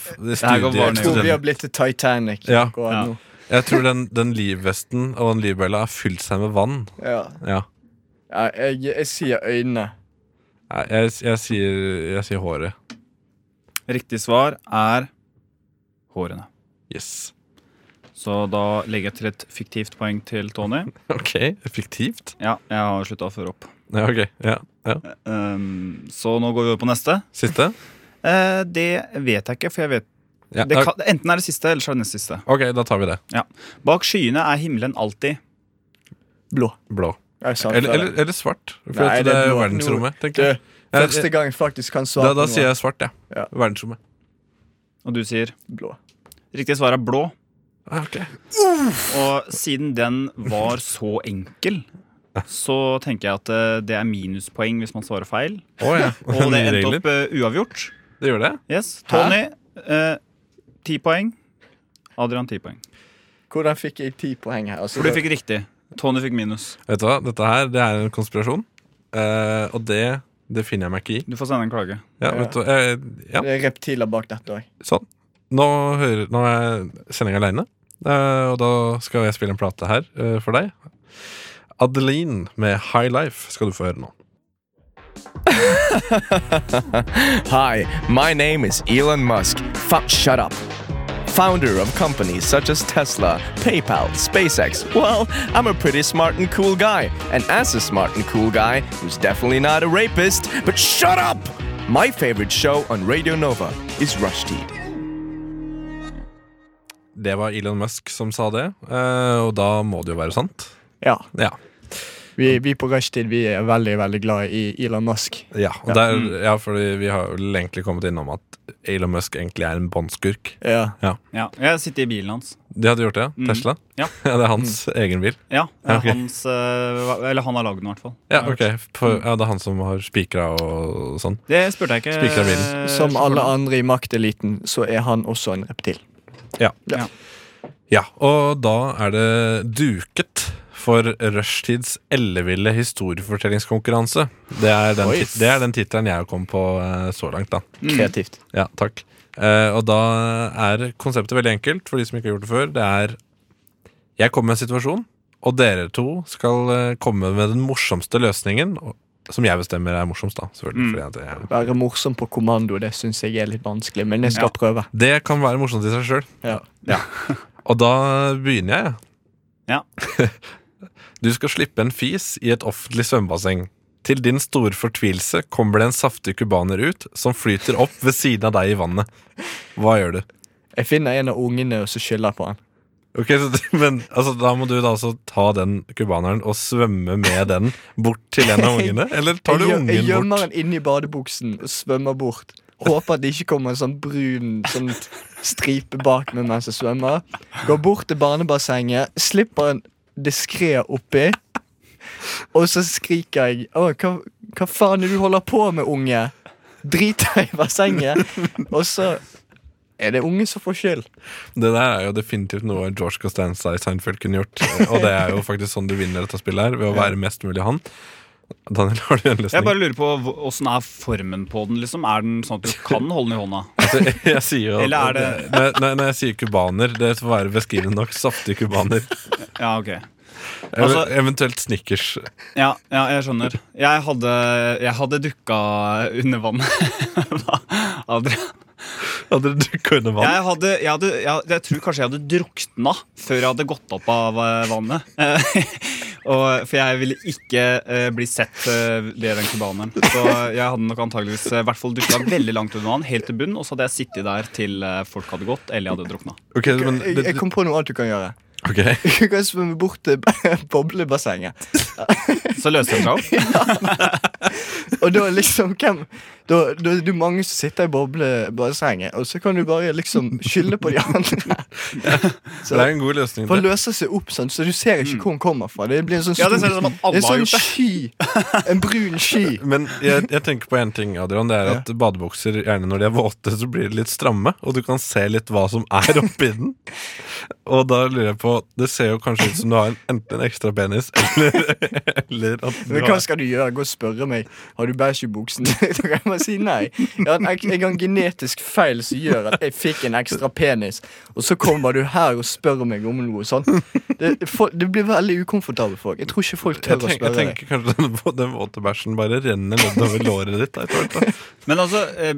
Speaker 3: her går
Speaker 1: Jeg tror vi har
Speaker 2: studiet
Speaker 1: blitt til Titanic.
Speaker 2: Ja.
Speaker 1: akkurat
Speaker 3: Ja.
Speaker 1: nå.
Speaker 2: Jeg tror den, den livvesten og den livbøyla har fylt seg med vann.
Speaker 1: Ja.
Speaker 2: Ja.
Speaker 1: Ja, jeg, jeg sier øynene.
Speaker 2: Nei, Jeg, jeg, sier, jeg sier håret.
Speaker 3: Riktig svar er hårene.
Speaker 2: Yes. [laughs]
Speaker 3: Så da legger jeg til et fiktivt poeng til Tony.
Speaker 2: Ok, effektivt.
Speaker 3: Ja, jeg har slutta å føre opp.
Speaker 2: Ja, ok. Ja, ja.
Speaker 3: Ehm, så nå går vi over på neste.
Speaker 2: Siste?
Speaker 3: Eh, det vet jeg ikke, for jeg vet
Speaker 2: Ja,
Speaker 3: det kan, Enten er det siste, eller så er det nest siste.
Speaker 2: Ok, da tar vi det.
Speaker 3: Bak skyene er himmelen alltid.
Speaker 1: Blå.
Speaker 2: Blå.
Speaker 1: Jeg sa det
Speaker 2: Eller,
Speaker 1: før.
Speaker 2: eller, eller svart. For
Speaker 1: Nei, det
Speaker 2: at det
Speaker 1: er
Speaker 2: er jo
Speaker 1: blå.
Speaker 2: verdensrommet, tenker jeg.
Speaker 1: Du, første gang jeg faktisk kan svare
Speaker 2: Da, da
Speaker 1: på
Speaker 2: sier jeg svart, ja.
Speaker 1: Ja.
Speaker 2: Verdensrommet.
Speaker 3: Og du sier
Speaker 1: blå.
Speaker 3: riktig svar er blå.
Speaker 2: Ah, ok.
Speaker 3: Og siden den var så enkel, så tenker jeg at eh, det er minuspoeng hvis man svarer feil.
Speaker 2: Å [laughs] ja.
Speaker 3: Og det
Speaker 2: Nye
Speaker 3: endte
Speaker 2: regler.
Speaker 3: opp eh, uavgjort.
Speaker 2: Det gjør det?
Speaker 3: Yes, Tony, eh, ti poeng. Adrian, ti poeng.
Speaker 1: Hvordan fikk jeg ti poeng her? Altså,
Speaker 3: For du fikk riktig. Tony fikk minus.
Speaker 2: Vet du hva, dette her det er en konspirasjon. Eh, og det, det finner jeg meg ikke i.
Speaker 3: Du får sende en klage.
Speaker 1: Ja.
Speaker 2: Ja, vet du, eh, ja
Speaker 1: Det er reptiler bak dette òg.
Speaker 2: sånn. Nå, hører, nå er sendinga aleine, Eh, og da skal jeg spille en plate her eh, for deg. Adeline med High Life skal du få høre nå.
Speaker 7: Hi, my name is Elon Musk. Fu- shut up. Founder of companies such as Tesla, PayPal, SpaceX. Well, I'm a pretty smart and cool guy. And as a smart and cool guy, who's definitely not a rapist, but shut up! My favorite show on Radio Nova is Rushdie.
Speaker 2: Det var Elon Musk som sa det, eh, og da må det jo være sant.
Speaker 1: Ja.
Speaker 2: Ja.
Speaker 1: Vi, vi på rushtid vi er veldig veldig glad i Elon Musk.
Speaker 2: Ja, Mm. og der, ja, fordi vi har vel egentlig kommet innom at Elon Musk egentlig er en båndskurk.
Speaker 1: Ja.
Speaker 3: Ja, Jeg sitter i bilen hans.
Speaker 2: De hadde gjort det, Mm. ja? Mm. Tesla? [laughs]
Speaker 3: Ja.
Speaker 2: det er hans egen bil.
Speaker 3: Ja,
Speaker 2: Ja, ok.
Speaker 3: hans, eh, hva- Eller han har lagd den, i hvert fall.
Speaker 2: Ja, Mm. ok. For, ja, det er han som har spikra og sånn.
Speaker 3: Det spurte jeg ikke.
Speaker 2: Spikra bilen.
Speaker 1: Som alle andre i makteliten, så er han også en reptil.
Speaker 2: Ja, og da er det duket for Rushtids elleville historiefortellingskonkurranse. Det er den,
Speaker 1: Oi.
Speaker 2: tit- det er den tittelen jeg har kommet på eh, så langt, da.
Speaker 1: Mm. Kreativt.
Speaker 2: Ja, takk. Eh, og da er konseptet veldig enkelt for de som ikke har gjort det før. Det er Jeg kommer med en situasjon, og dere to skal eh, komme med den morsomste løsningen. og- Som jeg bestemmer er morsomst, da. selvfølgelig fordi at jeg,
Speaker 1: Være morsom på kommando det syns jeg er litt vanskelig, men jeg skal prøve.
Speaker 2: Det kan være morsomt i seg sjøl.
Speaker 1: Ja.
Speaker 2: Og da begynner jeg.
Speaker 3: Ja.
Speaker 2: [laughs] Du skal slippe en fis i et offentlig svømmebasseng. Til din store fortvilelse kommer det en saftig cubaner ut som flyter opp ved siden av deg i vannet. Hva gjør du?
Speaker 1: Jeg finner en av ungene og så skylder jeg på han.
Speaker 2: Ok, så, men altså, Da må du da altså ta den cubaneren og svømme med den bort til en av ungene? Eller tar du
Speaker 1: jeg, gjør-
Speaker 2: ungen
Speaker 1: jeg gjemmer
Speaker 2: bort?
Speaker 1: han inni badebuksen og svømmer bort. Håper at det ikke kommer en sånn brun sånn stripe bak meg mens jeg svømmer. Går bort til barnebassenget, slipper han diskré oppi, og så skriker jeg Å, hva, hva faen er det du holder på med, unge? Drit deg i bassenget. Og så er det ungen som får skyld.
Speaker 2: Det der er jo definitivt noe George Costanza i Seinfeld kunne gjort. Eh, Og det er jo faktisk sånn du vinner dette spillet her, ved å være mest mulig han. Daniel, har du en løsning? [laughs]
Speaker 3: Jeg bare lurer på hv- åssen er formen på den, liksom. Er den sånn at du kan holde den i hånda?
Speaker 2: Altså, jeg, jeg sier jo at-
Speaker 3: Eller er det-
Speaker 2: når, jeg- når, jeg- når jeg sier cubaner, det får være beskrivende nok. Saftig cubaner.
Speaker 3: Ja, ok.
Speaker 2: Ev-
Speaker 3: Altså-
Speaker 2: Eventuelt snickers.
Speaker 3: Ja, ja, jeg skjønner. Jeg hadde, jeg hadde dukka under vannet. [laughs] Hva, Adrian?
Speaker 2: Hadde du dukket under vann?
Speaker 3: Jeg, hadde, jeg, hadde, jeg, hadde- jeg tror kanskje jeg hadde drukna før jeg hadde gått opp av eh, vannet. [laughs] Eh, Og, for jeg ville ikke eh, bli sett eh, ved den cubaneren. Så jeg hadde nok antageligvis eh, i hvert fall dukka veldig langt under vann, helt til bunn, og så hadde jeg sittet der til eh, folk hadde gått, eller jeg hadde drukna.
Speaker 2: Ok, men
Speaker 1: Jeg, jeg
Speaker 2: det,
Speaker 1: kom på noe annet du kan gjøre.
Speaker 2: ok. [laughs]
Speaker 1: Du kan svømme bort til [laughs] boblebassenget.
Speaker 3: Så løste det seg opp.
Speaker 1: Og da liksom hvem Da, da er det mange som sitter i boblebassenget, og så kan du bare liksom skylde på de andre.
Speaker 2: Det er en god løsning.
Speaker 1: For
Speaker 2: det.
Speaker 1: det løser seg opp sånn, så du ser ikke hvor den kommer fra. Det blir en sånn
Speaker 3: Ja, det
Speaker 1: stor-
Speaker 3: ser ut som at alle
Speaker 1: det er
Speaker 3: har
Speaker 1: sånn
Speaker 3: gjort det.
Speaker 1: sky. En brun sky.
Speaker 2: Men jeg, jeg tenker på en ting, Adrian. Det er at Badebukser gjerne når de er våte, så blir de litt stramme. Og du kan se litt hva som
Speaker 1: [laughs]
Speaker 2: er oppi den. Og da lurer jeg på Det ser jo kanskje ut som du har en, enten en ekstra penis eller, [laughs] eller at du
Speaker 1: Men hva
Speaker 2: har
Speaker 1: skal du gjøre? Gå og spørre meg Har du bæsj i buksen. [laughs] Da kan jeg bare si nei. Jeg har en, ek- jeg har en genetisk feil som gjør at jeg fikk en ekstra penis, og så kommer du her og spør meg om noe sånt. Det, folk- det blir veldig ukomfortabelt for folk. Jeg tror ikke folk
Speaker 2: jeg,
Speaker 1: tør å
Speaker 2: tenk, jeg
Speaker 1: spørre deg.
Speaker 2: tenker kanskje den, vå- den våte bæsjen bare renner nedover låret ditt. etter
Speaker 1: [laughs]
Speaker 2: hvert, da.
Speaker 3: Men altså, eh,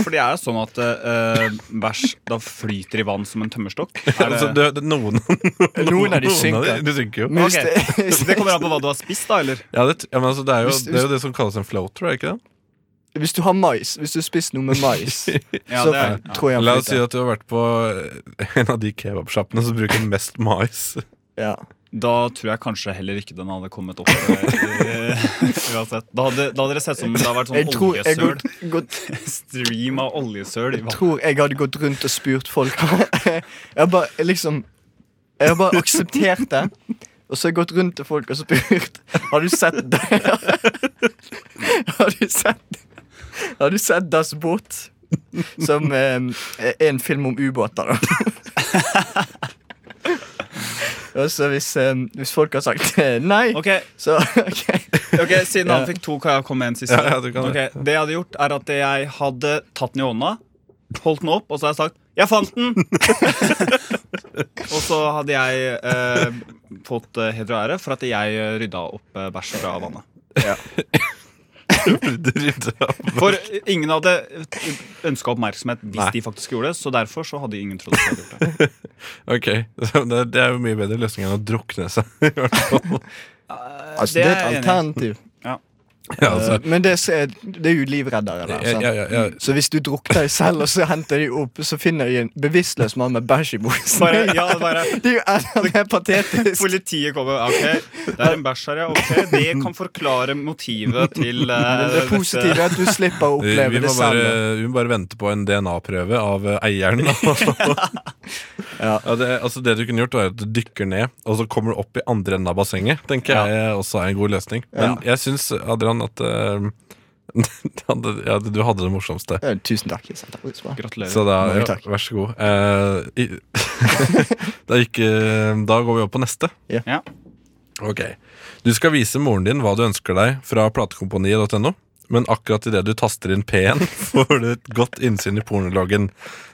Speaker 3: for det er jo sånn at eh, bæsj da flyter i vann som en tømmerstokk. Er
Speaker 2: Altså,
Speaker 3: det-
Speaker 2: du, det, noen, noen,
Speaker 1: Noen av de synker.
Speaker 2: de- de synker jo.
Speaker 1: Men hvis
Speaker 3: Ok.
Speaker 1: det- [laughs]
Speaker 3: Det kommer an på hva du har spist, da, eller?
Speaker 2: Ja, det, ja, men altså, det, er jo,
Speaker 1: Hvis-
Speaker 2: det er jo det som kalles en floater, er det ikke det?
Speaker 1: Hvis du har mais, hvis du har spist noe med mais,
Speaker 3: Ja,
Speaker 1: så
Speaker 3: det er-
Speaker 1: tror jeg han
Speaker 2: La oss si
Speaker 1: flyter.
Speaker 2: at du har vært på eh, en av de kebabsjappene som bruker mest mais.
Speaker 1: Ja.
Speaker 3: Da tror jeg kanskje heller ikke den hadde kommet opp. eh, [laughs] uansett. Da hadde, da hadde det sett som om det hadde vært
Speaker 1: Jeg,
Speaker 3: sånn
Speaker 1: tror jeg,
Speaker 3: oljesøl.
Speaker 1: går, går,
Speaker 3: Stream av oljesøl i vann.
Speaker 1: tror jeg hadde gått rundt og spurt folk. [laughs] Jeg har bare jeg liksom Jeg har bare akseptert det. Og så har jeg gått rundt til folk og spurt Har du sett det. [laughs] Har du sett Har du sett Das Boot? Som eh, er en film om ubåter, da. [laughs] Og så hvis, eh, hvis folk har sagt eh, nei,
Speaker 3: Ok,
Speaker 1: så ok
Speaker 3: ok, Siden han fikk to, kan jeg komme med en siste?
Speaker 2: Ja, ja, du kan det.
Speaker 3: Ok, det jeg hadde gjort, er at jeg hadde tatt den i hånda, holdt den opp, og så hadde jeg sagt 'jeg fant den'! [laughs] og så hadde jeg eh, fått eh, heder og ære for at jeg eh, rydda opp eh, bæsj fra vannet.
Speaker 2: [laughs] For
Speaker 3: For ingen hadde ønska oppmerksomhet hvis
Speaker 2: Nei.
Speaker 3: de faktisk gjorde det, så derfor så hadde ingen trodd at jeg hadde gjort det.
Speaker 2: Ok, [laughs] så det, det er jo mye bedre løsning enn å drukne seg. [laughs] i hvert fall.
Speaker 1: Altså, det,
Speaker 3: Det
Speaker 1: er et
Speaker 3: er jeg enig i.
Speaker 1: alternativ.
Speaker 2: ja, altså,
Speaker 1: Men det, som er, det er jo livreddere. Der,
Speaker 2: ja,
Speaker 1: sant?
Speaker 2: ja, ja, ja.
Speaker 1: Så hvis du drukner deg selv, og så henter de opp, så finner de en bevisstløs mann med bæsj i buksen.
Speaker 3: Bare, ja, bare
Speaker 1: Det er jo enda mer patetisk.
Speaker 3: [laughs] Politiet kommer. ah, Ok, det er en bæsj her, ja. Ok, Det kan forklare motivet til
Speaker 2: [laughs]
Speaker 3: eh,
Speaker 1: Det positive er at du slipper å
Speaker 2: Vi, vi,
Speaker 1: oppleve
Speaker 2: må
Speaker 1: det
Speaker 2: bare,
Speaker 1: selv.
Speaker 2: vi må bare vente på en DNA-prøve av eh, eieren. [laughs] ja.
Speaker 1: [laughs] Ja.
Speaker 2: det, altså det du kunne gjort, var at du dykker ned, og så kommer du opp i andre enden av bassenget. Tenker jeg også er en god løsning. Men jeg syns, Adrian, at [laughs] eh, ja, du hadde det morsomste.
Speaker 1: Ja, Tusen takk. jeg setter pris på det.
Speaker 3: Gratulerer.
Speaker 2: Så da,
Speaker 1: Mange
Speaker 2: ja,
Speaker 1: takk.
Speaker 2: vær så god. Eh, i, [laughs] da, gikk, eh, da går vi opp på neste.
Speaker 1: Ja.
Speaker 3: Ja.
Speaker 2: Ok. Du skal vise moren din hva du ønsker deg fra platekomponiet.no, men akkurat idet du taster inn P1, [laughs] får du et godt innsyn i pornologgen,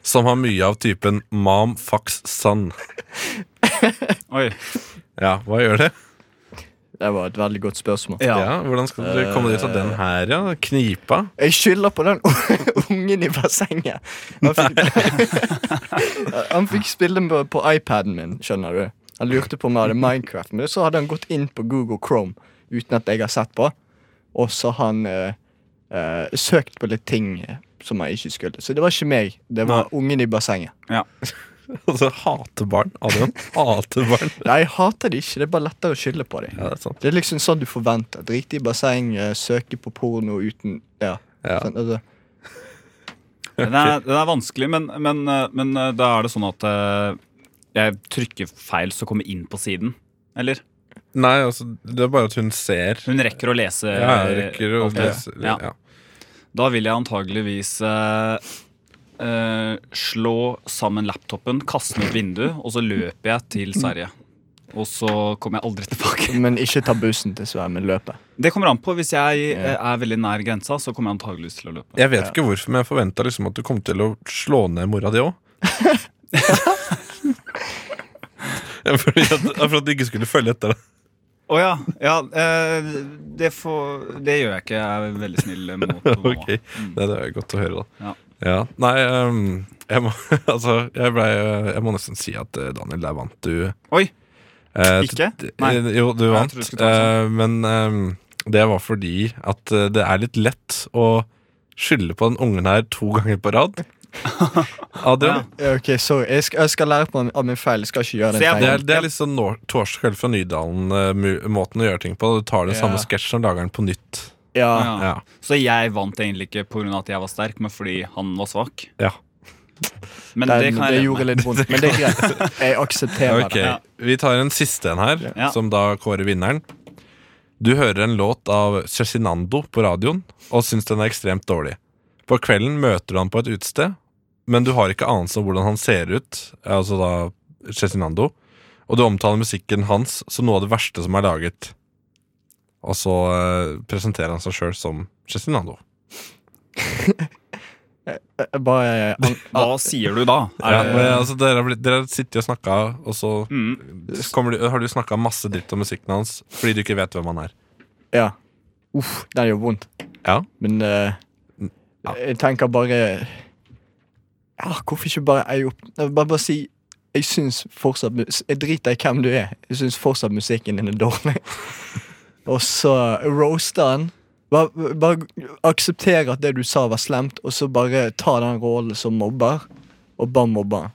Speaker 2: som har mye av typen mom, fax, son.
Speaker 3: Oi.
Speaker 2: Ja, hva gjør det?
Speaker 1: Det var et veldig godt spørsmål.
Speaker 2: Ja, Hvordan skal dere komme dit av den her, ja? Knipa? [laughs]
Speaker 1: Jeg skylder på den [laughs] ungen i bassenget.
Speaker 2: [laughs]
Speaker 1: Han fikk, han fikk spille den på, på iPaden min, skjønner du. Han lurte på om jeg hadde Minecraft, men så hadde han gått inn på Google Chrome uten at jeg har sett på. Og så har han eh, eh, søkt på litt ting eh, som han ikke skulle. Så det var ikke meg, det var ungen i bassenget.
Speaker 2: Altså, hate barn. Adrian hater barn.
Speaker 1: Nei, jeg hater det ikke. Det er bare lettere å skylde på dem.
Speaker 2: Ja, det er sant.
Speaker 1: Det er liksom sånn du forventer. Drite i basseng, eh, søke på porno uten Ja.
Speaker 2: Ja.
Speaker 1: Sånn, altså.
Speaker 3: Den er, den er vanskelig, men, men, eh, men eh, da er det sånn at eh, jeg trykker feil så kommer inn på siden. Eller?
Speaker 2: Nei, altså, det er bare at hun ser.
Speaker 3: Hun rekker å lese.
Speaker 2: Ja, jeg rekker å
Speaker 3: alt det.
Speaker 2: lese.
Speaker 3: Ja.
Speaker 2: Ja.
Speaker 3: Da vil jeg antageligvis eh, eh, slå sammen laptopen, kaste den ut vinduet, og så løper jeg til Sverige. Og så kommer jeg aldri tilbake.
Speaker 1: Men ikke ta bussen, dessverre, men løpe.
Speaker 3: Det kommer an på. Hvis jeg eh, er veldig nær grensa, så kommer jeg antageligvis til å løpe.
Speaker 2: Jeg vet ikke hvorfor, men jeg forventa liksom at du kom til å slå ned mora
Speaker 3: [laughs]
Speaker 2: [laughs] di òg. Fordi at, for at de ikke skulle følge etter deg.
Speaker 3: Å ja. ja eh, det, får, det gjør jeg ikke. Jeg er veldig snill
Speaker 2: [laughs]
Speaker 3: mot mamma.
Speaker 2: Ok, det er godt å høre, da.
Speaker 3: Mm. Ja.
Speaker 2: Ja. Nei, ehm, jeg må, [laughs] altså, jeg, ble, jeg må nesten si at eh, Daniel, der vant du.
Speaker 3: Oi!
Speaker 2: Eh,
Speaker 3: Ikke?
Speaker 2: t-
Speaker 3: Nei.
Speaker 2: eh, Jo, du
Speaker 3: Nei, jeg
Speaker 2: vant.
Speaker 3: trodde du skulle ta sånn. den
Speaker 2: Eh, men ehm, det var fordi at eh, det er litt lett å skylde på den ungen her to ganger på rad.
Speaker 3: [laughs]
Speaker 2: Adrian.
Speaker 1: Ja, Ok, sorry. Jeg skal, jeg skal lære på av min feil. Jeg skal ikke gjøre
Speaker 3: Så
Speaker 1: den
Speaker 3: jeg-
Speaker 2: Det er,
Speaker 1: feilen.
Speaker 2: det er litt sånn nor- Torskjell fra Nydalen-måten å gjøre ting på. Du tar den
Speaker 1: Ja.
Speaker 2: samme sketsjen og lager den på nytt.
Speaker 1: Ja.
Speaker 3: Ja.
Speaker 2: Ja.
Speaker 3: Så jeg vant egentlig ikke pga. at jeg var sterk, men fordi han var svak.
Speaker 2: ja.
Speaker 1: Den,
Speaker 3: Men det
Speaker 1: det,
Speaker 3: kan jeg leve
Speaker 1: gjorde
Speaker 3: med.
Speaker 1: litt vondt, men det er greit. Jeg aksepterer
Speaker 2: Ok,
Speaker 1: det.
Speaker 3: Ja.
Speaker 2: Vi tar en siste en her,
Speaker 3: Ja.
Speaker 2: som da kårer vinneren. Du hører en låt av Cezinando på radioen og syns den er ekstremt dårlig. På kvelden møter du han på et utested, men du har ikke anelse om hvordan han ser ut, altså da Cezinando, og du omtaler musikken hans som noe av det verste som er laget. Og så eh, presenterer han seg sjøl som Cezinando.
Speaker 1: Jeg Bare jeg,
Speaker 3: Hva sier du da? Er
Speaker 2: Ja,
Speaker 3: det-
Speaker 2: men, altså, dere, har blitt, dere sitter og snakker, og så
Speaker 3: Mm.
Speaker 2: kommer du, har du snakka masse dritt om musikken hans fordi du ikke vet hvem han er.
Speaker 1: Ja. Uff, den gjør vondt.
Speaker 2: Ja.
Speaker 1: Men eh,
Speaker 2: Ja.
Speaker 1: jeg tenker bare ja, Hvorfor ikke bare eie opp Jeg vil Bare, bare si Jeg syns fortsatt mus- Jeg driter i hvem du er. Jeg syns fortsatt musikken din er dårlig. [laughs] og så roaster han. Bare, bare akseptere at det du sa, var slemt, og så bare ta den rollen som mobber, og bare mobbe han.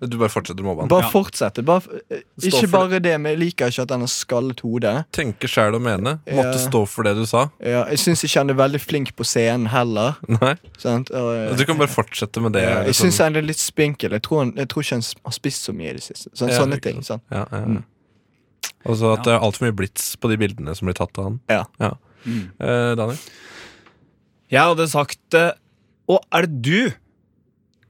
Speaker 2: Du bare fortsetter å mobbe han.
Speaker 1: Bare fortsette. Bare, eh,
Speaker 2: Stå
Speaker 1: ikke
Speaker 2: for det.
Speaker 1: bare det, men jeg liker ikke at han har skallet hode.
Speaker 2: Tenke sjæl og mene. Måtte
Speaker 1: Ja.
Speaker 2: stå for det du sa.
Speaker 1: Ja, jeg syns ikke han er veldig flink på scenen heller.
Speaker 2: Nei,
Speaker 1: Sant? Og, eh,
Speaker 2: Du kan bare fortsette med det.
Speaker 1: ja, Eh, jeg
Speaker 2: liksom.
Speaker 1: syns han er litt spinkel. Jeg tror, han, jeg tror ikke han s- har spist så mye i det siste. Sånn,
Speaker 2: Ja,
Speaker 1: sånne
Speaker 2: ikke
Speaker 1: ting. Sant?
Speaker 2: ja, ja, ja. Og så at det er altfor mye blits på de bildene som blir tatt av han.
Speaker 1: Ja.
Speaker 2: Ja. Eh, Daniel?
Speaker 3: Jeg hadde sagt eh, Å, er det du?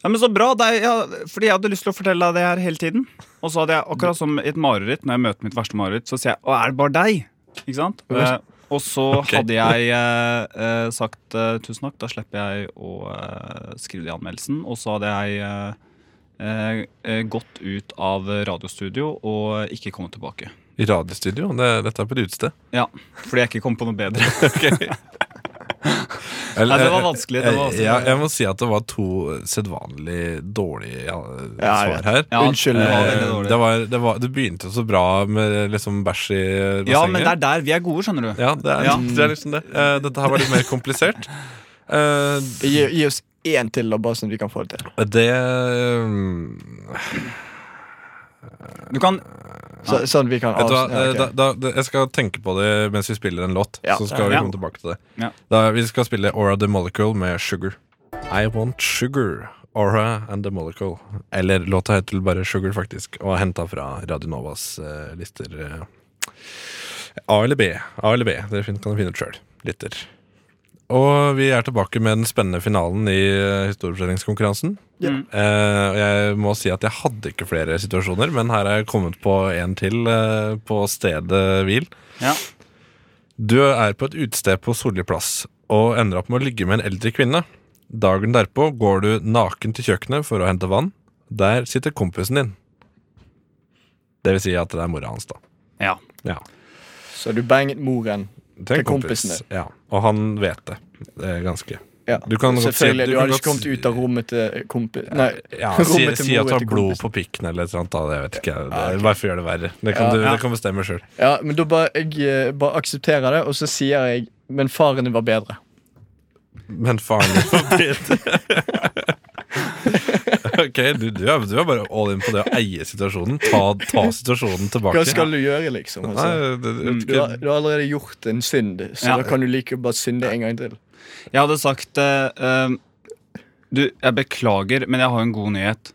Speaker 3: Ja, men Så bra! Det er, ja, fordi jeg hadde lyst til å fortelle deg det her hele tiden. Og så hadde jeg akkurat som i et mareritt, når jeg møter mitt verste mareritt, så sier jeg Å, er det bare deg? Ikke sant?
Speaker 1: Ja.
Speaker 3: Eh, og så hadde jeg eh, eh, sagt eh, tusen takk, da slipper jeg å eh, skrive det i anmeldelsen. Og så hadde jeg eh, eh, eh, gått ut av radiostudio og ikke kommet tilbake.
Speaker 2: I radiostudio? Det, dette er på et utested.
Speaker 3: Ja, Fordi jeg ikke kom på noe bedre.
Speaker 2: Eller- eh,
Speaker 3: Nei, det var vanskelig, det var vanskelig.
Speaker 2: Ja, jeg må si at det var to sedvanlig dårlige ja,
Speaker 1: Ja, jeg
Speaker 2: svar her.
Speaker 3: Ja,
Speaker 1: Unnskyld.
Speaker 3: det var veldig
Speaker 2: Eh,
Speaker 3: dårlig.
Speaker 2: Det, var, det, var, det begynte jo så bra med liksom bæsj i bassenget.
Speaker 3: Ja, men det er der vi er gode, skjønner du.
Speaker 2: Ja, det er,
Speaker 3: Ja.
Speaker 2: Det er liksom det. Eh, dette her var litt mer komplisert. Eh,
Speaker 1: Gi, gi oss én til, da, bare sånn at vi kan få det til.
Speaker 2: det mm,
Speaker 3: Du kan
Speaker 1: Så, sånn at vi kan
Speaker 2: Vet du hva,
Speaker 1: avs- ja,
Speaker 2: eh,
Speaker 1: ok.
Speaker 2: da, da, da, Jeg skal tenke på det mens vi spiller en låt.
Speaker 1: Ja.
Speaker 2: Så skal vi
Speaker 3: Ja.
Speaker 2: komme tilbake til det.
Speaker 3: Ja.
Speaker 2: Da, vi skal spille Aura The Molecule med Sugar. I Want Sugar. Aura and The Molecule. Eller låta heter bare Sugar, faktisk, og er henta fra Radio Novas eh, lister. eh. A eller B. A eller B. Dere fin- kan finne ut sjøl. Lytter. Og vi er tilbake med den spennende finalen i eh, historiefortellingskonkurransen.
Speaker 1: Ja.
Speaker 2: Eh, og jeg må si at jeg hadde ikke flere situasjoner, men her er jeg kommet på en til eh, på stedet hvil.
Speaker 3: Ja.
Speaker 2: Du er på et utested på Solli plass og ender opp med å ligge med en eldre kvinne. Dagen derpå går du naken til kjøkkenet for å hente vann. Der sitter kompisen din. Det vil si at det er mora hans, da.
Speaker 3: Ja.
Speaker 2: Ja.
Speaker 1: Så du banget moren.
Speaker 2: Til en
Speaker 1: Til kompisen
Speaker 2: kompis. Ja. Og han vet det. Det er ganske
Speaker 7: Ja.
Speaker 2: Du kan godt si at-
Speaker 1: Selvfølgelig. Du hadde
Speaker 2: kan
Speaker 1: ikke kommet
Speaker 2: godt-
Speaker 1: ut av rommet til kompis Nei,
Speaker 2: ja, si,
Speaker 1: [laughs] rommet til
Speaker 2: si at du
Speaker 1: moren
Speaker 2: har
Speaker 1: til
Speaker 2: blod
Speaker 1: kompisen.
Speaker 2: på pikken eller et eller annet. Da, jeg vet ikke, det, Bare for å gjøre det verre. Det kan,
Speaker 1: Ja.
Speaker 2: du,
Speaker 1: Ja.
Speaker 2: det kan bestemme sjøl.
Speaker 1: Ja, men da bare, jeg, eh, bare aksepterer det, og så sier jeg Men faren din var bedre.
Speaker 2: Men faren din var bedre. ok, du, du, er, du er bare all in på det å eie situasjonen. Ta, ta situasjonen tilbake.
Speaker 1: Hva skal du gjøre, liksom?
Speaker 2: Nei,
Speaker 1: Altså?
Speaker 2: det, det,
Speaker 1: Du, har, du har allerede gjort en synd, så
Speaker 3: Ja.
Speaker 1: da kan du like bare synde en gang til.
Speaker 3: Jeg hadde sagt eh, ehm, Du, jeg beklager, men jeg har en god nyhet.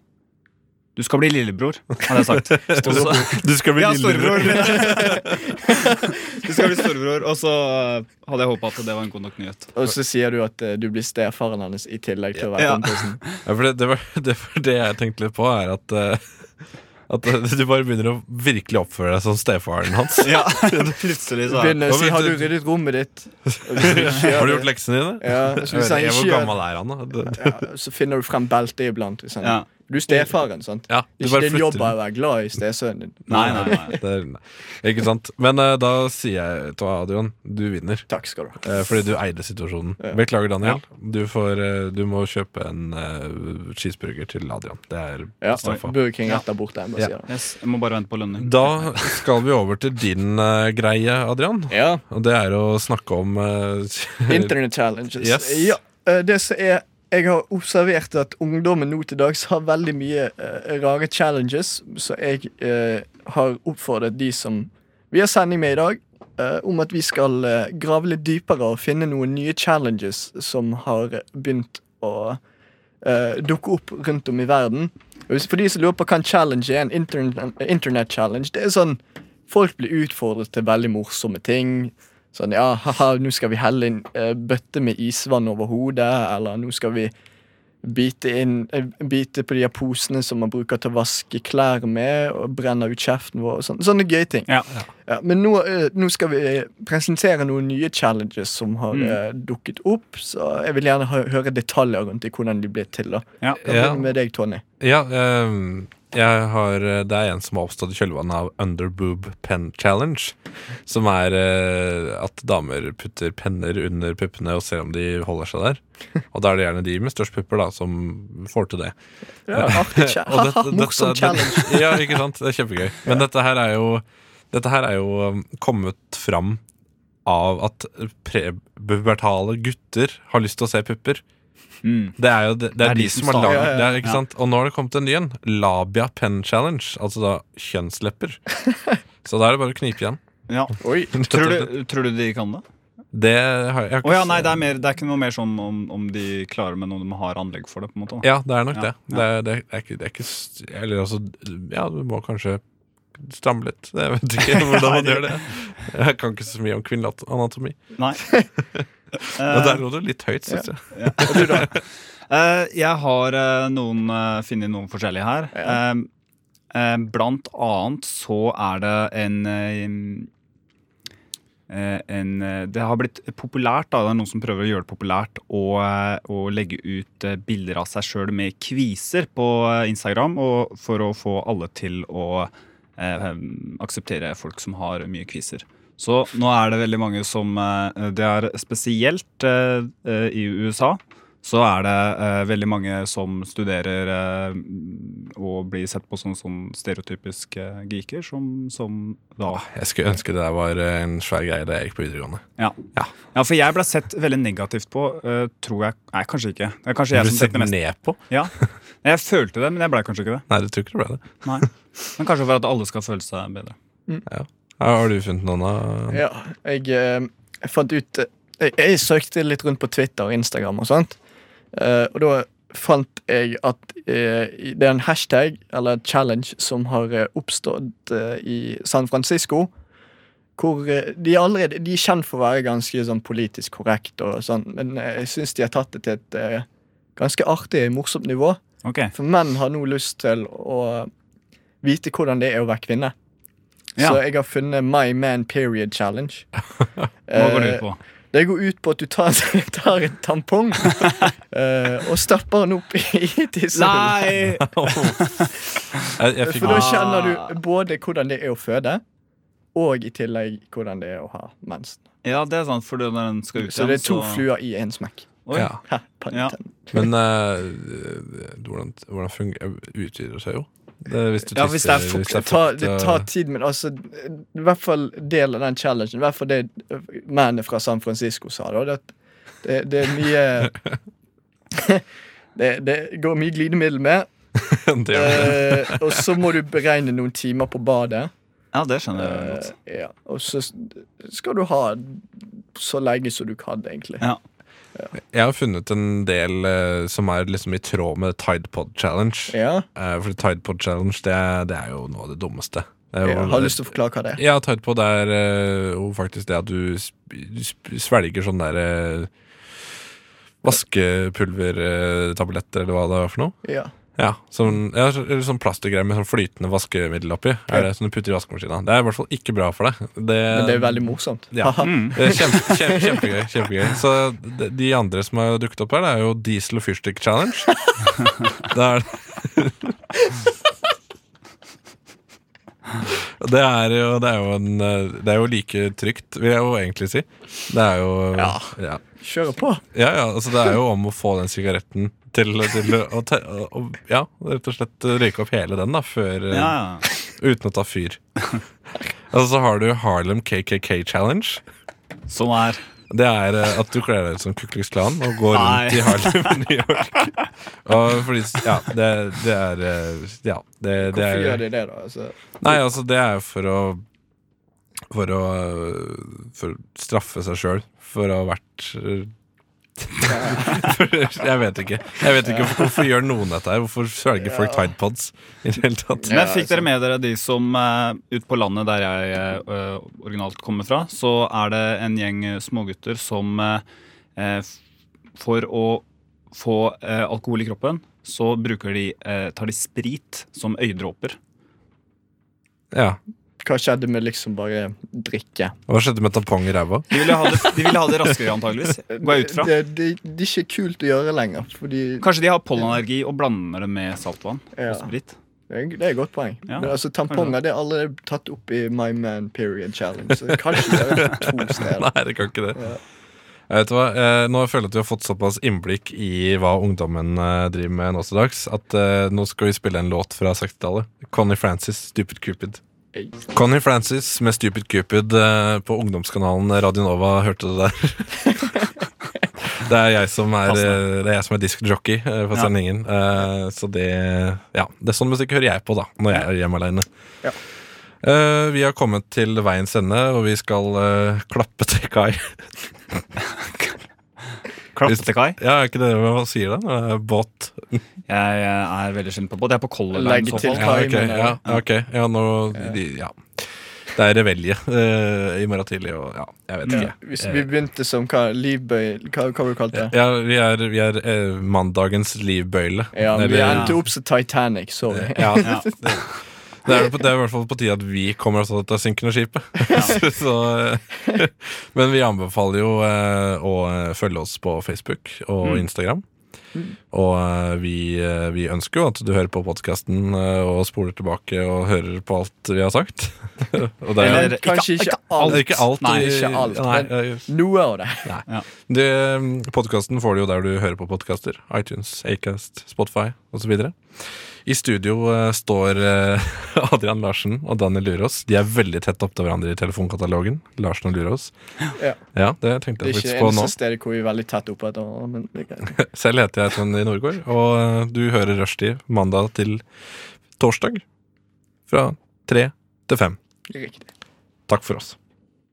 Speaker 3: Du skal bli lillebror, hadde jeg sagt. Og så-
Speaker 2: du [laughs] skal bli
Speaker 3: ja,
Speaker 2: lillebror. [laughs]
Speaker 3: storebror. du skal bli storebror. Og så eh, hadde jeg håpa at det var en god nok
Speaker 2: [laughs]
Speaker 3: nyhet.
Speaker 1: Og så sier du at eh, du blir stefaren hans i tillegg til å være
Speaker 3: Ja.
Speaker 1: kompisen.
Speaker 2: Ja, for det, det, var, det var det jeg tenkte litt på, er at eh, at eh, du bare begynner å virkelig oppføre deg som stefaren hans.
Speaker 3: Ja, Plutselig så er
Speaker 1: Begynner å si
Speaker 2: Hva
Speaker 1: 'Har du
Speaker 2: vet du-
Speaker 1: ryddet rommet
Speaker 2: [laughs]
Speaker 1: ditt?' Og hvis du ikke gjør
Speaker 2: Har du
Speaker 1: det-
Speaker 2: gjort leksene dine?
Speaker 1: Ja, så
Speaker 2: Jeg
Speaker 1: hvis
Speaker 2: vet
Speaker 1: han
Speaker 2: ikke,
Speaker 1: ikke gjør
Speaker 2: Hvor
Speaker 1: det,
Speaker 2: gammel er han, da? Det- det-
Speaker 1: ja, så finner du frem beltet iblant. Hvis han,
Speaker 3: ja.
Speaker 1: Du er stefaren, sant?
Speaker 2: Ja, du
Speaker 1: Ikke
Speaker 2: bare
Speaker 1: din
Speaker 2: flytter
Speaker 1: jobb
Speaker 2: den.
Speaker 1: er å være glad i stesønnen din.
Speaker 3: Nei, nei, nei.
Speaker 2: Det er, nei. Ikke sant? Men eh, da sier jeg vet du hva, Adrian, du vinner.
Speaker 1: Takk skal du ha.
Speaker 2: Eh, fordi du eide situasjonen.
Speaker 1: Ja.
Speaker 2: Beklager, Daniel. Du, får, eh, du må kjøpe en eh, cheeseburger til Adrian. Det er
Speaker 1: Ja,
Speaker 2: straffa.
Speaker 1: Burger King
Speaker 3: Ja.
Speaker 1: rett der borte. Jeg bare
Speaker 2: Ja.
Speaker 1: sier det.
Speaker 3: Yes, jeg må bare vente på lønning.
Speaker 2: Da skal vi over til din eh, greie, Adrian.
Speaker 1: Ja.
Speaker 2: Og det er å snakke om eh, [laughs]
Speaker 1: [laughs] Internet challenges.
Speaker 2: Yes.
Speaker 1: Ja, eh, det som er jeg har observert at ungdommen nå til dags har veldig mye eh, rare challenges, så jeg eh, har oppfordret de som vi har sending med i dag, eh, om at vi skal eh, grave litt dypere og finne noen nye challenges som har begynt å eh, dukke opp rundt om i verden. Og hvis- For de som lurer på hva en challenge er, en intern- internett-challenge, det er sånn folk blir utfordret til veldig morsomme ting. Sånn, ja, haha, nå skal vi helle en eh, bøtte med isvann over hodet, eller nå skal vi bite, inn, eh, bite på de her posene som man bruker til å vaske klær med, og brenne ut kjeften vår, og sånn. Sånne gøye ting.
Speaker 3: Ja.
Speaker 1: Ja, men nå, eh, nå skal vi presentere noen nye challenges som har
Speaker 2: Mm.
Speaker 1: eh, dukket opp. Så jeg vil gjerne hø- høre detaljer rundt i hvordan de ble til. da
Speaker 3: Ja.
Speaker 1: Jeg
Speaker 2: Ja.
Speaker 1: begynner med deg, Tony.
Speaker 2: Ja, ehm, jeg har, eh, det er en som har oppstått i kjølvannet av Underboob Pen Challenge. Som er eh, at damer putter penner under puppene og ser om de holder seg der. Og da er det gjerne de med størst pupper da som får til det.
Speaker 1: Ja, [laughs] artig cha-
Speaker 2: [laughs] Og dette-
Speaker 1: Haha, [laughs] morsom
Speaker 2: dette-
Speaker 1: challenge.
Speaker 2: det- [laughs] Ja, ikke sant? Det er kjempegøy. Men dette her er jo Dette her er jo um, kommet fram av at prepubertale gutter har lyst til å se pupper.
Speaker 3: Mm.
Speaker 2: Det er jo det, det er de som har
Speaker 3: starter.
Speaker 1: Ja,
Speaker 2: laget
Speaker 1: ja,
Speaker 2: det,
Speaker 1: ja.
Speaker 2: er-
Speaker 3: Ja.
Speaker 2: ikke sant? Og nå har det kommet en ny en. Labia pen challenge. Altså da
Speaker 3: [laughs]
Speaker 2: kjønnslepper. Så da er det bare å knipe igjen.
Speaker 3: Ja.
Speaker 1: Oi.
Speaker 3: Tror, du, tror du de kan det?
Speaker 2: Det har jeg, jeg har
Speaker 3: Å ja, nei, det
Speaker 2: det
Speaker 3: er, mer, det er ikke noe mer sånn om, om de klarer, men om de har anlegg for det. på en måte da.
Speaker 2: Ja, det er nok
Speaker 3: Ja,
Speaker 2: det. Det er, det, er ikke, det er ikke s- Eller altså Ja, du må kanskje stramme litt. Jeg vet
Speaker 1: [laughs]
Speaker 2: ikke hvordan man gjør det. Jeg kan ikke så mye om kvinnelig anatomi.
Speaker 3: Nei.
Speaker 2: [laughs] Men
Speaker 3: Eh,
Speaker 2: der lå det litt høyt, syns jeg.
Speaker 3: Eh, jeg har eh, noen, eh, funnet noen forskjellige her. Eh, eh, blant annet så er det en eh, eh, en, eh, det har blitt populært, da, det er noen som prøver å gjøre det populært, å, eh, å legge ut eh, bilder av seg sjøl med kviser på eh, Instagram og for å få alle til å eh, akseptere folk som har mye kviser. Så nå er det veldig mange som eh, Det er spesielt eh, eh, i USA så er det eh, veldig mange som studerer eh, og blir sett på som, som stereotypiske eh, geeker, som, som da
Speaker 2: Jeg skulle ønske det der var eh, en svær greie da jeg gikk på videregående.
Speaker 3: ja.
Speaker 2: Ja.
Speaker 3: ja, for jeg ble sett veldig negativt på, eh, tror jeg Nei, kanskje ikke. Det er kanskje
Speaker 2: Ble
Speaker 3: jeg
Speaker 2: du
Speaker 3: som
Speaker 2: sett
Speaker 3: tenkte mest.
Speaker 2: ned på?
Speaker 3: Ja. Nei, Jeg følte det, men jeg ble kanskje ikke det.
Speaker 2: Nei, du tror ikke det ble det.
Speaker 3: Nei. Men kanskje for at alle skal føle seg bedre.
Speaker 2: Ja, har du funnet noen av
Speaker 1: Ja, jeg, eh, jeg fant ut eh, jeg, jeg søkte litt rundt på Twitter og Instagram og sånt. Eh, og da fant jeg at eh, i- det er en hashtag, eller challenge, som har eh, oppstått eh, i San Francisco. Hvor eh, de, er allerede, de er kjent for å være ganske sånn politisk korrekt og sånn, men eh, jeg syns de har tatt det til et eh, ganske artig, morsomt nivå.
Speaker 3: Ok,
Speaker 1: For menn har nå lyst til å vite hvordan det er å være kvinne.
Speaker 3: Ja.
Speaker 1: Så jeg har funnet My Man Period Challenge.
Speaker 3: [laughs] Hva går det
Speaker 1: eh,
Speaker 3: ut på?
Speaker 1: Det går ut på at du tar, [laughs] tar en tampong
Speaker 3: [laughs]
Speaker 1: eh, og stapper den opp i tissehull. Eh,
Speaker 2: Jeg, jeg fikk
Speaker 1: For da kjenner du både hvordan det er å føde, og i tillegg hvordan det er å ha mensen.
Speaker 3: Ja, det er sant, for når den skal ut
Speaker 1: Så det er to
Speaker 3: så-
Speaker 1: fluer i en smekk.
Speaker 3: Oi.
Speaker 2: Ja.
Speaker 3: Ja.
Speaker 2: Men eh, hvordan, hvordan fungerer Utvider seg jo. Det, hvis, du
Speaker 1: Ja, hvis det er
Speaker 2: twister-
Speaker 1: fukt,
Speaker 2: hvis det er
Speaker 1: ta,
Speaker 2: fukt,
Speaker 1: det
Speaker 2: eh,
Speaker 1: tar tid, men altså I hvert fall del av den challengen. I hvert fall det eh, mennene fra San Francisco sa. Da, det, at det, det er mye det, det går mye glidemiddel med.
Speaker 2: [laughs] det gjør det.
Speaker 1: eh, og så må du beregne noen timer på badet.
Speaker 3: ja, det skjønner jeg godt.
Speaker 1: Eh, ja. Og så s- skal du ha så lenge som du kan, egentlig.
Speaker 3: Ja.
Speaker 2: Jeg har funnet en del eh, som er liksom i tråd med Tide Pod Challenge.
Speaker 1: Ja.
Speaker 2: Eh, for Tide Pod Challenge det er, det er jo noe av det dummeste. Det er jo-
Speaker 1: Jeg har lyst til å forklare hva det er.
Speaker 2: Ja, Tide Pod er eh, jo faktisk det at du sp- du sp- svelger sånn der eh, Vaskepulvertabletter, eh, eller hva det er for noe.
Speaker 1: Ja.
Speaker 2: Ja, sånn, ja, så- eller sånn plastgreier med sånn flytende vaskemiddel oppi. Er det som du putter i vaskemaskina. Det er i hvert fall ikke bra for deg. Det,
Speaker 1: Men det er veldig morsomt.
Speaker 2: Ja.
Speaker 1: [laughs]
Speaker 2: Mm.
Speaker 1: Haha.
Speaker 2: det er kjempe, kjempe, Eh, kjempegøy. kjempegøy Så de- de andre som har dukket opp her, det er jo Diesel og fyrstikk challenge.
Speaker 3: [laughs]
Speaker 2: Det er Det er, jo, det, er jo en, eh, det er jo like trygt, vil jeg jo egentlig si. Det er jo
Speaker 1: Ja.
Speaker 2: ja.
Speaker 1: Kjører på.
Speaker 2: Ja, ja, altså det er jo om å få den sigaretten til, til å, te- å, å- Ja, rett og slett røyke opp hele den, da, før eh,
Speaker 3: Ja, ja.
Speaker 2: Uten å ta
Speaker 3: [laughs]
Speaker 2: fyr. Og så har du Harlem KKK Challenge.
Speaker 3: Som er
Speaker 2: Det er eh, at du kler deg ut som Ku Klux Klan og går
Speaker 3: Nei.
Speaker 2: rundt i Harlem i New York. Og fordi, ja, det, det er eh, Ja, det, det
Speaker 1: Hvorfor gjør
Speaker 2: er
Speaker 1: de det, da? Altså,
Speaker 2: Nei, altså, det er jo for å For å øh, For å straffe seg sjøl for å ha vært øh, [laughs] for, jeg vet ikke Jeg vet ikke hvorfor, hvorfor gjør noen dette her. Hvorfor svelger folk Tide Pods i det hele tatt?
Speaker 3: Men
Speaker 1: Ja,
Speaker 3: fikk dere med dere de som uh, ut på landet der jeg eh, originalt kommer fra, så er det en gjeng eh, smågutter som eh, eh, f- for å få eh, alkohol i kroppen, så bruker de, eh, tar de sprit som øyedråper.
Speaker 2: Ja.
Speaker 1: hva skjedde med liksom bare drikke?
Speaker 2: Hva skjedde med tampong i ræva?
Speaker 3: De ville ha det, de ville ha det raskere, antageligvis. Går jeg ut fra.
Speaker 1: Det, det, det er ikke kult å gjøre lenger, fordi
Speaker 3: Kanskje de har pollenallergi og blander det med saltvann
Speaker 1: Ja.
Speaker 3: og sprit.
Speaker 1: Det er det er et godt poeng.
Speaker 3: Ja.
Speaker 1: Men altså Tamponger det er allerede tatt opp i My Man Period Challenge. Så kanskje det er to steder.
Speaker 2: [laughs] Nei, det kan ikke det. Jeg vet hva, eh, Nå føler jeg at vi har fått såpass innblikk i hva ungdommen eh, driver med nå til dags, at eh, nå skal vi spille en låt fra 60-tallet. Connie Francis, 'Stupid Cupid'.
Speaker 1: Ei.
Speaker 2: Connie Francis med 'Stupid Cupid' eh, på ungdomskanalen Radio Nova. Hørte du det der? [laughs] Det er jeg som er, eh, det er, jeg som er diskjockey eh, for
Speaker 3: Ja.
Speaker 2: sendingen. Eh, Så det Ja, det er sånn musikk hører jeg på, da, når jeg er hjemme aleine.
Speaker 1: Ja.
Speaker 2: Eh, vi har kommet til veiens ende, og vi skal eh, klappe til Kai.
Speaker 3: Klapp til kai.
Speaker 2: Ja, er ikke det hva sier da? Eh, Båt?
Speaker 3: Jeg eh, er veldig sjelden på båt. Jeg er på Color
Speaker 1: Legg
Speaker 3: Line. i så
Speaker 1: til
Speaker 3: fall.
Speaker 2: Ja,
Speaker 1: Kai,
Speaker 2: ok.
Speaker 1: mener jeg.
Speaker 2: Ja, ok. ja nå de- Ja. Det er revelje eh, i morgen tidlig, og ja, jeg vet
Speaker 1: Ja.
Speaker 2: ikke.
Speaker 1: Hvis vi begynte som hva, livbøy... Hva, hva var det du kalte det?
Speaker 2: Ja, vi er, vi er eh, mandagens livbøyle.
Speaker 1: Ja, men vi
Speaker 2: Eller-
Speaker 1: endte opp som Titanic, sorry. [laughs]
Speaker 2: Ja.
Speaker 3: Ja.
Speaker 2: Det, det er, på- det er i hvert fall på tide at vi kommer oss ut av synkende skipet. [laughs] Så, eh, [laughs] men vi anbefaler jo eh, å eh, følge oss på Facebook og
Speaker 1: Mm.
Speaker 2: Instagram. Og eh, vi, eh, vi ønsker jo at du hører på podkasten og spoler tilbake og hører på alt vi har sagt. [laughs] og det
Speaker 1: Men
Speaker 2: er
Speaker 3: Eller-
Speaker 1: kanskje
Speaker 3: ikke-
Speaker 1: ikke
Speaker 2: det
Speaker 1: alt.
Speaker 2: er ikke alt.
Speaker 3: Nei,
Speaker 2: vi-
Speaker 1: ikke alt, men-
Speaker 2: Nei, eh,
Speaker 1: Noe av det.
Speaker 2: det- Podkasten får du jo der du hører på podkaster. iTunes, Acast, Spotify osv. I studio eh, står eh, [laughs] Adrian Larsen og Daniel Lurås. De er veldig tett opptil hverandre i telefonkatalogen. Larsen og Lurås.
Speaker 1: Ja.
Speaker 2: Ja, det tenkte
Speaker 1: Det er ikke
Speaker 2: jeg
Speaker 1: det
Speaker 2: faktisk på nå.
Speaker 1: eneste stedet hvor vi er veldig tett oppe etter hverandre. men det er greit.
Speaker 2: Selv heter jeg Trond i Nordgård, og eh, du hører Rushtid mandag til torsdag fra tre til fem.
Speaker 1: Riktig.
Speaker 2: Takk for oss.